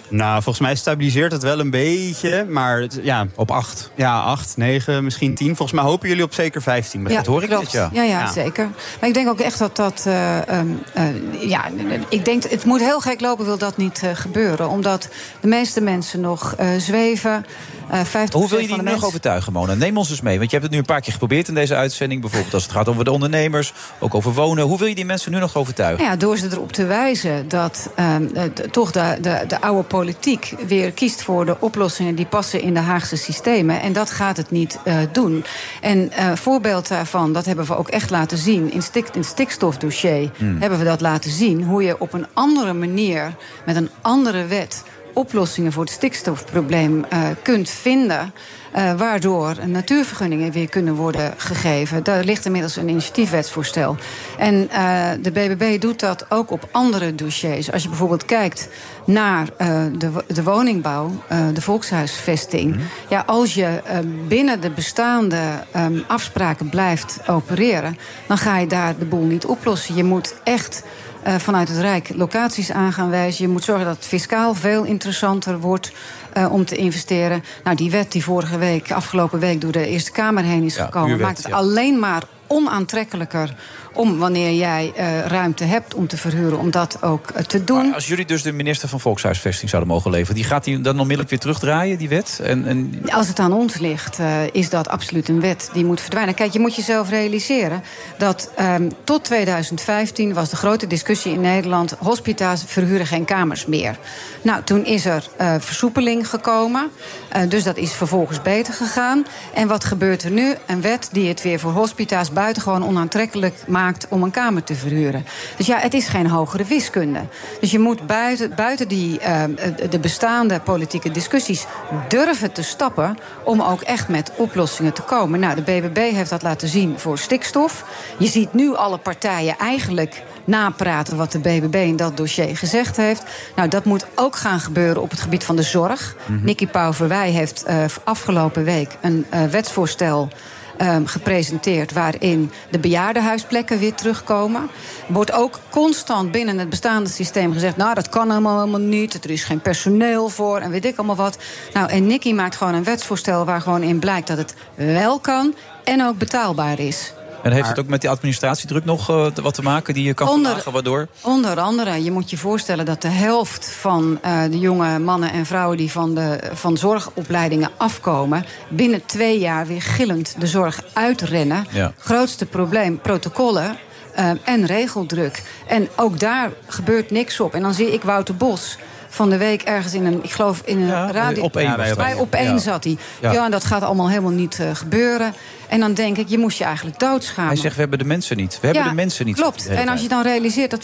S11: Nou, volgens mij stabiliseert het wel een beetje, maar het- ja.
S8: Op acht?
S11: Ja, acht, negen, misschien tien. Volgens mij hopen jullie op zeker vijftien.
S2: Ja, klopt. Ja, ja, zeker. Maar ik denk ook echt dat dat. eh, ehm, eh, ja, ik denk, het moet heel gek lopen, wil dat niet eh, gebeuren. Omdat de meeste mensen nog eh, zweven. Eh 50%
S8: Hoe wil je die
S2: van de
S8: nog
S2: mensen...
S8: overtuigen, Mona? Neem ons eens mee. Want je hebt het nu een paar keer geprobeerd in deze uitzending. Bijvoorbeeld als het gaat over de ondernemers, ook over wonen. Hoe wil je die mensen nu nog overtuigen?
S2: Nou ja, door ze erop te wijzen dat ehm, eh, d- toch de, de, de oude politiek weer kiest voor de oplossingen die passen in de Haagse systemen. En dat gaat het niet eh, doen. En eh voorbeeld daarvan, dat hebben we ook echt laten zien. In, stik, in het stikstofdossier
S21: Hmm.
S2: hebben we dat laten zien. Hoe je op een andere manier, met een andere wet, oplossingen voor het stikstofprobleem eh, kunt vinden. eh, waardoor natuurvergunningen weer kunnen worden gegeven. Daar ligt inmiddels een initiatiefwetsvoorstel. En eh, de BBB doet dat ook op andere dossiers. Als je bijvoorbeeld kijkt naar eh, de, wo- de woningbouw, eh, de volkshuisvesting. Ja, als je eh, binnen de bestaande ehm, afspraken blijft opereren, dan ga je daar de boel niet oplossen. Je moet echt eh, vanuit het Rijk locaties aan gaan wijzen. Je moet zorgen dat het fiscaal veel interessanter wordt eh, om te investeren. Nou, die wet die vorige week, afgelopen week, door de Eerste Kamer heen is gekomen,
S21: buurwet,
S2: maakt het
S21: ja.
S2: alleen maar onaantrekkelijker om wanneer jij eh, ruimte hebt om te verhuren, om dat ook eh, te doen.
S8: Als jullie dus de minister van Volkshuisvesting zouden mogen leveren... die gaat die dan onmiddellijk weer terugdraaien, die wet? En, en...
S2: Als het aan ons ligt, eh, is dat absoluut een wet die moet verdwijnen. Kijk, je moet jezelf realiseren dat ehm, tot 2015 was de grote discussie in Nederland: hospita's verhuren geen kamers meer. Nou, toen is er eh, versoepeling gekomen, eh, dus dat is vervolgens beter gegaan. En wat gebeurt er nu? Een wet die het weer voor hospita's buitengewoon onaantrekkelijk maakt om een kamer te verhuren. Dus ja, het is geen hogere wiskunde. Dus je moet buiten, buiten die, eh, de bestaande politieke discussies durven te stappen om ook echt met oplossingen te komen. Nou, de BBB heeft dat laten zien voor stikstof. Je ziet nu alle partijen eigenlijk napraten wat de BBB in dat dossier gezegd heeft. Nou, dat moet ook gaan gebeuren op het gebied van de zorg.
S21: Mhm.
S2: Nicky Pauverwij heeft eh, afgelopen week een eh, wetsvoorstel ehm, gepresenteerd waarin de bejaardenhuisplekken weer terugkomen. Wordt ook constant binnen het bestaande systeem gezegd... nou, dat kan helemaal, helemaal niet, er is geen personeel voor en weet ik allemaal wat. Nou, en Nicky maakt gewoon een wetsvoorstel waar gewoon in blijkt dat het wel kan... en ook betaalbaar is.
S8: En heeft het ook met die administratiedruk nog eh, te- wat te maken die je kan
S2: Onder-
S8: verlagen, waardoor...
S2: Onder andere, je moet je voorstellen dat de helft van eh, de jonge mannen en vrouwen die van, de, van zorgopleidingen afkomen, binnen twee jaar weer gillend de zorg uitrennen.
S21: Ja.
S2: Grootste probleem, protocollen. eh, en regeldruk. En ook daar gebeurt niks op. En dan zie ik Wouter Bos van de week ergens in een, ik geloof in een radio.
S8: Op één was dat.
S2: bij op één
S8: Ja.
S2: zat hij.
S8: Ja.
S2: Ja. en dat gaat allemaal helemaal niet eh, gebeuren. En dan denk ik, je moest je eigenlijk doodschamen.
S8: Hij zegt, we hebben de mensen niet. We hebben
S2: Ja,
S8: de mensen niet.
S2: Klopt.
S8: De hele
S2: En als
S8: tijd.
S2: je dan realiseert dat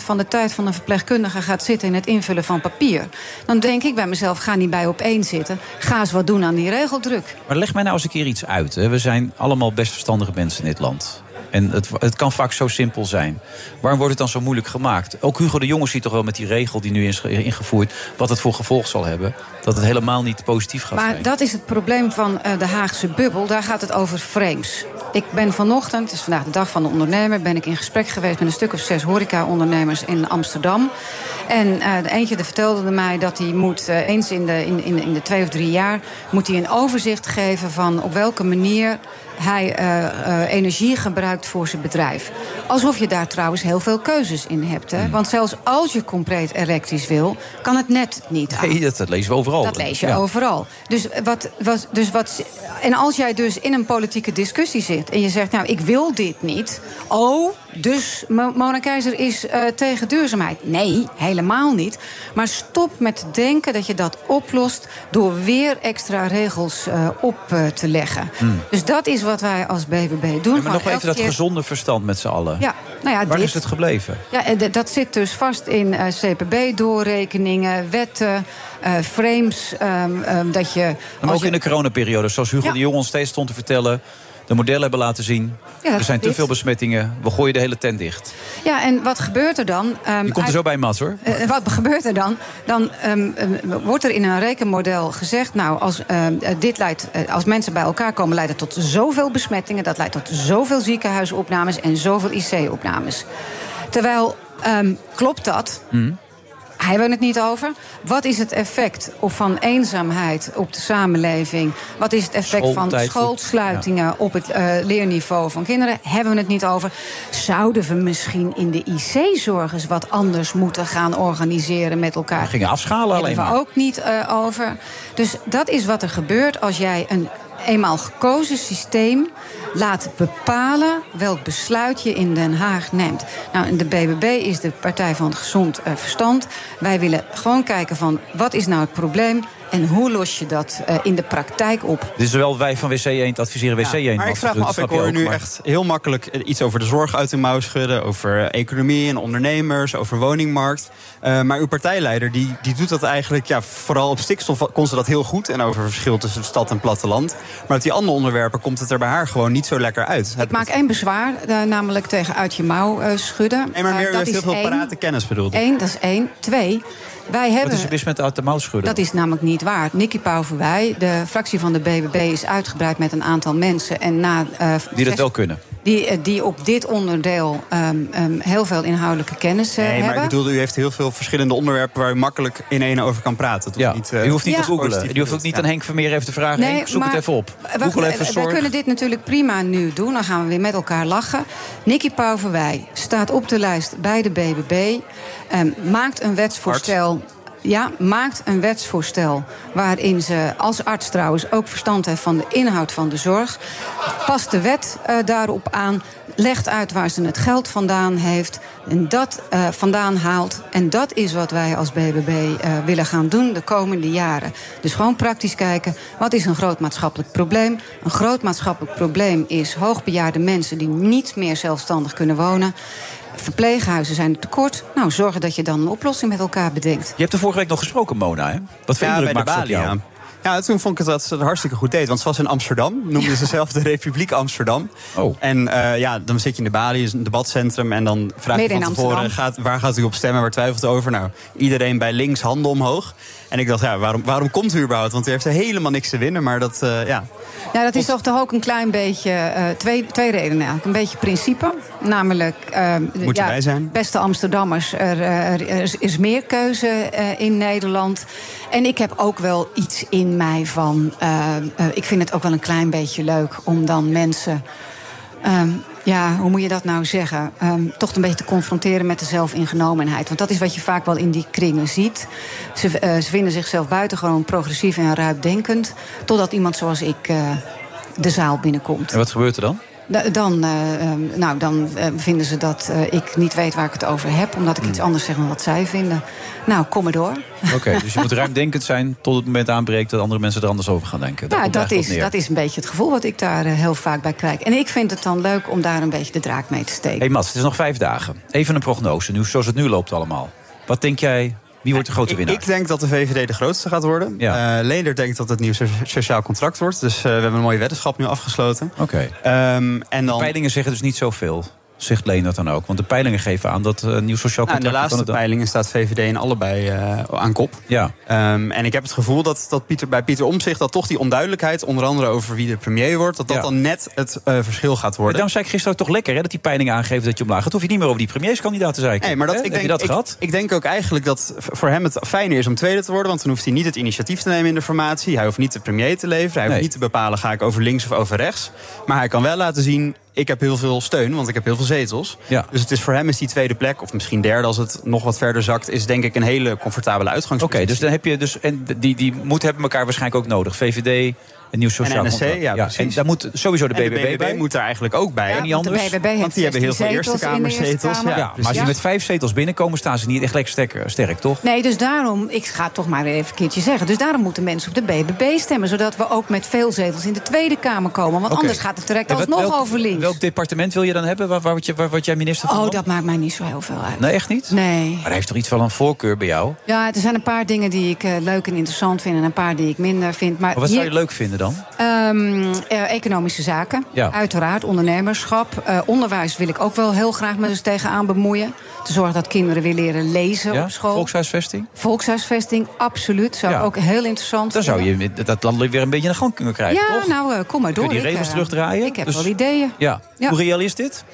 S2: 40% van de tijd van een verpleegkundige gaat zitten in het invullen van papier. Dan denk ik bij mezelf, ga niet bij op één zitten. Ga eens wat doen aan die regeldruk.
S8: Maar leg mij nou eens een keer iets uit. Hè. We zijn allemaal best verstandige mensen in dit land. En het, het kan vaak zo simpel zijn. Waarom wordt het dan zo moeilijk gemaakt? Ook Hugo de Jonge ziet toch wel met die regel die nu is ge- ingevoerd... wat het voor gevolg zal hebben. Dat het helemaal niet positief gaat
S2: Maar
S8: zijn.
S2: dat is het probleem van eh, de Haagse bubbel. Daar gaat het over frames. Ik ben vanochtend, het is vandaag de dag van de ondernemer... ben ik in gesprek geweest met een stuk of zes horeca-ondernemers in Amsterdam. En eh, de eentje die vertelde mij dat hij moet eh, eens in de, in, in, in de twee of drie jaar... moet hij een overzicht geven van op welke manier hij eh, eh, energie gebruikt voor zijn bedrijf. Alsof je daar trouwens heel veel keuzes in hebt. Hè? Want zelfs als je compleet elektrisch wil, kan het net niet aan.
S8: Nee, dat, dat lezen we overal.
S2: Dat lees je
S8: Ja.
S2: overal. Dus wat, wat, dus wat, en als jij dus in een politieke discussie zit en je zegt, nou, ik wil dit niet. Oh, dus Mo- Mona Keizer is eh, tegen duurzaamheid. Nee, helemaal niet. Maar stop met denken dat je dat oplost door weer extra regels eh, op eh, te leggen.
S8: Hmm.
S2: Dus dat is wat wij als BBB doen. Gewoon
S8: Maar nog
S2: elke
S8: even dat
S2: keer-
S8: gezonde verstand met z'n allen.
S2: Ja, nou ja,
S8: Waar
S2: dit-
S8: is het gebleven?
S2: ja, en d- dat zit dus vast in eh, CPB-doorrekeningen, wetten, eh, frames. ehm, ehm, dat je.
S8: Maar
S2: als
S8: ook
S2: je-
S8: in de coronaperiode, zoals Hugo
S2: Ja.
S8: de Jong ons steeds stond te vertellen. De modellen hebben laten zien.
S2: Ja, dat
S8: er zijn te
S2: dit.
S8: veel besmettingen. We gooien de hele tent dicht.
S2: Ja, en wat gebeurt er dan? Ehm,
S8: Je komt er zo bij, Mats, hoor.
S2: Eh, wat gebeurt er dan? Dan ehm, ehm, wordt er in een rekenmodel gezegd... nou, als, ehm, eh, dit leidt, eh, als mensen bij elkaar komen, leidt dat tot zoveel besmettingen... dat leidt tot zoveel ziekenhuisopnames en zoveel IC-opnames. Terwijl, ehm, klopt dat? Hij hebben we het niet over. Wat is het effect op van eenzaamheid op de samenleving? Wat is het effect van
S8: Schooltijd,
S2: schoolsluitingen op het eh, leerniveau van kinderen? Hebben we het niet over. Zouden we misschien in de IC-zorg eens wat anders moeten gaan organiseren met elkaar?
S8: We gingen afschalen alleen
S2: Hebben
S8: maar.
S2: we ook niet eh, over. Dus dat is wat er gebeurt als jij een eenmaal gekozen systeem laat bepalen welk besluit je in Den Haag neemt. Nou, en de BBB is de partij van het gezond eh, verstand. Wij willen gewoon kijken van wat is nou het probleem en hoe los je dat eh, in de praktijk op.
S8: Dus zowel wij van WC Eend adviseren WC Eend.
S11: Maar ik
S8: Mats,
S11: vraag me
S8: dat
S11: af, ik
S8: snap je
S11: hoor
S8: ook,
S11: nu
S8: maar-
S11: echt heel makkelijk eh, iets over de zorg uit de mouw schudden. Over eh, economie en ondernemers, over woningmarkt. Eh, maar uw partijleider die, die doet dat eigenlijk, ja, vooral op stikstof kon ze dat heel goed. En over verschil tussen stad en platteland. Maar op die andere onderwerpen komt het er bij haar gewoon niet zo lekker uit. Het,
S2: Ik maak één bezwaar, eh, namelijk tegen uit je mouw eh, schudden.
S11: nee, maar
S2: Eh,
S11: meer
S2: dat
S11: heeft heel
S2: is
S11: veel
S2: één.
S11: parate kennis bedoeld.
S2: Eén, dat is één. Twee, wij
S8: Wat
S2: hebben...
S8: is er mis met uit de mouw schudden?
S2: Dat is namelijk niet waar. Nicky Pauw voor wij, de fractie van de BBB, is uitgebreid met een aantal mensen. En na, eh,
S8: Die dat
S2: zes-
S8: wel kunnen.
S2: Die, eh, die op dit onderdeel ehm, ehm, heel veel inhoudelijke kennis eh,
S11: Nee, maar
S2: hebben.
S11: ik bedoelde, u heeft heel veel verschillende onderwerpen waar u makkelijk in één over kan praten. Ja. Niet, eh,
S8: U hoeft niet
S2: Ja.
S8: te googlen.
S11: positief
S8: U hoeft ook niet
S11: bedoeld.
S8: aan Henk Vermeer even te vragen.
S2: Nee,
S8: Henk, zoek
S2: maar-
S8: het even op.
S2: Wacht,
S8: Google even
S2: eh, wij
S8: zorg.
S2: kunnen dit natuurlijk prima nu doen. Dan gaan we weer met elkaar lachen. Nicky Pauverwij staat op de lijst bij de BBB. Ehm, maakt een wetsvoorstel. Ja, maakt een wetsvoorstel waarin ze als arts trouwens ook verstand heeft van de inhoud van de zorg. Past de wet eh, daarop aan, legt uit waar ze het geld vandaan heeft en dat eh, vandaan haalt. En dat is wat wij als BBB eh, willen gaan doen de komende jaren. Dus gewoon praktisch kijken, wat is een groot maatschappelijk probleem? Een groot maatschappelijk probleem is hoogbejaarde mensen die niet meer zelfstandig kunnen wonen. Verpleeghuizen zijn er tekort. Nou, zorgen dat je dan een oplossing met elkaar bedenkt.
S8: Je hebt er vorige week nog gesproken, Mona. Hè? Wat vind
S11: ja,
S8: je
S11: bij de
S8: maakt op
S11: balie,
S8: jou?
S11: ja. Ja, toen vond ik dat ze het hartstikke goed deed. Want ze was in Amsterdam, noemde ze zelf de Republiek Amsterdam.
S8: Oh.
S11: En eh, ja, dan zit je in de balie, is een debatcentrum... en dan vraag je
S2: Midden
S11: van
S2: in
S11: tevoren,
S2: Amsterdam.
S11: gaat, waar gaat u op stemmen, waar twijfelt u over? Nou, iedereen bij links, handen omhoog. En ik dacht, ja, waarom, waarom komt u überhaupt? Want u heeft er helemaal niks te winnen, maar dat, eh, ja...
S2: Ja, dat is toch toch ook een klein beetje. eh, twee, twee redenen eigenlijk. Een beetje principe. Namelijk. eh,
S11: Moeten wij zijn.
S2: Beste Amsterdammers, er, eh, er is- is meer keuze eh, in Nederland. En ik heb ook wel iets in mij van. eh, eh, ik vind het ook wel een klein beetje leuk om dan mensen. ehm, ja, hoe moet je dat nou zeggen? Ehm, toch een beetje te confronteren met de zelfingenomenheid. Want dat is wat je vaak wel in die kringen ziet. Ze, eh, ze vinden zichzelf buitengewoon progressief en ruimdenkend. Totdat iemand zoals ik eh, de zaal binnenkomt.
S8: En wat gebeurt er dan?
S2: da- dan, eh, ehm, nou, dan eh, vinden ze dat eh, ik niet weet waar ik het over heb, omdat ik iets anders zeg dan wat zij vinden. Nou, kom maar door.
S8: Hmm. Oké, dus je moet ruimdenkend zijn tot het moment aanbreekt dat andere mensen er anders over gaan denken. Daar
S2: Ja,
S8: komt
S2: dat
S8: het eigenlijk
S2: is,
S8: op neer.
S2: dat is een beetje het gevoel wat ik daar eh, heel vaak bij krijg. En ik vind het dan leuk om daar een beetje de draak mee te steken.
S8: Hey Mats, het is nog vijf dagen. Even een prognose, nu, zoals het nu loopt allemaal. Wat denk jij, wie wordt de grote winnaar?
S11: Ik denk dat de VVD de grootste gaat worden. Ja. Leendert denkt dat het nieuw so- sociaal contract wordt. Dus eh, we hebben een mooie weddenschap nu afgesloten.
S8: Oké.
S11: Ehm, en
S8: dan... Peilingen zeggen dus niet zoveel, zegt Leen dat dan ook. Want de peilingen geven aan dat eh nieuw sociaal
S11: Nou, in
S8: contract...
S11: de laatste
S8: van het-
S11: peilingen staat VVD in allebei eh, aan kop.
S8: Ja.
S11: Ehm, en ik heb het gevoel dat, dat Pieter, bij Pieter Omtzigt... dat toch die onduidelijkheid, onder andere over wie de premier wordt... dat dat dan net het eh, verschil gaat worden.
S8: Daarom zei ik gisteren ook toch lekker hè, dat die peilingen aangeven dat je omlaag gaat. Hoef je niet meer over die premierskandidaat te zeiken.
S11: Nee, maar dat,
S8: Hè?
S11: ik
S8: Heb
S11: denk,
S8: je dat
S11: ik,
S8: gehad?
S11: ik denk ook eigenlijk dat v- voor hem het fijner is om tweede te worden. Want dan hoeft hij niet het initiatief te nemen in de formatie. Hij hoeft niet de premier te leveren. Hij hoeft niet te bepalen ga ik over links of over rechts. Maar hij kan wel laten zien, ik heb heel veel steun. Want ik heb heel veel zetels. Dus het is voor hem is die tweede plek, of misschien derde als het nog wat verder zakt... is denk ik een hele comfortabele uitgangspositie.
S8: Oké, dus dan heb je dus. En die, die moet hebben elkaar waarschijnlijk ook nodig. VVD, een nieuw sociaal
S11: En NSC,
S8: contract.
S11: ja,
S8: en daar moet sowieso de
S11: En de
S8: BBB, bij.
S11: BBB moet daar eigenlijk ook bij.
S8: Ja, En die want de anders? BBB
S11: want die
S2: heeft
S11: hebben heel veel
S2: 16
S11: Eerste
S2: zetels in de Eerste
S11: Kamerzetels.
S2: Kamer.
S8: Ja, maar als die
S2: Ja.
S8: met vijf zetels binnenkomen, staan ze niet echt lekker sterk, eh, sterk toch?
S2: Nee, dus daarom, ik ga het toch maar even een keertje zeggen. Dus daarom moeten mensen op de BBB stemmen. Zodat we ook met veel zetels in de Tweede Kamer komen. Want
S8: Oké.
S2: anders gaat het direct
S8: En wat-
S2: alsnog
S8: welk-
S2: over links.
S8: Welk departement wil je dan hebben? Waar, waar, word je- waar word jij minister van?
S2: Oh,
S8: wordt?
S2: dat maakt mij niet zo heel veel uit.
S8: Nee, echt niet?
S2: Nee.
S8: Maar hij heeft toch iets van een voorkeur bij jou? Maar
S2: Ja, er zijn een paar dingen die ik eh, leuk en interessant vind. En een paar die ik minder vind. Maar
S8: wat zou
S2: hier-
S8: je leuk vinden dan?
S2: Ehm, eh, economische zaken,
S8: Ja.
S2: uiteraard, ondernemerschap. Eh, onderwijs wil ik ook wel heel graag met eens tegenaan bemoeien. Te zorgen dat kinderen weer leren lezen
S8: Ja?
S2: op school.
S8: Volkshuisvesting?
S2: Volkshuisvesting, absoluut. Zou
S8: Ja.
S2: ook heel interessant
S8: Dan zou
S2: vinden.
S8: je dat land weer een beetje in de gang kunnen krijgen,
S2: Ja,
S8: toch?
S2: nou, eh, kom maar
S8: Kun
S2: door.
S8: je die
S2: Ik,
S8: regels
S2: eh,
S8: terugdraaien?
S2: Ik heb
S8: Dus-
S2: wel ideeën.
S8: Ja.
S2: Ja.
S8: Hoe reëel is dit?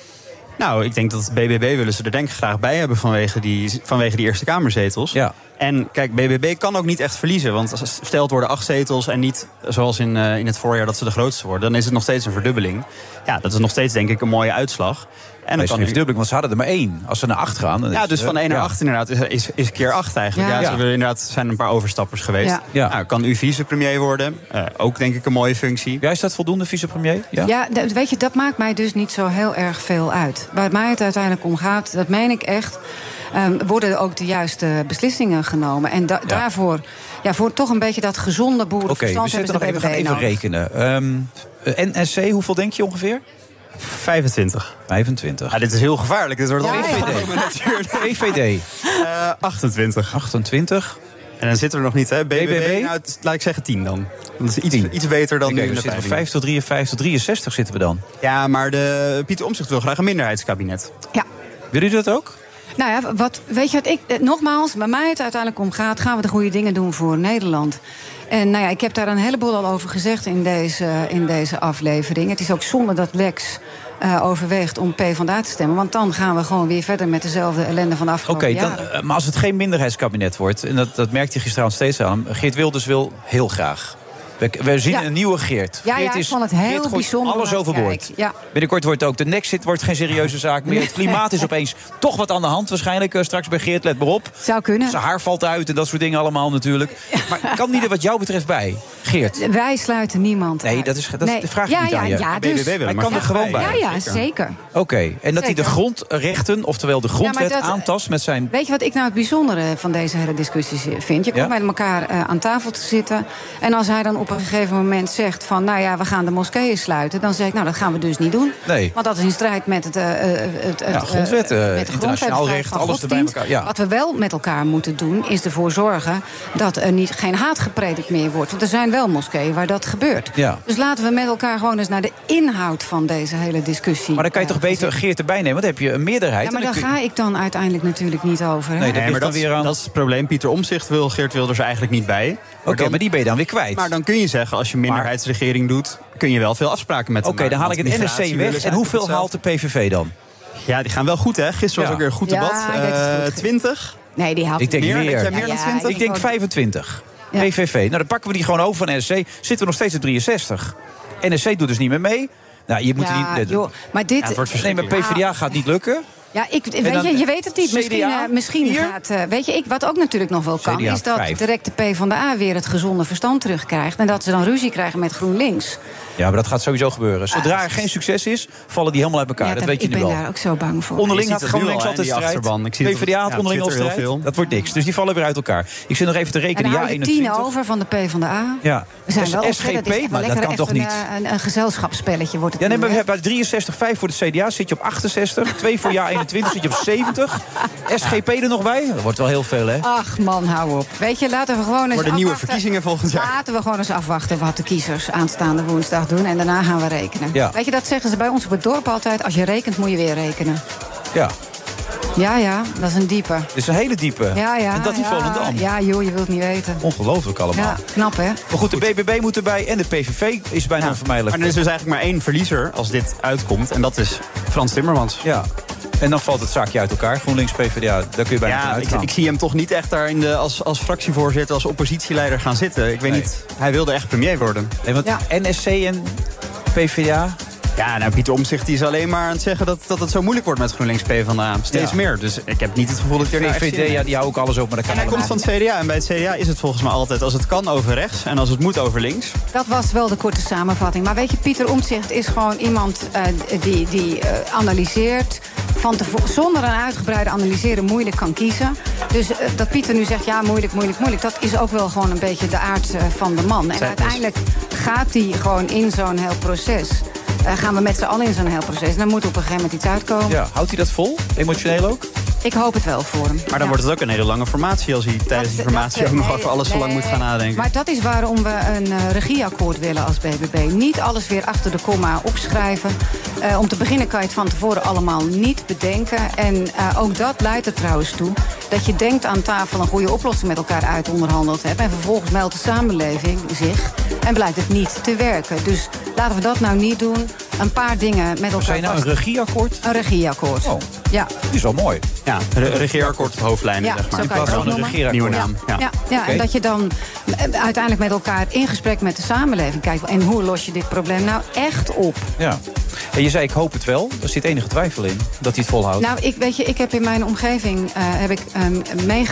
S11: Nou, ik denk dat het BBB willen ze er denk ik graag bij hebben vanwege die, vanwege die Eerste Kamerzetels.
S8: Ja.
S11: En kijk, BBB kan ook niet echt verliezen. Want als stelt worden acht zetels en niet zoals in, eh, in het voorjaar dat ze de grootste worden. Dan is het nog steeds een verdubbeling. Ja, dat is nog steeds denk ik een mooie uitslag. En
S8: Nee,
S11: dan
S8: is geen verdubbeling, want ze hadden er maar één. Als ze naar acht gaan... dan
S11: Ja,
S8: is-
S11: dus van
S8: eh,
S11: 1 naar
S8: ja.
S11: 8 inderdaad is, is, is keer 8 eigenlijk.
S8: Ja.
S11: Ja,
S8: Ja.
S11: ze hebben inderdaad zijn een paar overstappers geweest.
S2: Ja.
S11: Nou, kan u vicepremier worden? Eh, ook denk ik een mooie functie.
S8: Ja, is dat voldoende vicepremier?
S2: Ja, d- weet je, dat maakt mij dus niet zo heel erg veel uit. Waar mij het uiteindelijk om gaat, dat meen ik echt... ehm, worden ook de juiste beslissingen genomen. En da- daarvoor, ja, voor toch een beetje dat gezonde
S8: Oké, we,
S2: boerenverstand...
S8: zetten nog even, we
S2: hebben
S8: gaan
S2: ze de BBB
S8: even
S2: nodig.
S8: rekenen. Ehm, eh, NSC, hoeveel denk je ongeveer?
S11: 25.
S8: 25.
S11: dit is heel gevaarlijk. Dit wordt E
S8: Ja,
S11: al
S8: ja. E VVD.
S11: Eh, 28.
S8: 28.
S11: En dan zitten we nog niet, hè? BBB?
S8: BBB?
S11: Nou, het- laat ik zeggen 10 dan. Dat is iets, iets beter dan
S8: Oké,
S11: nu in
S8: we
S11: de
S8: zitten
S11: peilingen.
S8: van 5 tot 53, 63 zitten we dan.
S11: Ja, maar de, Pieter Omtzigt wil graag een minderheidskabinet.
S2: Ja.
S8: Wil u dat ook?
S2: Nou ja, wat, weet je wat ik... eh, Nogmaals, bij mij het uiteindelijk om gaat... gaan we de goede dingen doen voor Nederland. En nou ja, ik heb daar een heleboel al over gezegd in deze, in deze aflevering. Het is ook zonde dat Lex eh, overweegt om PvdA te stemmen... want dan gaan we gewoon weer verder met dezelfde ellende van de
S8: Oké,
S2: afgelopen
S8: dan,
S2: jaren.
S8: eh, maar als het geen minderheidskabinet wordt... en dat, dat merkte je gisteravond steeds aan... Geert Wilders wil heel graag. We, we zien
S2: Ja.
S8: een nieuwe Geert.
S2: Ja,
S8: Geert
S2: ja, ik vond het heel
S8: Geert gooit
S2: bijzonder om
S8: alles
S2: naar te
S8: overboord.
S2: kijken. Ja.
S8: Binnenkort wordt ook de Nexit wordt geen serieuze zaak meer. Het klimaat is opeens toch wat aan de hand. Waarschijnlijk eh, straks bij Geert, let maar op.
S2: Zou kunnen.
S8: Zijn haar valt uit en dat soort dingen allemaal natuurlijk. Maar kan die er wat jou betreft bij, Geert?
S2: Wij sluiten niemand
S8: Nee,
S2: uit.
S8: dat is, dat is
S2: Eh, Nee.
S8: de vraag
S2: ja,
S8: niet
S2: ja,
S8: aan je.
S2: Ja, dus,
S8: Hij kan er gewoon bij.
S2: Ja, ja, zeker.
S8: Oké, en dat hij de
S2: Zeker.
S8: grondrechten, oftewel de
S2: Ja, maar
S8: grondwet,
S2: dat-
S8: aantast met zijn...
S2: Weet je wat ik nou het bijzondere van deze hele discussie vind? Je komt
S8: Ja?
S2: met elkaar eh, aan tafel te zitten. En als hij dan op een gegeven moment zegt van... nou ja, we gaan de moskeeën sluiten. Dan zeg ik, nou, dat gaan we dus niet doen.
S8: Nee.
S2: Want dat is in strijd met het... eh, eh, het- het, eh,
S8: grondwet, eh,
S2: met de grondwet,
S8: internationaal
S2: de vrijheid
S8: recht,
S2: van
S8: alles erbij
S2: godsdienst.
S8: elkaar, ja.
S2: Wat we wel met elkaar moeten doen, is ervoor zorgen... dat er niet, geen haat gepredikt meer wordt. Want er zijn wel moskeeën waar dat gebeurt.
S8: Ja.
S2: Dus laten we met elkaar gewoon eens naar de inhoud van deze hele discussie...
S8: Maar dan kan je toch beter Geert erbij nemen, want dan heb je een meerderheid.
S2: Ja, maar
S8: En dan
S2: daar
S8: kun je-
S2: ga ik dan uiteindelijk natuurlijk niet over. hè?
S11: Nee, maar dat, is- dat is het probleem. Pieter Omtzigt wil Geert Wilders eigenlijk niet bij. Oké,
S8: maar die ben je dan weer kwijt.
S11: Maar dan kun je zeggen, als je minderheidsregering doet... kun je wel veel afspraken met
S8: Oké, dan haal ik het NSC weg. En hoeveel haalt de PVV dan?
S11: Ja, die gaan wel goed, hè? Gisteren was ook weer een goed
S2: Ja,
S11: debat.
S2: ik denk het
S11: Eh,
S2: goed.
S11: 20?
S2: Nee, die haalt
S8: Ik denk meer.
S11: Denk jij meer dan
S2: Ja,
S11: 20?
S8: Ik denk 25. PVV. Nou, dan pakken we die gewoon over van NSC. Zitten we nog steeds op 63. NSC doet dus niet meer mee. Nou, je moet
S2: Ja,
S8: er niet... eh,
S2: joh, maar dit-
S8: nee, maar PvdA gaat niet lukken.
S2: Ja, ik, weet
S8: dan
S2: je, je weet het niet.
S8: CDA,
S2: Misschien, eh, misschien
S8: vier?
S2: gaat. eh, weet je, ik, wat ook natuurlijk nog wel kan,
S8: CDA,
S2: is dat
S8: vijf.
S2: direct de PvdA weer het gezonde verstand terugkrijgt. En dat ze dan ruzie krijgen met GroenLinks.
S8: Ja, maar dat gaat sowieso gebeuren. Zodra er geen succes is, vallen die helemaal uit elkaar.
S2: Ja,
S8: dat
S2: daar-
S8: weet je
S2: ik
S8: nu
S2: ben
S8: al.
S2: daar ook zo bang voor.
S8: Onderling
S2: Je
S8: had
S2: ziet dat nu
S8: GroenLinks
S2: al,
S8: altijd
S2: hè, die
S8: strijd.
S2: achterban. Ik zie het op-
S8: PvdA had
S2: ja, op
S8: onderling al
S2: Twitter heel
S8: strijd.
S2: veel.
S8: Dat wordt niks. Dus die vallen weer uit elkaar. Ik zit nog even te
S2: En
S8: rekenen.
S2: dan
S8: Ja,
S2: hou je tien
S8: 21.
S2: over van de PvdA.
S8: Ja.
S2: We zijn wel
S8: SGP,
S2: verder. Dit is echt
S8: maar dat
S2: wel lekker
S8: kan toch
S2: even
S8: niet?
S2: Een, eh, een, een gezelschapsspelletje wordt het
S8: Ja, nee,
S2: nu,
S8: maar we
S2: hè?
S8: hebben 63, 5 voor de CDA. Zit je op 68. 2 voor jaar 21 zit je op 70. SGP er nog bij? Dat wordt wel heel veel, hè?
S2: Ach man, hou op. Weet je, laten we gewoon eens
S8: Worden nieuwe
S2: afwachten.
S8: verkiezingen volgend jaar.
S2: Laten we gewoon eens afwachten wat de kiezers aanstaande woensdag doen. En daarna gaan we rekenen.
S8: Ja.
S2: Weet je, dat zeggen ze bij ons op het dorp altijd. Als je rekent, moet je weer rekenen.
S8: Ja.
S2: Ja, ja, dat is een diepe.
S8: Dit is een hele diepe.
S2: Ja, ja.
S8: En dat in
S2: ja,
S8: Volendam.
S2: Ja, joh, je wilt niet weten.
S8: Ongelooflijk allemaal.
S2: Ja, knap hè?
S8: Maar goed, de BBB moet erbij en de PVV is bijna onvermijdelijk.
S11: Maar er is dus eigenlijk maar één verliezer als dit uitkomt. En dat is Frans Timmermans.
S8: Ja. En dan valt het zaakje uit elkaar. GroenLinks, PvdA, daar kun je bijna van
S11: Ja, ik,
S8: uitgaan.
S11: ik zie hem toch niet echt daar in de, als, als fractievoorzitter, als oppositieleider gaan zitten. Ik weet
S8: Nee.
S11: niet, hij wilde echt premier worden.
S8: En want NSC en PvdA?
S11: Ja, nou Pieter Omtzigt die is alleen maar aan het zeggen dat, dat het zo moeilijk wordt met GroenLinks PvdA. Steeds
S8: Ja.
S11: meer, dus ik heb niet het gevoel dat ik er nou echt zin
S8: VVD,
S11: in
S8: ja,
S11: heb.
S8: die houden ook alles op, maar dat kan
S11: En hij komt
S8: helemaal
S11: van het CDA en bij het CDA is het volgens mij altijd als het kan over rechts en als het moet over links.
S2: Dat was wel de korte samenvatting. Maar weet je, Pieter Omtzigt is gewoon iemand eh, die, die eh, analyseert. Van tevo- zonder een uitgebreide analyseren moeilijk kan kiezen. Dus eh, dat Pieter nu zegt, ja, moeilijk, moeilijk, moeilijk. Dat is ook wel gewoon een beetje de aard eh, van de man. En
S1: Zij-
S2: uiteindelijk gaat hij gewoon in zo'n heel proces. Eh, gaan we met z'n allen in zo'n heel proces. En dan moet op een gegeven moment iets uitkomen.
S8: Ja, houdt hij dat vol? Emotioneel ook?
S2: Ik hoop het wel voor hem.
S11: Maar dan wordt het ook een hele lange formatie als hij tijdens die formatie ook nog over alles zo lang moet gaan nadenken.
S2: eh, Maar dat is waarom we een eh, regieakkoord willen als BBB. Niet alles weer achter de komma opschrijven. Eh, om te beginnen kan je het van tevoren allemaal niet bedenken. En eh, ook dat leidt er trouwens toe dat je denkt aan tafel een goede oplossing met elkaar uit onderhandeld hebt. En vervolgens meldt de samenleving zich en blijkt het niet te werken. Dus laten we dat nou niet doen. Een paar dingen met elkaar.
S8: zei je nou,
S2: vast-
S8: een regieakkoord?
S2: Een regieakkoord.
S8: Oh.
S2: Ja.
S8: Die is wel mooi.
S11: Ja, re- regeerakkoord op hoofdlijnen,
S2: Ja,
S11: zeg maar.
S2: zo kan je het ook noemen.
S11: Nieuwe naam.
S2: Ja, ja, en dat je dan eh, uiteindelijk met elkaar in gesprek met de samenleving kijkt. En hoe los je dit probleem nou echt op?
S8: Ja. En je zei, ik hoop het wel. Er zit enige twijfel in dat hij het volhoudt.
S2: Nou, ik, weet je, ik heb in mijn omgeving eh, heb ik, ehm,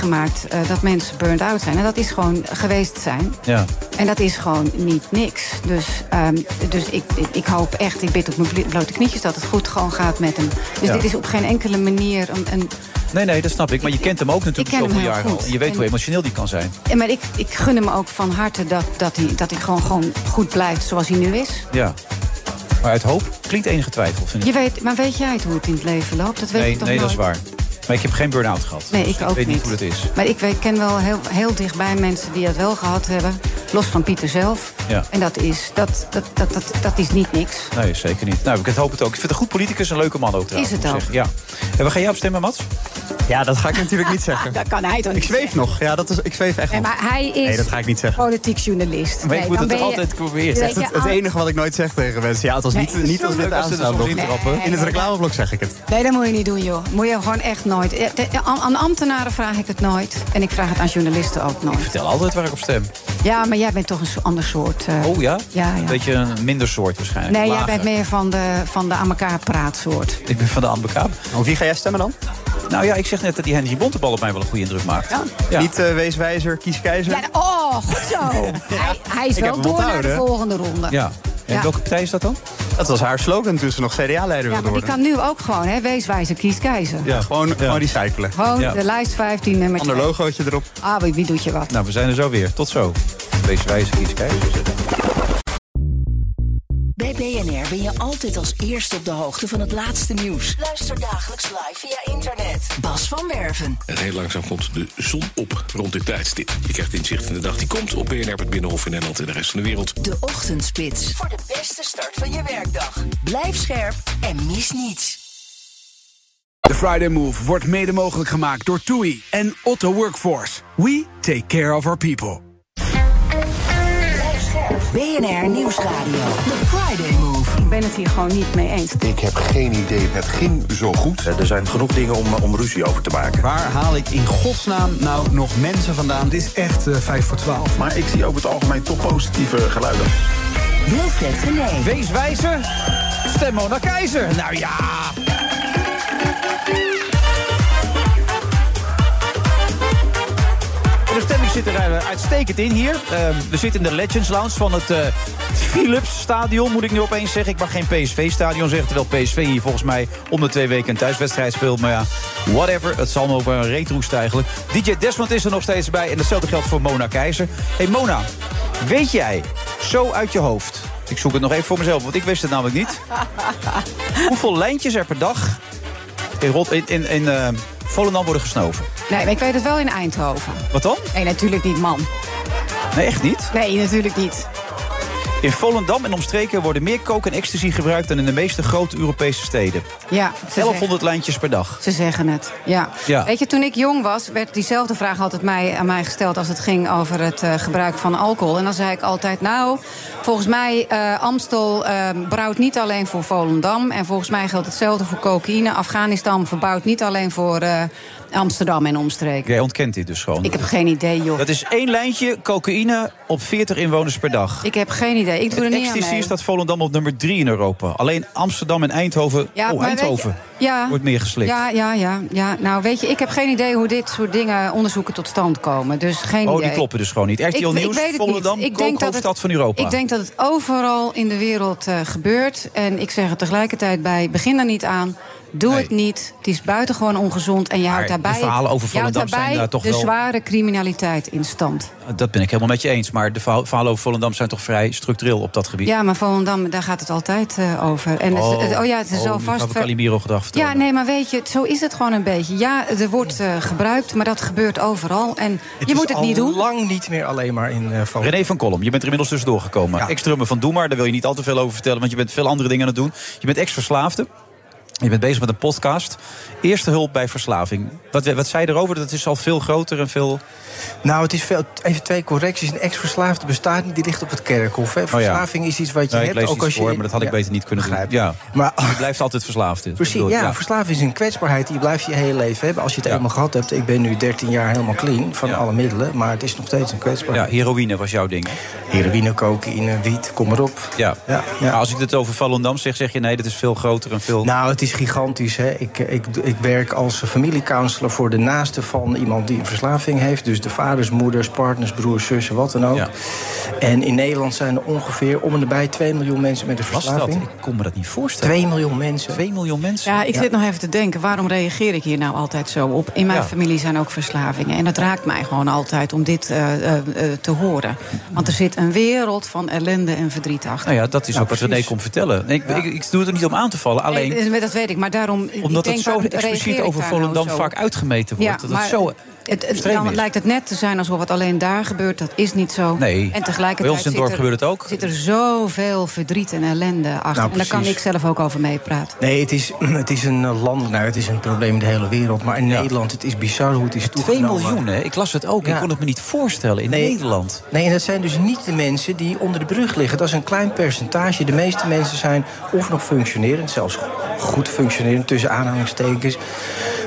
S2: meegemaakt eh, dat mensen burned out zijn. En dat is gewoon geweest zijn.
S8: ja.
S2: En dat is gewoon niet niks. Dus, ehm, dus ik, ik, ik hoop echt, ik bid op mijn blo- blote knietjes dat het goed gewoon gaat met hem. Dus
S8: Ja.
S2: dit is op geen enkele manier een, een
S8: Nee, nee, dat snap ik. Maar je kent hem ook
S2: ik
S8: natuurlijk
S2: ken hem
S8: zoveel
S2: heel
S8: jaren al.
S2: goed.
S8: En je weet
S2: En-
S8: hoe emotioneel die kan zijn.
S2: Ja, Maar ik, ik gun hem ook van harte dat, dat, hij, dat hij gewoon, gewoon goed blijft zoals hij nu is.
S8: Ja. Maar uit hoop klinkt enige twijfel, vind ik.
S2: Je weet, maar weet jij het hoe het in het leven loopt? Dat weet
S8: nee,
S2: ik toch
S8: nee dat
S2: nooit.
S8: is waar. Maar ik heb geen burn-out gehad.
S2: Nee, ik
S8: Dus
S2: ook
S8: weet niet
S2: niet.
S8: hoe dat is.
S2: Maar ik weet, ken wel heel, heel dichtbij mensen die dat wel gehad hebben. Los van Pieter zelf.
S8: Ja.
S2: En dat is, dat, dat, dat, dat, dat is niet niks.
S8: Nee, zeker niet. Nou, ik hoop het ook. Ik vind het een goed politicus een leuke man ook trouwens.
S2: Is het
S8: moet ik
S2: ook.
S8: zeggen. Ja. En we gaan jou op stemmen, Mats?
S11: Ja, dat ga ik natuurlijk niet zeggen.
S2: Dat kan hij toch
S11: Ik zweef nog. Ja, dat is, ik zweef echt
S2: Nee,
S11: nog.
S2: maar hij is
S11: Nee, dat ga ik niet zeggen.
S2: politiek journalist.
S11: Maar ik moet het altijd
S2: proberen.
S11: proberen. Het, het enige wat ik nooit zeg tegen mensen. Ja, althans
S2: Nee,
S11: niet, niet als
S2: sorry.
S11: dit
S2: Leuk als ze er
S11: aanstaat.
S2: soms
S11: nog.
S2: intrappen.
S11: In het reclameblok zeg ik het.
S2: Nee, dat moet je niet doen, joh. Moet je gewoon echt nooit. Eh, de- Aan aan ambtenaren vraag ik het nooit. En ik vraag het aan journalisten ook nooit.
S8: Vertel altijd waar ik op stem.
S2: Ja, maar jij bent toch een so- ander soort. eh,
S8: Oh ja?
S2: Ja, ja.
S8: Een beetje een minder soort waarschijnlijk.
S2: Nee, jij
S8: Lager.
S2: bent meer van de, van de aan elkaar praatsoort.
S8: Ik ben van de Ambekaap.
S11: Op wie ga jij stemmen dan?
S8: Nou ja, ik zeg net dat die Henry Bontebal op mij wel een goede indruk maakt. Ja.
S11: Niet eh, wees wijzer, kies keizer.
S2: Ja, oh, goed zo. hij, hij is
S11: Ik heb hem
S2: wel door naar de
S11: onthouden.
S2: volgende ronde.
S8: Ja. En
S2: Ja.
S8: welke partij is dat dan?
S11: Dat was haar slogan toen ze nog CDA-leider
S2: Ja,
S11: wilde
S2: maar die
S11: worden.
S2: kan nu ook gewoon, hè? Wees wijzer, kies keizer.
S11: Ja, gewoon, gewoon recyclen.
S2: Gewoon de lijst 15 nummer
S11: Ander
S2: 2.
S11: logootje erop.
S2: Ah, wie, wie doet je wat?
S8: Nou, we zijn er zo weer. Tot zo. Wees wijs, kies kijkers.
S1: Bij BNR ben je altijd als eerste op de hoogte van het laatste nieuws. Luister dagelijks live via internet. Bas van Werven.
S9: En heel langzaam komt de zon op rond dit tijdstip. Je krijgt inzicht in de dag die komt op BNR, het Binnenhof in Nederland en de rest van de wereld.
S1: De Ochtendspits. Voor de beste start van je werkdag. Blijf scherp en mis niets.
S10: The Friday Move wordt mede mogelijk gemaakt door TUI en Otto Workforce. We take care of our people.
S1: BNR Nieuwsradio. The Friday Move.
S2: Ik ben het hier gewoon niet mee eens.
S4: Ik heb geen idee. Het ging zo goed. Eh, Er zijn genoeg dingen om, eh, om ruzie over te maken.
S20: Waar haal ik in godsnaam nou nog mensen vandaan? Dit is echt eh, vijf 5 voor 12.
S4: Maar ik zie over het algemeen toch positieve geluiden.
S1: Wilfred Genee.
S8: Wees wijzer, stem Mona Keizer. Nou ja. De stemming zit er eh, uitstekend in hier. Eh, we zitten in de Legends Lounge van het eh, Philips Stadion, moet ik nu opeens zeggen. Ik mag geen PSV-stadion zeggen, terwijl PSV hier volgens mij om de twee weken een thuiswedstrijd speelt. Maar ja, whatever. Het zal me ook wel een reetroest eigenlijk. DJ Desmond is er nog steeds bij en datzelfde geldt voor Mona Keizer. hey Mona, weet jij zo uit je hoofd... Ik zoek het nog even voor mezelf, want ik wist het namelijk niet. Hoeveel lijntjes er per dag in, Rot- in, in, in eh, Volendam worden gesnoven?
S2: Nee, maar ik weet het wel in Eindhoven.
S8: Wat dan?
S2: Nee, natuurlijk niet, man.
S8: Nee, echt niet?
S2: Nee, natuurlijk niet.
S8: In Volendam en omstreken worden meer coke en ecstasy gebruikt dan in de meeste grote Europese steden.
S2: Ja, ze zeggen,
S8: 1100 lijntjes per dag.
S2: ze zeggen het. Ja.
S8: Ja.
S2: Weet je, toen ik jong was, werd diezelfde vraag altijd mij, aan mij gesteld als het ging over het eh, gebruik van alcohol. En dan zei ik altijd, nou, volgens mij eh Amstel eh, brouwt niet alleen voor Volendam. En volgens mij geldt hetzelfde voor cocaïne. Afghanistan verbouwt niet alleen voor eh, Amsterdam en omstreken.
S8: Jij ontkent dit dus gewoon.
S2: Ik heb geen idee, joh.
S8: Dat is één lijntje cocaïne op 40 inwoners per dag.
S2: Ik heb geen idee. Ik doe er
S8: Het
S2: niet aan
S8: ecstasy
S2: mee.
S8: staat Volendam op nummer 3 in Europa. Alleen Amsterdam en Eindhoven.
S2: Ja,
S8: oh,
S2: maar weet je-
S8: Eindhoven.
S2: ja.
S8: Wordt meer geslikt.
S2: Ja, ja, ja, ja. Nou, weet je, ik heb geen idee hoe dit soort dingen, onderzoeken tot stand komen. Dus geen
S8: oh,
S2: idee.
S8: die kloppen dus gewoon niet. RTL
S2: Ik- ik
S8: Nieuws,
S2: weet het niet.
S8: Volendam,
S2: Ik denk dat het-
S8: kookhoofdstad van Europa.
S2: Ik denk dat het overal in de wereld eh, gebeurt. En ik zeg er tegelijkertijd bij, begin er niet aan. Doe het niet. Het is buitengewoon ongezond. En je houdt
S8: de
S2: daarbij,
S8: verhalen over
S2: je houdt
S8: Volendam zijn
S2: daarbij
S8: daar toch
S2: de
S8: wel-
S2: zware criminaliteit in stand.
S8: Dat ben ik helemaal met je eens. Maar de verha- verhalen over Volendam zijn toch vrij structureel op dat gebied.
S2: Ja, maar Volendam, daar gaat het altijd eh, over. En het- het, oh ja, het is
S8: oh,
S2: al
S8: nu gaan
S2: vast...
S8: we Calimero gedrag vertellen.
S2: Ja, nee, maar weet je, zo is het gewoon een beetje. Ja, er wordt eh, gebruikt, maar dat gebeurt overal. En je moet het niet doen.
S21: lang niet meer alleen maar in eh Volendam.
S8: René van Kolm, je bent er inmiddels tussendoor gekomen. Ex-drummer van Doe Maar, daar wil je niet al te veel over vertellen... want je bent veel andere dingen aan het doen. Je bent ex-verslaafde. Je bent bezig met een podcast. Eerste hulp bij verslaving. Wat, wat zei je erover? Dat is al veel groter en veel...
S21: Nou, het is veel, even twee correcties. Een ex-verslaafde bestaat niet, die ligt op het kerkhof. Hè.
S8: Oh ja.
S21: Verslaving is iets wat je
S8: Nee, ik
S21: hebt.
S8: lees
S21: ook
S8: iets
S21: als je
S8: voor,
S21: in-
S8: maar dat had ik
S21: ja.
S8: beter niet kunnen doen. Ja.
S21: Maar,
S8: je blijft altijd verslaafd. Dat
S21: Precies,
S8: bedoel ik,
S21: ja, Verslaving is een kwetsbaarheid die blijf je je hele leven hebben. Als je het eenmaal gehad hebt, ik ben nu 13 jaar helemaal clean van alle middelen, maar het is nog steeds een
S8: Ja,
S21: kwetsbaarheid.
S8: heroïne was jouw ding.
S21: Heroïne, cocaïne, wiet, kom maar op.
S8: Ja.
S21: Ja,
S8: Maar als ik het over Volendam zeg, zeg je nee, dat is veel groter en veel...
S21: Nou, het is gigantisch. Hè. Ik, eh, ik, ik werk als familiecounselor voor de naasten van iemand die een verslaving heeft. Dus de vaders, moeders, partners, broers, zussen, wat dan ook. En in Nederland zijn er ongeveer om en nabij 2 miljoen mensen met een
S8: Was dat?
S21: verslaving.
S8: Ik kon me dat niet voorstellen.
S21: 2 miljoen mensen.
S8: 2 miljoen mensen?
S2: Ja, ik zit nog even te denken, waarom reageer ik hier nou altijd zo op? In mijn
S8: Ja.
S2: familie zijn ook verslavingen. En dat raakt mij gewoon altijd om dit eh, eh, eh, te horen. Want er zit een wereld van ellende en verdriet achter.
S8: Nou ja, dat is
S2: Nou,
S8: ook wat René komt vertellen. Nee, ik, ik, ik doe het er niet om aan te vallen, alleen...
S2: Nee, eh, dat weet ik, maar daarom... ik
S8: Omdat
S2: denk,
S8: het zo
S2: waarom
S8: expliciet
S2: reageer ik
S8: over
S2: daar nou
S8: Volendam
S2: zo
S8: vaak
S2: op?
S8: uitgemeten wordt. dat
S2: maar
S8: het zo
S2: het, het,
S8: extreem
S2: dan
S8: is.
S2: lijkt het net te zijn alsof het alleen daar gebeurt. Dat is niet zo.
S8: Nee,
S2: en tegelijkertijd
S8: bij ons in het dorp
S2: zit er,
S8: gebeurt het ook.
S2: Zit er zoveel verdriet en ellende achter.
S21: Nou,
S2: en daar kan ik
S21: precies.
S2: zelf ook over meepraten.
S21: Nee, het is, het is een eh, land, nou, het is een probleem in de hele wereld. Maar in Nederland, het is bizar hoe het is
S8: 2
S21: toegenomen.
S8: miljoen, hè? Ik las het ook. Ik
S21: Ja.
S8: kon het me niet voorstellen in
S21: Nee.
S8: Nederland.
S21: Nee, en dat zijn dus niet de mensen die onder de brug liggen. Dat is een klein percentage. De meeste mensen zijn of nog functionerend, zelfs goed functionerend tussen aanhalingstekens.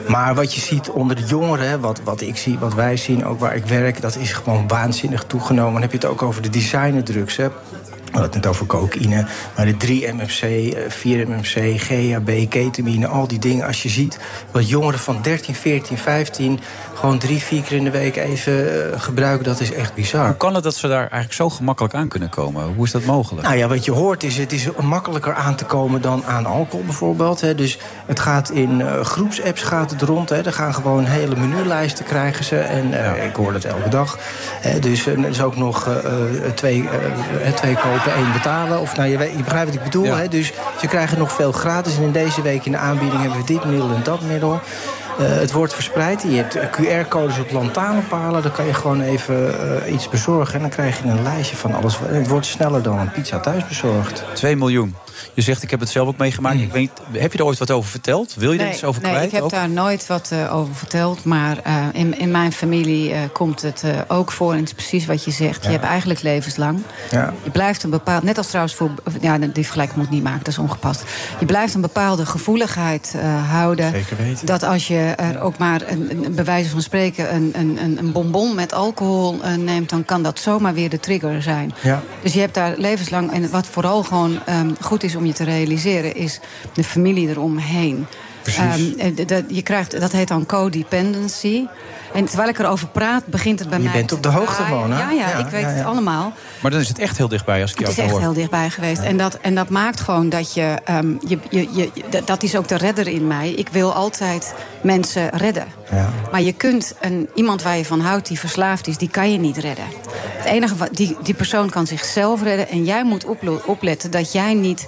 S21: Maar wat je ziet onder de jongeren, wat, wat ik zie, wat wij zien, ook waar ik werk, dat is gewoon waanzinnig toegenomen. Dan heb je het ook over de designerdrugs. Hè? We hadden het net over cocaïne, maar de 3-MFC, 4-MFC, GHB, ketamine, al die dingen. Als je ziet wat jongeren van 13, 14, 15 gewoon drie, vier keer in de week even eh, gebruiken, dat is echt bizar.
S8: Hoe kan het dat ze daar eigenlijk zo gemakkelijk aan kunnen komen? Hoe is dat mogelijk?
S21: Nou ja, wat je hoort is, het is makkelijker aan te komen dan aan alcohol bijvoorbeeld. Hè. Dus het gaat in eh, groepsapps gaat het rond. Hè. Er gaan gewoon hele menulijsten krijgen ze. En eh, ik hoor dat elke dag. Hè, dus eh, er is ook nog eh, eh, twee, eh, eh, twee kopen, één betalen. Of nou, je, weet- je begrijpt wat ik bedoel. Hè. Dus ze krijgen nog veel gratis. En in deze week in de aanbieding hebben we dit middel en dat middel. Eh, het wordt verspreid. Je hebt eh, QR-codes op lantaarnpalen. Dan kan je gewoon even eh, iets bezorgen. En dan krijg je een lijstje van alles. En het wordt sneller dan een pizza thuis bezorgd.
S8: 2 miljoen. Je zegt, ik heb het zelf ook meegemaakt. Ik weet, niet, heb je er ooit wat over verteld? Wil je er iets over
S2: Mm. nee,
S8: kwijt?
S2: ik heb
S8: ook?
S2: daar nooit wat eh, over verteld. Maar eh, in, in mijn familie eh, komt het eh, ook voor. En het is precies wat je zegt. Je hebt eigenlijk levenslang.
S21: Ja.
S2: Je blijft een bepaald. Net als trouwens voor. Ja, die vergelijking moet ik niet maken, dat is ongepast. Je blijft een bepaalde gevoeligheid eh, houden.
S21: Zeker weten.
S2: Dat als je er ook maar, een, een, bij wijze van spreken, een, een, een- een bonbon met alcohol eh, neemt. dan kan dat zomaar weer de trigger zijn.
S21: Ja.
S2: Dus je hebt daar levenslang. En wat vooral gewoon ehm, goed is om je te realiseren, is de familie eromheen. Ehm, eh, d- dat, je krijgt, dat heet dan codependency. En terwijl ik erover praat, begint het bij
S8: Je
S2: mij.
S8: bent
S2: te
S8: op de hoogte
S2: draaien.
S8: gewoon, hè?
S2: Ja, ja,
S8: Ja,
S2: ik weet
S8: ja, ja.
S2: het allemaal.
S8: Maar dan is het echt heel dichtbij als ik jou
S2: Het is
S8: zo
S2: echt
S8: hoor.
S2: heel dichtbij geweest. En, dat, en dat maakt gewoon dat je, ehm, je, je, je dat- Dat is ook de redder in mij. Ik wil altijd mensen redden. Maar je kunt een, iemand waar je van houdt die verslaafd is, die kan je niet redden. Het enige wat die, die persoon kan zichzelf redden. En jij moet oplo- opletten dat jij niet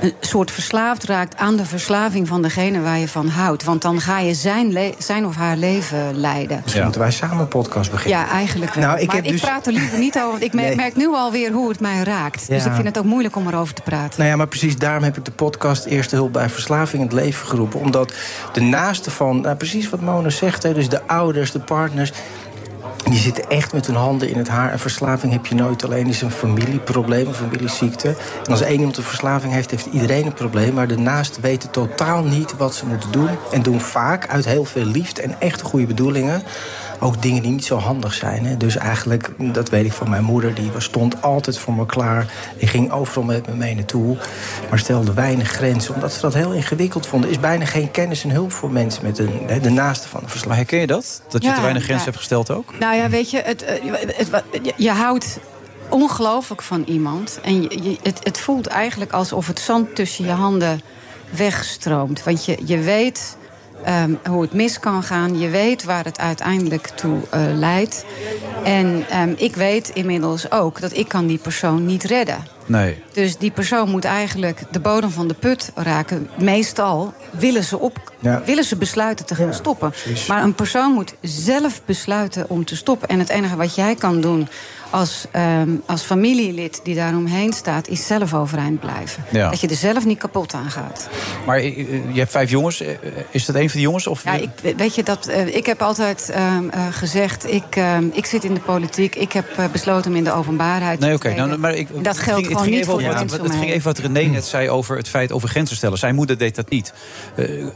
S2: een soort verslaafd raakt aan de verslaving van degene waar je van houdt. Want dan ga je zijn, le- zijn of haar leven leiden.
S21: Misschien moeten wij samen een podcast beginnen.
S2: Ja, eigenlijk wel.
S21: Nou, ik
S2: maar
S21: heb
S2: ik
S21: dus-
S2: praat er liever niet over, want ik mer-
S21: Nee.
S2: merk nu alweer hoe het mij raakt. Dus
S21: Ja.
S2: ik vind het ook moeilijk om erover te praten.
S21: Nou ja, maar precies daarom heb ik de podcast Eerste Hulp bij Verslaving in het leven geroepen. Omdat de naasten van, nou, precies wat Mona zegt, hè, dus de ouders, de partners. Die zitten echt met hun handen in het haar. En verslaving heb je nooit alleen. is een familieprobleem, een familieziekte. En als één iemand een verslaving heeft, heeft iedereen een probleem. Maar de naasten weten totaal niet wat ze moeten doen. En doen vaak uit heel veel liefde en echt goede bedoelingen. Ook dingen die niet zo handig zijn. Hè. Dus eigenlijk, dat weet ik van mijn moeder. Die stond altijd voor me klaar. Die ging overal met me mee naartoe. Maar stelde weinig grenzen. Omdat ze dat heel ingewikkeld vonden. Is bijna geen kennis en hulp voor mensen met een, hè, de naasten van de verslaving.
S13: Herken je dat?
S2: Dat je Ja, te weinig grenzen ja. hebt
S13: gesteld ook?
S2: Nou ja, weet je, het, eh, het, wa- je, je houdt ongelooflijk van iemand. En je, je- het, het voelt eigenlijk alsof het zand tussen je handen wegstroomt. Want je, je weet ehm, hoe het mis kan gaan. Je weet waar het uiteindelijk toe eh, leidt. En ehm, ik weet inmiddels ook dat ik kan die persoon niet redden.
S8: Nee.
S2: Dus die persoon moet eigenlijk de bodem van de put raken. Meestal willen ze, op,
S21: Ja.
S2: willen ze besluiten te gaan stoppen. Maar een persoon moet zelf besluiten om te stoppen. En het enige wat jij kan doen als, ehm, als familielid die daaromheen staat, is zelf overeind blijven.
S8: Ja.
S2: Dat je er zelf niet kapot aan gaat.
S8: Maar eh, eh, je hebt vijf jongens. Eh, eh, Is dat een van de jongens? Of...
S2: Ja, ik, weet je, dat, eh, ik heb altijd ehm, eh, gezegd, ik, ehm, ik zit in de politiek, ik heb eh, besloten om in de openbaarheid
S8: Nee,
S2: te
S8: oké.
S2: treden.
S8: nou, maar ik,
S2: En
S8: het
S2: dat geldt
S8: ging,
S2: gewoon
S8: het ging
S2: niet
S8: even
S2: voor
S8: over
S2: de
S8: wat,
S2: mensen Hm. om
S8: het
S2: mij
S8: ging
S2: heen.
S8: even wat René net zei over het feit over grenzen stellen. Zijn moeder deed dat niet. Eh,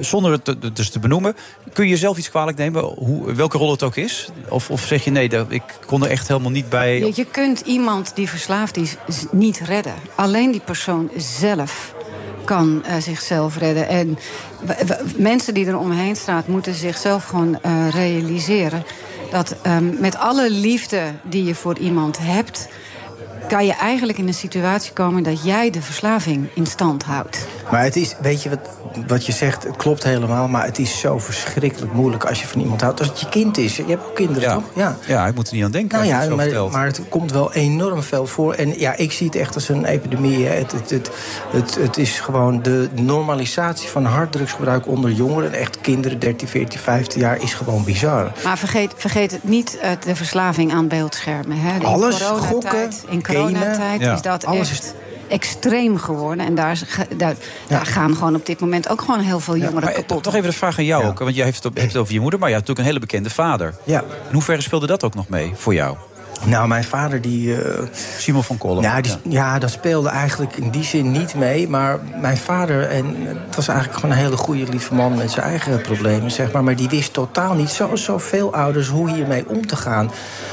S8: zonder het te- dus te benoemen. Kun je jezelf iets kwalijk nemen, hoe, welke rol het ook is? Of, of zeg je nee, dat, ik kon er echt helemaal niet bij.
S2: Je, je kunt iemand die verslaafd is z- niet redden. Alleen die persoon zelf kan eh, zichzelf redden. En w- w- mensen die er omheen staan, moeten zichzelf gewoon eh, realiseren... dat ehm, met alle liefde die je voor iemand hebt... kan je eigenlijk in een situatie komen dat jij de verslaving in stand houdt.
S21: Maar het is, weet je wat, wat je zegt, het klopt helemaal. Maar het is zo verschrikkelijk moeilijk als je van iemand houdt. Als het je kind is. Je hebt ook kinderen, toch? Ja.
S8: Ja, ik moet er niet aan denken.
S21: Nou
S8: als je het
S21: ja,
S8: zo
S21: maar,
S8: vertelt.
S21: maar het komt wel enorm veel voor. En ja, ik zie het echt als een epidemie. Hè. Het, het, het, het, het is gewoon de normalisatie van harddrugsgebruik onder jongeren. Echt kinderen 13, 14, 15 jaar is gewoon bizar.
S2: Maar vergeet, vergeet het niet eh, de verslaving aan beeldschermen. Hè. In
S21: Alles,
S2: coronatijd,
S21: gokken,
S2: In coronatijd
S21: gamen.
S2: is dat
S21: Ja, alles
S2: echt extreem geworden. En daar, is ge- daar, daar gaan gewoon op dit moment ook gewoon heel veel jongeren
S8: Maar, eh,
S2: kapot.
S8: toch even de vraag aan jou ook. Want jij heeft het, op- hebt het over je moeder, maar je hebt natuurlijk een hele bekende vader.
S21: Ja.
S8: In hoeverre speelde dat ook nog mee voor jou?
S21: Nou, mijn vader die...
S8: Simon van Kollen.
S21: Ja, Nou, die, ja, dat speelde eigenlijk in die zin niet mee. Maar mijn vader, en het was eigenlijk gewoon een hele goede lieve man met zijn eigen problemen, zeg maar. Maar die wist totaal niet, zoals zoveel ouders, hoe hiermee om te gaan.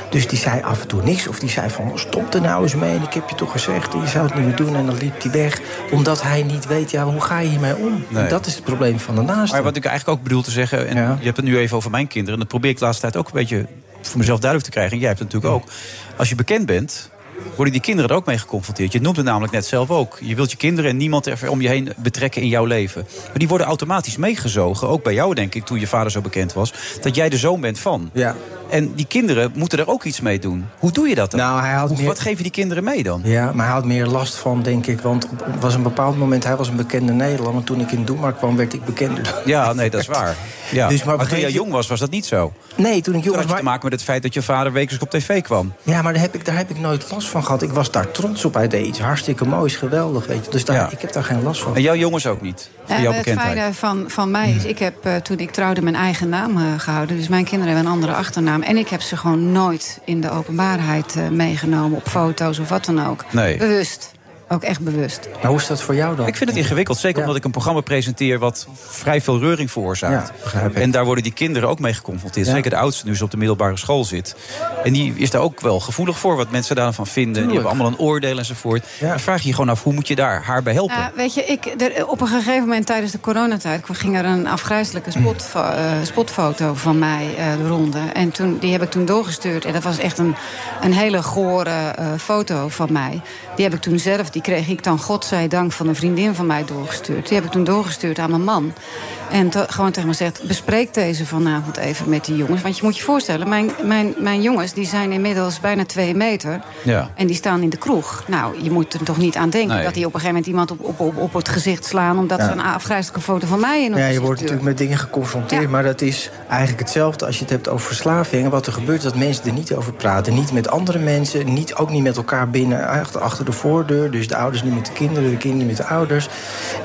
S21: Dus die zei af en toe niks. Of die zei van, stop er nou eens mee. En ik heb je toch gezegd, en je zou het niet meer doen. En dan liep hij weg, omdat hij niet weet, ja, hoe ga je hiermee om?
S8: Nee.
S21: En dat is het probleem van de naaste.
S8: Maar wat ik eigenlijk ook bedoel te zeggen, en je hebt het nu even over mijn kinderen, en dat probeer ik de laatste tijd ook een beetje voor mezelf duidelijk te krijgen. En jij hebt het natuurlijk ook. Als je bekend bent, worden die kinderen er ook mee geconfronteerd. Je noemt het namelijk net zelf ook. Je wilt je kinderen en niemand er om je heen betrekken in jouw leven. Maar die worden automatisch meegezogen. Ook bij jou, denk ik, toen je vader zo bekend was, dat jij de zoon bent van.
S21: Ja.
S8: En die kinderen moeten er ook iets mee doen. Hoe doe je dat dan?
S21: Nou, hij had
S8: Hoe-
S21: meer-
S8: Wat geven die kinderen mee dan?
S21: Ja, maar hij had meer last van, denk ik. Want op- op- was een bepaald moment, hij was een bekende Nederlander. Toen ik in Doemar kwam, werd ik bekender. dan-
S8: Ja, nee, dat is waar. Ja.
S21: Dus
S8: maar
S21: maar op
S8: toen
S21: een
S8: jij
S21: gegeven-
S8: jong was, was dat niet zo.
S21: Nee, toen ik
S8: Toen
S21: jong
S8: had
S21: was.
S8: je te
S21: Maar,
S8: maken met het feit dat je vader wekelijks op tv kwam.
S21: ja, maar daar heb, ik, daar heb ik nooit last van gehad. Ik was daar trots op. Hij deed iets hartstikke moois, geweldig. Weet je. Dus daar, ik heb daar geen last van.
S8: En jouw jongens ook niet? Voor jouw
S2: Eh, het
S8: bekendheid?
S2: fijne van, van mij is, ik heb eh, toen ik trouwde mijn eigen naam eh, gehouden. Dus mijn kinderen hebben een andere achternaam. En ik heb ze gewoon nooit in de openbaarheid eh, meegenomen op foto's of wat dan ook.
S8: Nee.
S2: Bewust. Ook echt bewust.
S21: Maar hoe is dat voor jou dan?
S8: Ik vind het ingewikkeld, zeker omdat ik een programma presenteer wat vrij veel reuring veroorzaakt.
S21: Ja, begrijp ik.
S8: en daar worden die kinderen ook mee geconfronteerd.
S21: Ja.
S8: Zeker de oudste nu ze op de middelbare school zit. En die is daar ook wel gevoelig voor wat mensen daarvan vinden. Die
S21: Tuurlijk.
S8: hebben allemaal een oordeel enzovoort. Dan vraag je je gewoon af hoe moet je daar haar bij helpen?
S2: Nou, weet je, ik, er, op een gegeven moment tijdens de coronatijd kwam- ging er een afgrijzelijke spotfo- eh, spotfoto van mij eh, de ronde. En toen, die heb ik toen doorgestuurd. En dat was echt een, een hele gore eh, foto van mij. Die heb ik toen zelf, die kreeg ik dan godzijdank van een vriendin van mij doorgestuurd. Die heb ik toen doorgestuurd aan mijn man. En to- gewoon tegen me zegt, bespreek deze vanavond even met die jongens. Want je moet je voorstellen, mijn, mijn, mijn jongens die zijn inmiddels bijna twee meter.
S8: Ja.
S2: En die staan in de kroeg. Nou, je moet er toch niet aan denken
S21: Nee.
S2: dat die op een gegeven moment iemand op, op, op, op het gezicht slaan. omdat
S21: Ja.
S2: ze een afgrijzelijke foto van mij in hun
S21: Ja, je
S2: gezicht
S21: wordt
S2: duwen.
S21: natuurlijk met dingen geconfronteerd. Maar dat is eigenlijk hetzelfde als je het hebt over verslaving. En wat er gebeurt is dat mensen er niet over praten. Niet met andere mensen, niet, ook niet met elkaar binnen, eh, achter, achter de voordeur. Dus de ouders niet met de kinderen, de kinderen niet met de ouders.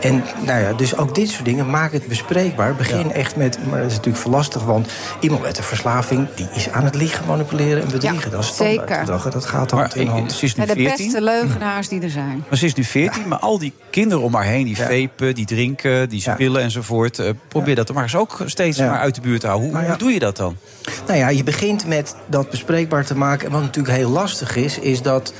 S21: En nou ja, dus ook dit soort dingen, maak het bespreekbaar. Begin echt met, maar dat is natuurlijk verlastig, want iemand met een verslaving... die is aan het liegen, manipuleren en bedriegen. dat is standaard.
S2: zeker.
S21: Dat, dat gaat hand in
S8: ik-
S21: hand.
S8: eh, ze is nu
S2: Ja, de
S8: 14.
S2: beste leugenaars die er zijn.
S8: Maar ze is nu 14, maar al die kinderen om haar heen, die vapen, die drinken, die spillen enzovoort. eh, probeer dat maar eens ook steeds maar uit de buurt te houden. Hoe, hoe doe je dat dan?
S21: Nou ja, je begint met dat bespreekbaar te maken. En wat natuurlijk heel lastig is, is dat.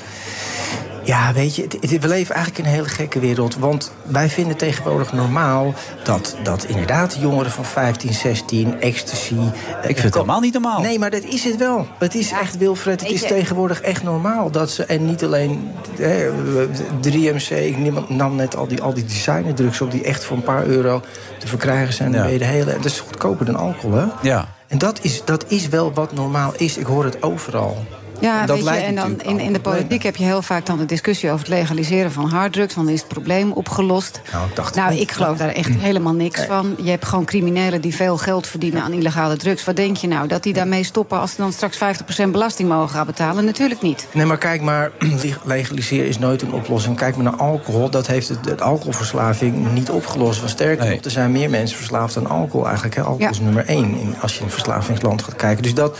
S21: Ja, weet je, het- het- we leven eigenlijk in een hele gekke wereld. Want wij vinden tegenwoordig normaal dat, dat inderdaad jongeren van 15, 16, ecstasy. Ik vind
S8: het helemaal niet normaal.
S21: Nee, maar dat is het wel. Het is echt, Wilfred, het is tegenwoordig echt normaal dat ze. En niet alleen hè, 3MC, ik nam- nam net al die, al die designerdrugs op die echt voor een paar euro te verkrijgen zijn.
S8: Ja.
S21: Dan ben je de hele, dat is goedkoper dan alcohol, hè?
S8: Ja.
S21: En dat is, dat is wel wat normaal is. Ik hoor het overal.
S2: Ja,
S21: dat
S2: weet je,
S21: lijkt
S2: en dan
S21: natuurlijk
S2: in, in de politiek heb je heel vaak dan de discussie over het legaliseren van harddrugs. Want dan is het probleem opgelost.
S21: Nou, ik dacht
S2: Nou, ik geloof daar echt helemaal niks van. Je hebt gewoon criminelen die veel geld verdienen aan illegale drugs. Wat denk je nou? Dat die daarmee stoppen als ze dan straks 50% belasting mogen gaan betalen? Natuurlijk niet.
S21: Nee, maar kijk maar, legaliseren is nooit een oplossing. Kijk maar naar alcohol. Dat heeft het, het alcoholverslaving niet opgelost. Want sterker nog, er zijn meer mensen verslaafd aan alcohol eigenlijk. Hè? Alcohol is nummer één in- als je in een verslavingsland gaat kijken. Dus dat...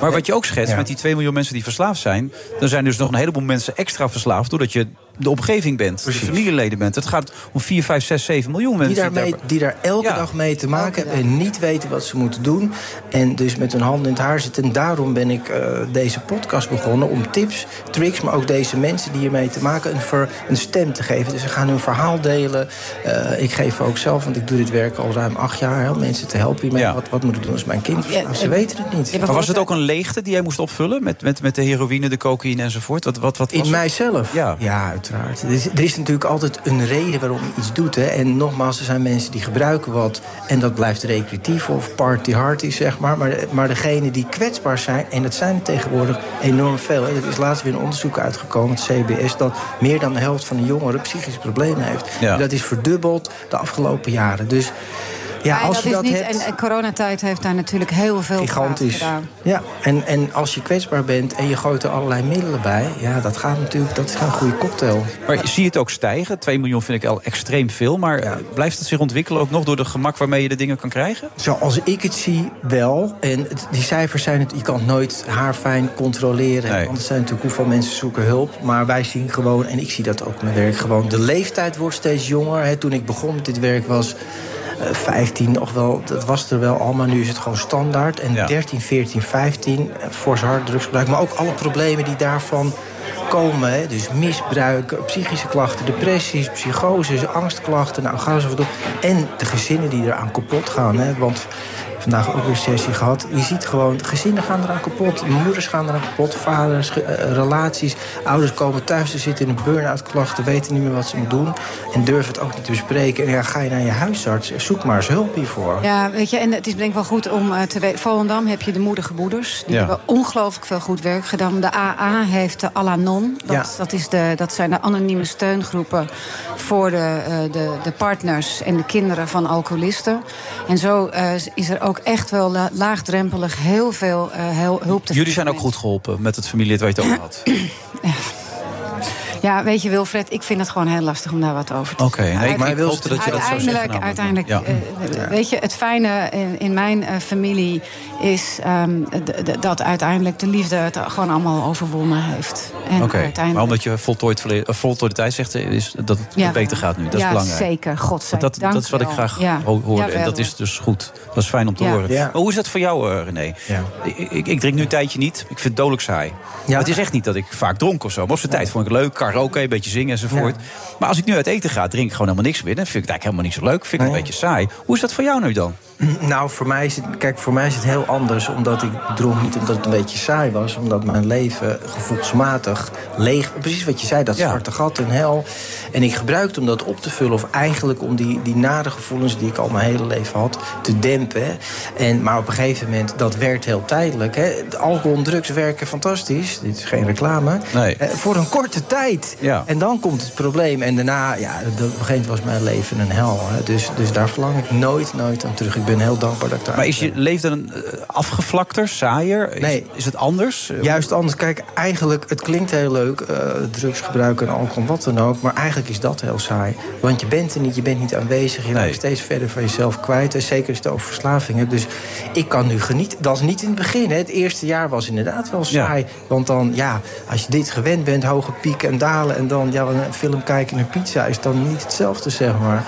S8: Maar wat je ook schetst,
S21: Ja.
S8: met die 2 miljoen mensen die verslaafd zijn... dan zijn dus nog een heleboel mensen extra verslaafd... doordat je de omgeving bent, de familieleden bent. Het gaat om 4, 5, 6, 7 miljoen mensen.
S21: Die daar, mee-
S8: daarbij-
S21: die daar elke dag mee te maken hebben en niet weten wat ze moeten doen. En dus met hun handen in het haar zitten. En daarom ben ik eh, deze podcast begonnen om tips, tricks, maar ook deze mensen die hiermee te maken een, ver- een stem te geven. Dus ze gaan hun verhaal delen. Eh, ik geef ook zelf, want ik doe dit werk al ruim acht jaar, hè, om mensen te helpen hiermee. Wat, wat moet ik doen als mijn kind verslaafd is? Ze weten het niet.
S8: Maar was het ook een leegte die jij moest opvullen? Met, met, met de heroïne, de cocaïne enzovoort? Wat, wat, wat was
S21: In
S8: het?
S21: mijzelf? Ja. uiteraard. Er is, er is natuurlijk altijd een reden waarom je iets doet. Hè. En nogmaals, er zijn mensen die gebruiken wat... en dat blijft recreatief of party hardy, zeg maar. Maar, maar degenen die kwetsbaar zijn... en dat zijn er tegenwoordig enorm veel. Hè. Er is laatst weer een onderzoek uitgekomen, het CBS... dat meer dan de helft van de jongeren psychische problemen heeft.
S8: Ja.
S21: En Dat is verdubbeld de afgelopen jaren. Dus ja,
S2: Maar
S21: als
S2: dat
S21: je
S2: is
S21: dat
S2: niet,
S21: hebt...
S2: En, en coronatijd heeft daar natuurlijk heel veel kwaad
S21: Gigantisch.
S2: gedaan.
S21: Ja, en, en als je kwetsbaar bent en je gooit er allerlei middelen bij... ja, dat gaat natuurlijk, dat is geen goede cocktail.
S8: Maar zie je het ook stijgen? 2 miljoen vind ik al extreem veel. Maar eh, blijft het zich ontwikkelen ook nog door de gemak waarmee je de dingen kan krijgen?
S21: Zoals ik het zie, wel. En het- die cijfers zijn het, je kan het nooit haarfijn controleren. Anders zijn natuurlijk hoeveel mensen zoeken hulp. Maar wij zien gewoon, en ik zie dat ook in mijn werk gewoon, de leeftijd wordt steeds jonger. Hè, toen ik begon met dit werk was eh, 15 nog wel, dat was er wel al, maar nu is het gewoon standaard. En 13, 14, 15, eh, fors harddrugsgebruik, maar ook alle problemen die daarvan komen. Hè, dus misbruik, psychische klachten, depressies, psychoses, angstklachten. Nou, ga zo maar door. En de gezinnen die eraan kapot gaan. Hè, want vandaag ook weer een sessie gehad. Je ziet gewoon, de gezinnen gaan eraan kapot. Moeders gaan eraan kapot, vaders, ge- eh, relaties. Ouders komen thuis, ze zitten in een burn-out klachten... weten niet meer wat ze moeten doen en durven het ook niet te bespreken. En ja, ga je naar je huisarts, zoek maar eens hulp hiervoor.
S2: Ja, weet je, en het is denk ik wel goed om eh, te weten. Volendam heb je de moedige moeders. Die
S21: Ja.
S2: hebben ongelooflijk veel goed werk gedaan. De AA heeft de Alanon. Dat,
S21: Ja.
S2: dat, is de, dat zijn de anonieme steungroepen voor de, eh, de, de partners en de kinderen van alcoholisten. En zo eh, is er ook echt wel la- laagdrempelig heel veel eh, hel- hulp te
S8: Jullie zijn ook goed geholpen met het familielid waar je het over had.
S2: Ja, weet je Wilfred, ik vind het gewoon heel lastig om daar wat over te
S8: Oké, nee,
S2: zeggen.
S8: ik- maar ik
S2: Uiteindelijk-
S8: hoopte dat je dat zou zeggen namelijk,
S2: Uiteindelijk,
S8: ja.
S2: uiteindelijk eh, weet je, het fijne in, in mijn eh, familie is ehm, d- d- dat uiteindelijk de liefde het gewoon allemaal overwonnen heeft. En
S8: Oké,
S2: eh, uiteindelijk-
S8: maar omdat je voltooid, verle- eh, voltooid tijd zegt, eh, is dat het
S2: Ja.
S8: beter gaat nu. Dat
S2: ja,
S8: is belangrijk.
S2: zeker,
S8: Want
S2: godzijdank.
S8: Dat, dat is wat ik
S2: wel.
S8: graag
S2: Ja.
S8: ho- hoorde. en
S2: Jawel,
S8: dat is
S2: hoor.
S8: dus goed. Dat is fijn om te
S2: Ja.
S8: horen.
S2: Ja.
S8: Maar hoe is dat voor jou, eh, René? Ik, ik, ik drink nu een tijdje niet. Ik vind het dodelijk saai. Maar Het is echt niet dat ik vaak dronk of zo. Maar op zijn tijd vond ik het leuk. Karaoke, een beetje zingen enzovoort. Maar als ik nu uit eten ga, drink ik gewoon helemaal niks meer. Dan vind ik het eigenlijk helemaal niet zo leuk. Vind ik het een beetje saai. Hoe is dat voor jou nu dan?
S21: Nou, voor mij, is het, kijk, voor mij is het heel anders. Omdat ik dronk niet omdat het een beetje saai was. Omdat mijn leven gevoelsmatig leeg... Precies wat je zei, dat zwarte gat, een hel. En ik gebruikte om dat op te vullen. Of eigenlijk om die, die nare gevoelens die ik al mijn hele leven had... te dempen. hè. En, maar op een gegeven moment, dat werkt heel tijdelijk. Hè. Alcohol en drugs werken fantastisch. Dit is geen reclame.
S8: Nee.
S21: Eh, voor een korte tijd.
S8: Ja.
S21: En dan komt het probleem. En daarna, ja, op een gegeven moment was mijn leven een hel. Hè. Dus, dus daar verlang ik nooit, nooit aan terug. Ik ben heel dankbaar dat ik daar
S8: Maar is je leven dan eh, afgevlakter, saaier? Is,
S21: Nee.
S8: is het anders? Eh,
S21: Juist anders. Kijk, eigenlijk, het klinkt heel leuk, eh, drugsgebruik en alcohol, wat dan ook. Maar eigenlijk is dat heel saai. Want je bent er niet, je bent niet aanwezig. Je raakt steeds verder van jezelf kwijt. En zeker als je het over verslaving hebt. Dus ik kan nu genieten. Dat is niet in het begin. Hè. Het eerste jaar was inderdaad wel saai. Want dan, ja, als je dit gewend bent, hoge pieken en dalen. En dan, ja, een film kijken en een pizza is dan niet hetzelfde, zeg maar.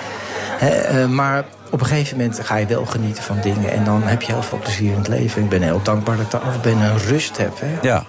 S21: Hè, eh, maar op een gegeven moment ga je wel genieten van dingen. En dan heb je heel veel plezier in het leven. Ik ben heel dankbaar dat ik daar af ben en rust heb. Hè.
S8: Ja.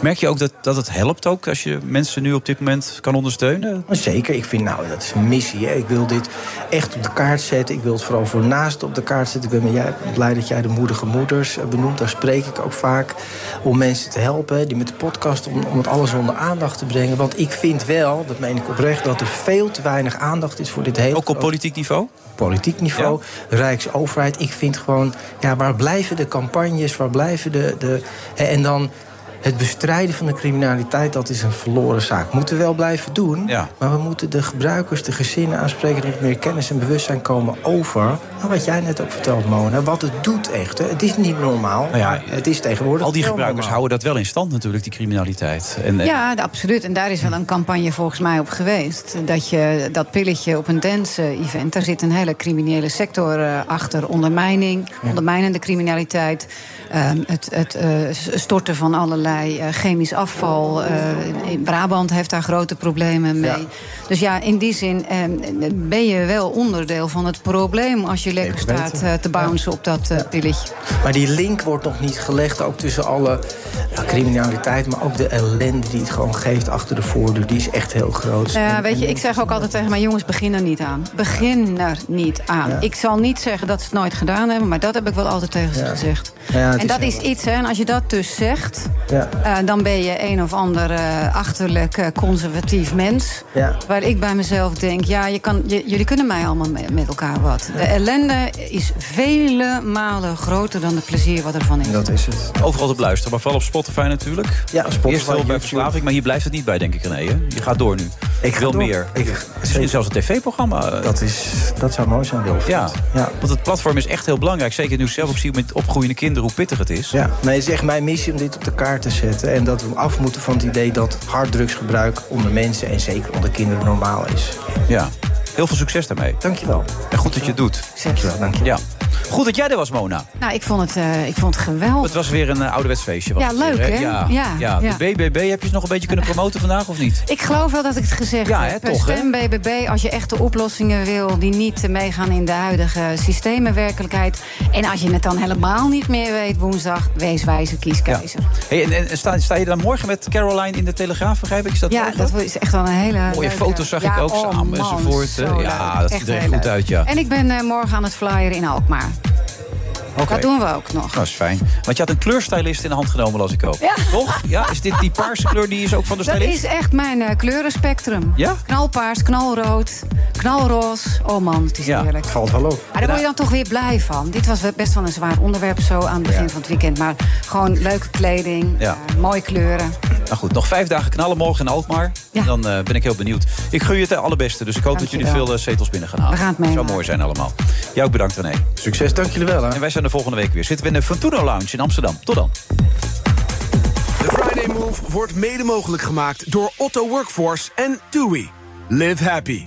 S8: Merk je ook dat, dat het helpt ook als je mensen nu op dit moment kan ondersteunen?
S21: Zeker, ik vind nou, dat is een missie. Hè. Ik wil dit echt op de kaart zetten. Ik wil het vooral voor naast op de kaart zetten. Ik ben met jij- blij dat jij de moedige moeders eh, benoemt. Daar spreek ik ook vaak om mensen te helpen. hè, Die met de podcast, om, om het alles onder aandacht te brengen. Want ik vind wel, dat meen ik oprecht, dat er veel te weinig aandacht is voor dit hele...
S8: Ook op politiek niveau?
S21: Politiek niveau, Rijksoverheid. Ik vind gewoon, ja, waar blijven de campagnes? Waar blijven de... de hè, en dan... Het bestrijden van de criminaliteit, dat is een verloren zaak. Moeten we wel blijven doen. Maar we moeten de gebruikers, de gezinnen aanspreken... dat meer kennis en bewustzijn komen over... Nou, wat jij net ook vertelt, Mona, wat het doet echt. Hè. Het is niet normaal, maar het is tegenwoordig
S8: Al die
S21: wel
S8: gebruikers
S21: normaal.
S8: houden dat wel in stand natuurlijk, die criminaliteit. En, en-
S2: Ja, d- absoluut. En daar is wel een campagne volgens mij op geweest. Dat je dat pilletje op een dance-event... daar zit een hele criminele sector eh, achter. Ondermijning, ondermijnende criminaliteit. ehm, het het eh, s- storten van allerlei eh, chemisch afval. eh, in Brabant heeft daar grote problemen mee. Dus ja, in die zin ehm, ben je wel onderdeel van het probleem... als je lekker
S21: Zeker
S2: staat eh, te bouncen op dat eh, pilletje.
S21: Maar die link wordt nog niet gelegd, ook tussen alle ja, criminaliteit... maar ook de ellende die het gewoon geeft achter de voordeur. Die is echt heel groot.
S2: Nou Ja, weet je, ik zeg ook altijd tegen mijn jongens: begin er niet aan. Begin er niet aan.
S21: Ja.
S2: Ik zal niet zeggen dat ze het nooit gedaan hebben, maar dat heb ik wel altijd tegen ze
S21: Ja.
S2: gezegd.
S21: Ja, het
S2: en dat
S21: heel-
S2: is iets, hè, en als je dat dus zegt,
S21: Ja.
S2: eh, dan ben je een of ander eh, achterlijk eh, conservatief mens.
S21: Ja.
S2: Waar ik bij mezelf denk: ja, je kan, j- jullie kunnen mij allemaal me- met elkaar wat. De ellende is vele malen groter dan het plezier wat ervan is.
S21: Dat is het.
S8: Overal te luisteren, maar vooral op Spotify natuurlijk.
S21: Ja, Spotify,
S8: Eerst wel bij
S21: YouTube.
S8: verslaving, maar hier blijft het niet bij, denk ik, René. hè? Je gaat door nu. Ik wil
S21: door.
S8: meer. Misschien zelfs een tv-programma. eh.
S21: Dat, is, dat zou mooi zijn, Wilfred.
S8: Ja. want het platform is echt heel belangrijk. Zeker nu ik zelf ook zie met opgroeiende kinderen hoe pittig het is.
S21: Ja, nee, het is echt mijn missie om dit op de kaart te zetten. En dat we af moeten van het idee dat harddrugsgebruik onder mensen en zeker onder kinderen normaal is.
S8: Ja. Heel veel succes daarmee.
S21: Dankjewel.
S8: En goed dat je het doet.
S21: Dankjewel, dankjewel.
S8: Ja. Goed dat jij er was, Mona.
S2: Nou, ik vond het, eh, ik vond het geweldig.
S8: Het was weer een eh, ouderwets feestje. was
S2: Ja,
S8: het weer,
S2: leuk, hè?
S8: Ja.
S2: Ja,
S8: ja.
S2: ja.
S8: De BBB, heb je ze nog een beetje kunnen promoten vandaag of niet?
S2: Ik geloof wel dat ik het gezegd
S8: Ja, hè,
S2: heb.
S8: toch, hè?
S2: Stem BBB als je echt de oplossingen wil die niet eh, meegaan in de huidige systemenwerkelijkheid. En als je het dan helemaal niet meer weet woensdag, wees wijze kieskeizer. Ja,
S8: Hey, en, en- en sta, sta je dan morgen met Caroline in de Telegraaf, begrijp ik? Is dat wel zo?
S2: dat is echt wel een hele.
S8: Mooie
S2: leuke-
S8: foto's zag
S2: Ja,
S8: ik ook
S2: oh
S8: samen
S2: man,
S8: enzovoort.
S2: zo
S8: Eh,
S2: leuk.
S8: ja, dat ziet er
S2: heel
S8: echt goed
S2: leuk.
S8: uit, ja.
S2: En ik ben eh, morgen aan het flyeren in Alkmaar.
S8: Oké.
S2: Dat doen we ook nog.
S8: Dat is fijn. Want je had een kleurstylist in de hand genomen, las ik ook.
S2: Ja.
S8: Toch? Ja, is dit die paarse kleur die is ook van de
S2: Dat
S8: stylist?
S2: is echt mijn eh, kleurenspectrum.
S8: Ja?
S2: Knalpaars, knalrood, knalroos. Oh man, het is heerlijk.
S21: Valt wel op.
S2: Maar daar word je dan toch weer blij van. Dit was best wel een zwaar onderwerp zo aan het begin van het weekend. Maar gewoon leuke kleding,
S8: Ja.
S2: eh, mooie kleuren.
S8: Nou goed, nog vijf dagen knallen morgen in Alkmaar. En Dan eh, ben ik heel benieuwd. Ik gun je het allerbeste, dus ik hoop dat jullie
S2: Dankjewel.
S8: veel eh, zetels binnen gaan halen.
S2: We gaan het meemaken.
S8: Zou mooi zijn allemaal. Jou ook bedankt, René.
S21: Succes, dank jullie wel.
S8: En wij zijn de volgende week weer. Zitten we in de Fortuno Lounge in Amsterdam. Tot dan.
S10: Friday
S5: Move wordt mede mogelijk gemaakt door Otto Workforce en TUI. Live happy.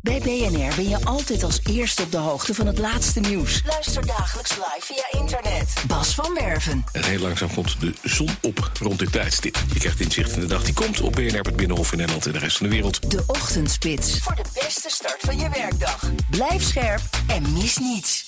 S1: Bij BNR ben je altijd als eerste op de hoogte van het laatste nieuws. Luister dagelijks live via internet. Bas van Werven.
S9: En heel langzaam komt de zon op rond dit tijdstip. Je krijgt inzicht in de dag die komt op BNR, het Binnenhof in Nederland en de rest van de wereld.
S1: De Ochtendspits. Voor de beste start van je werkdag. Blijf scherp en mis niets.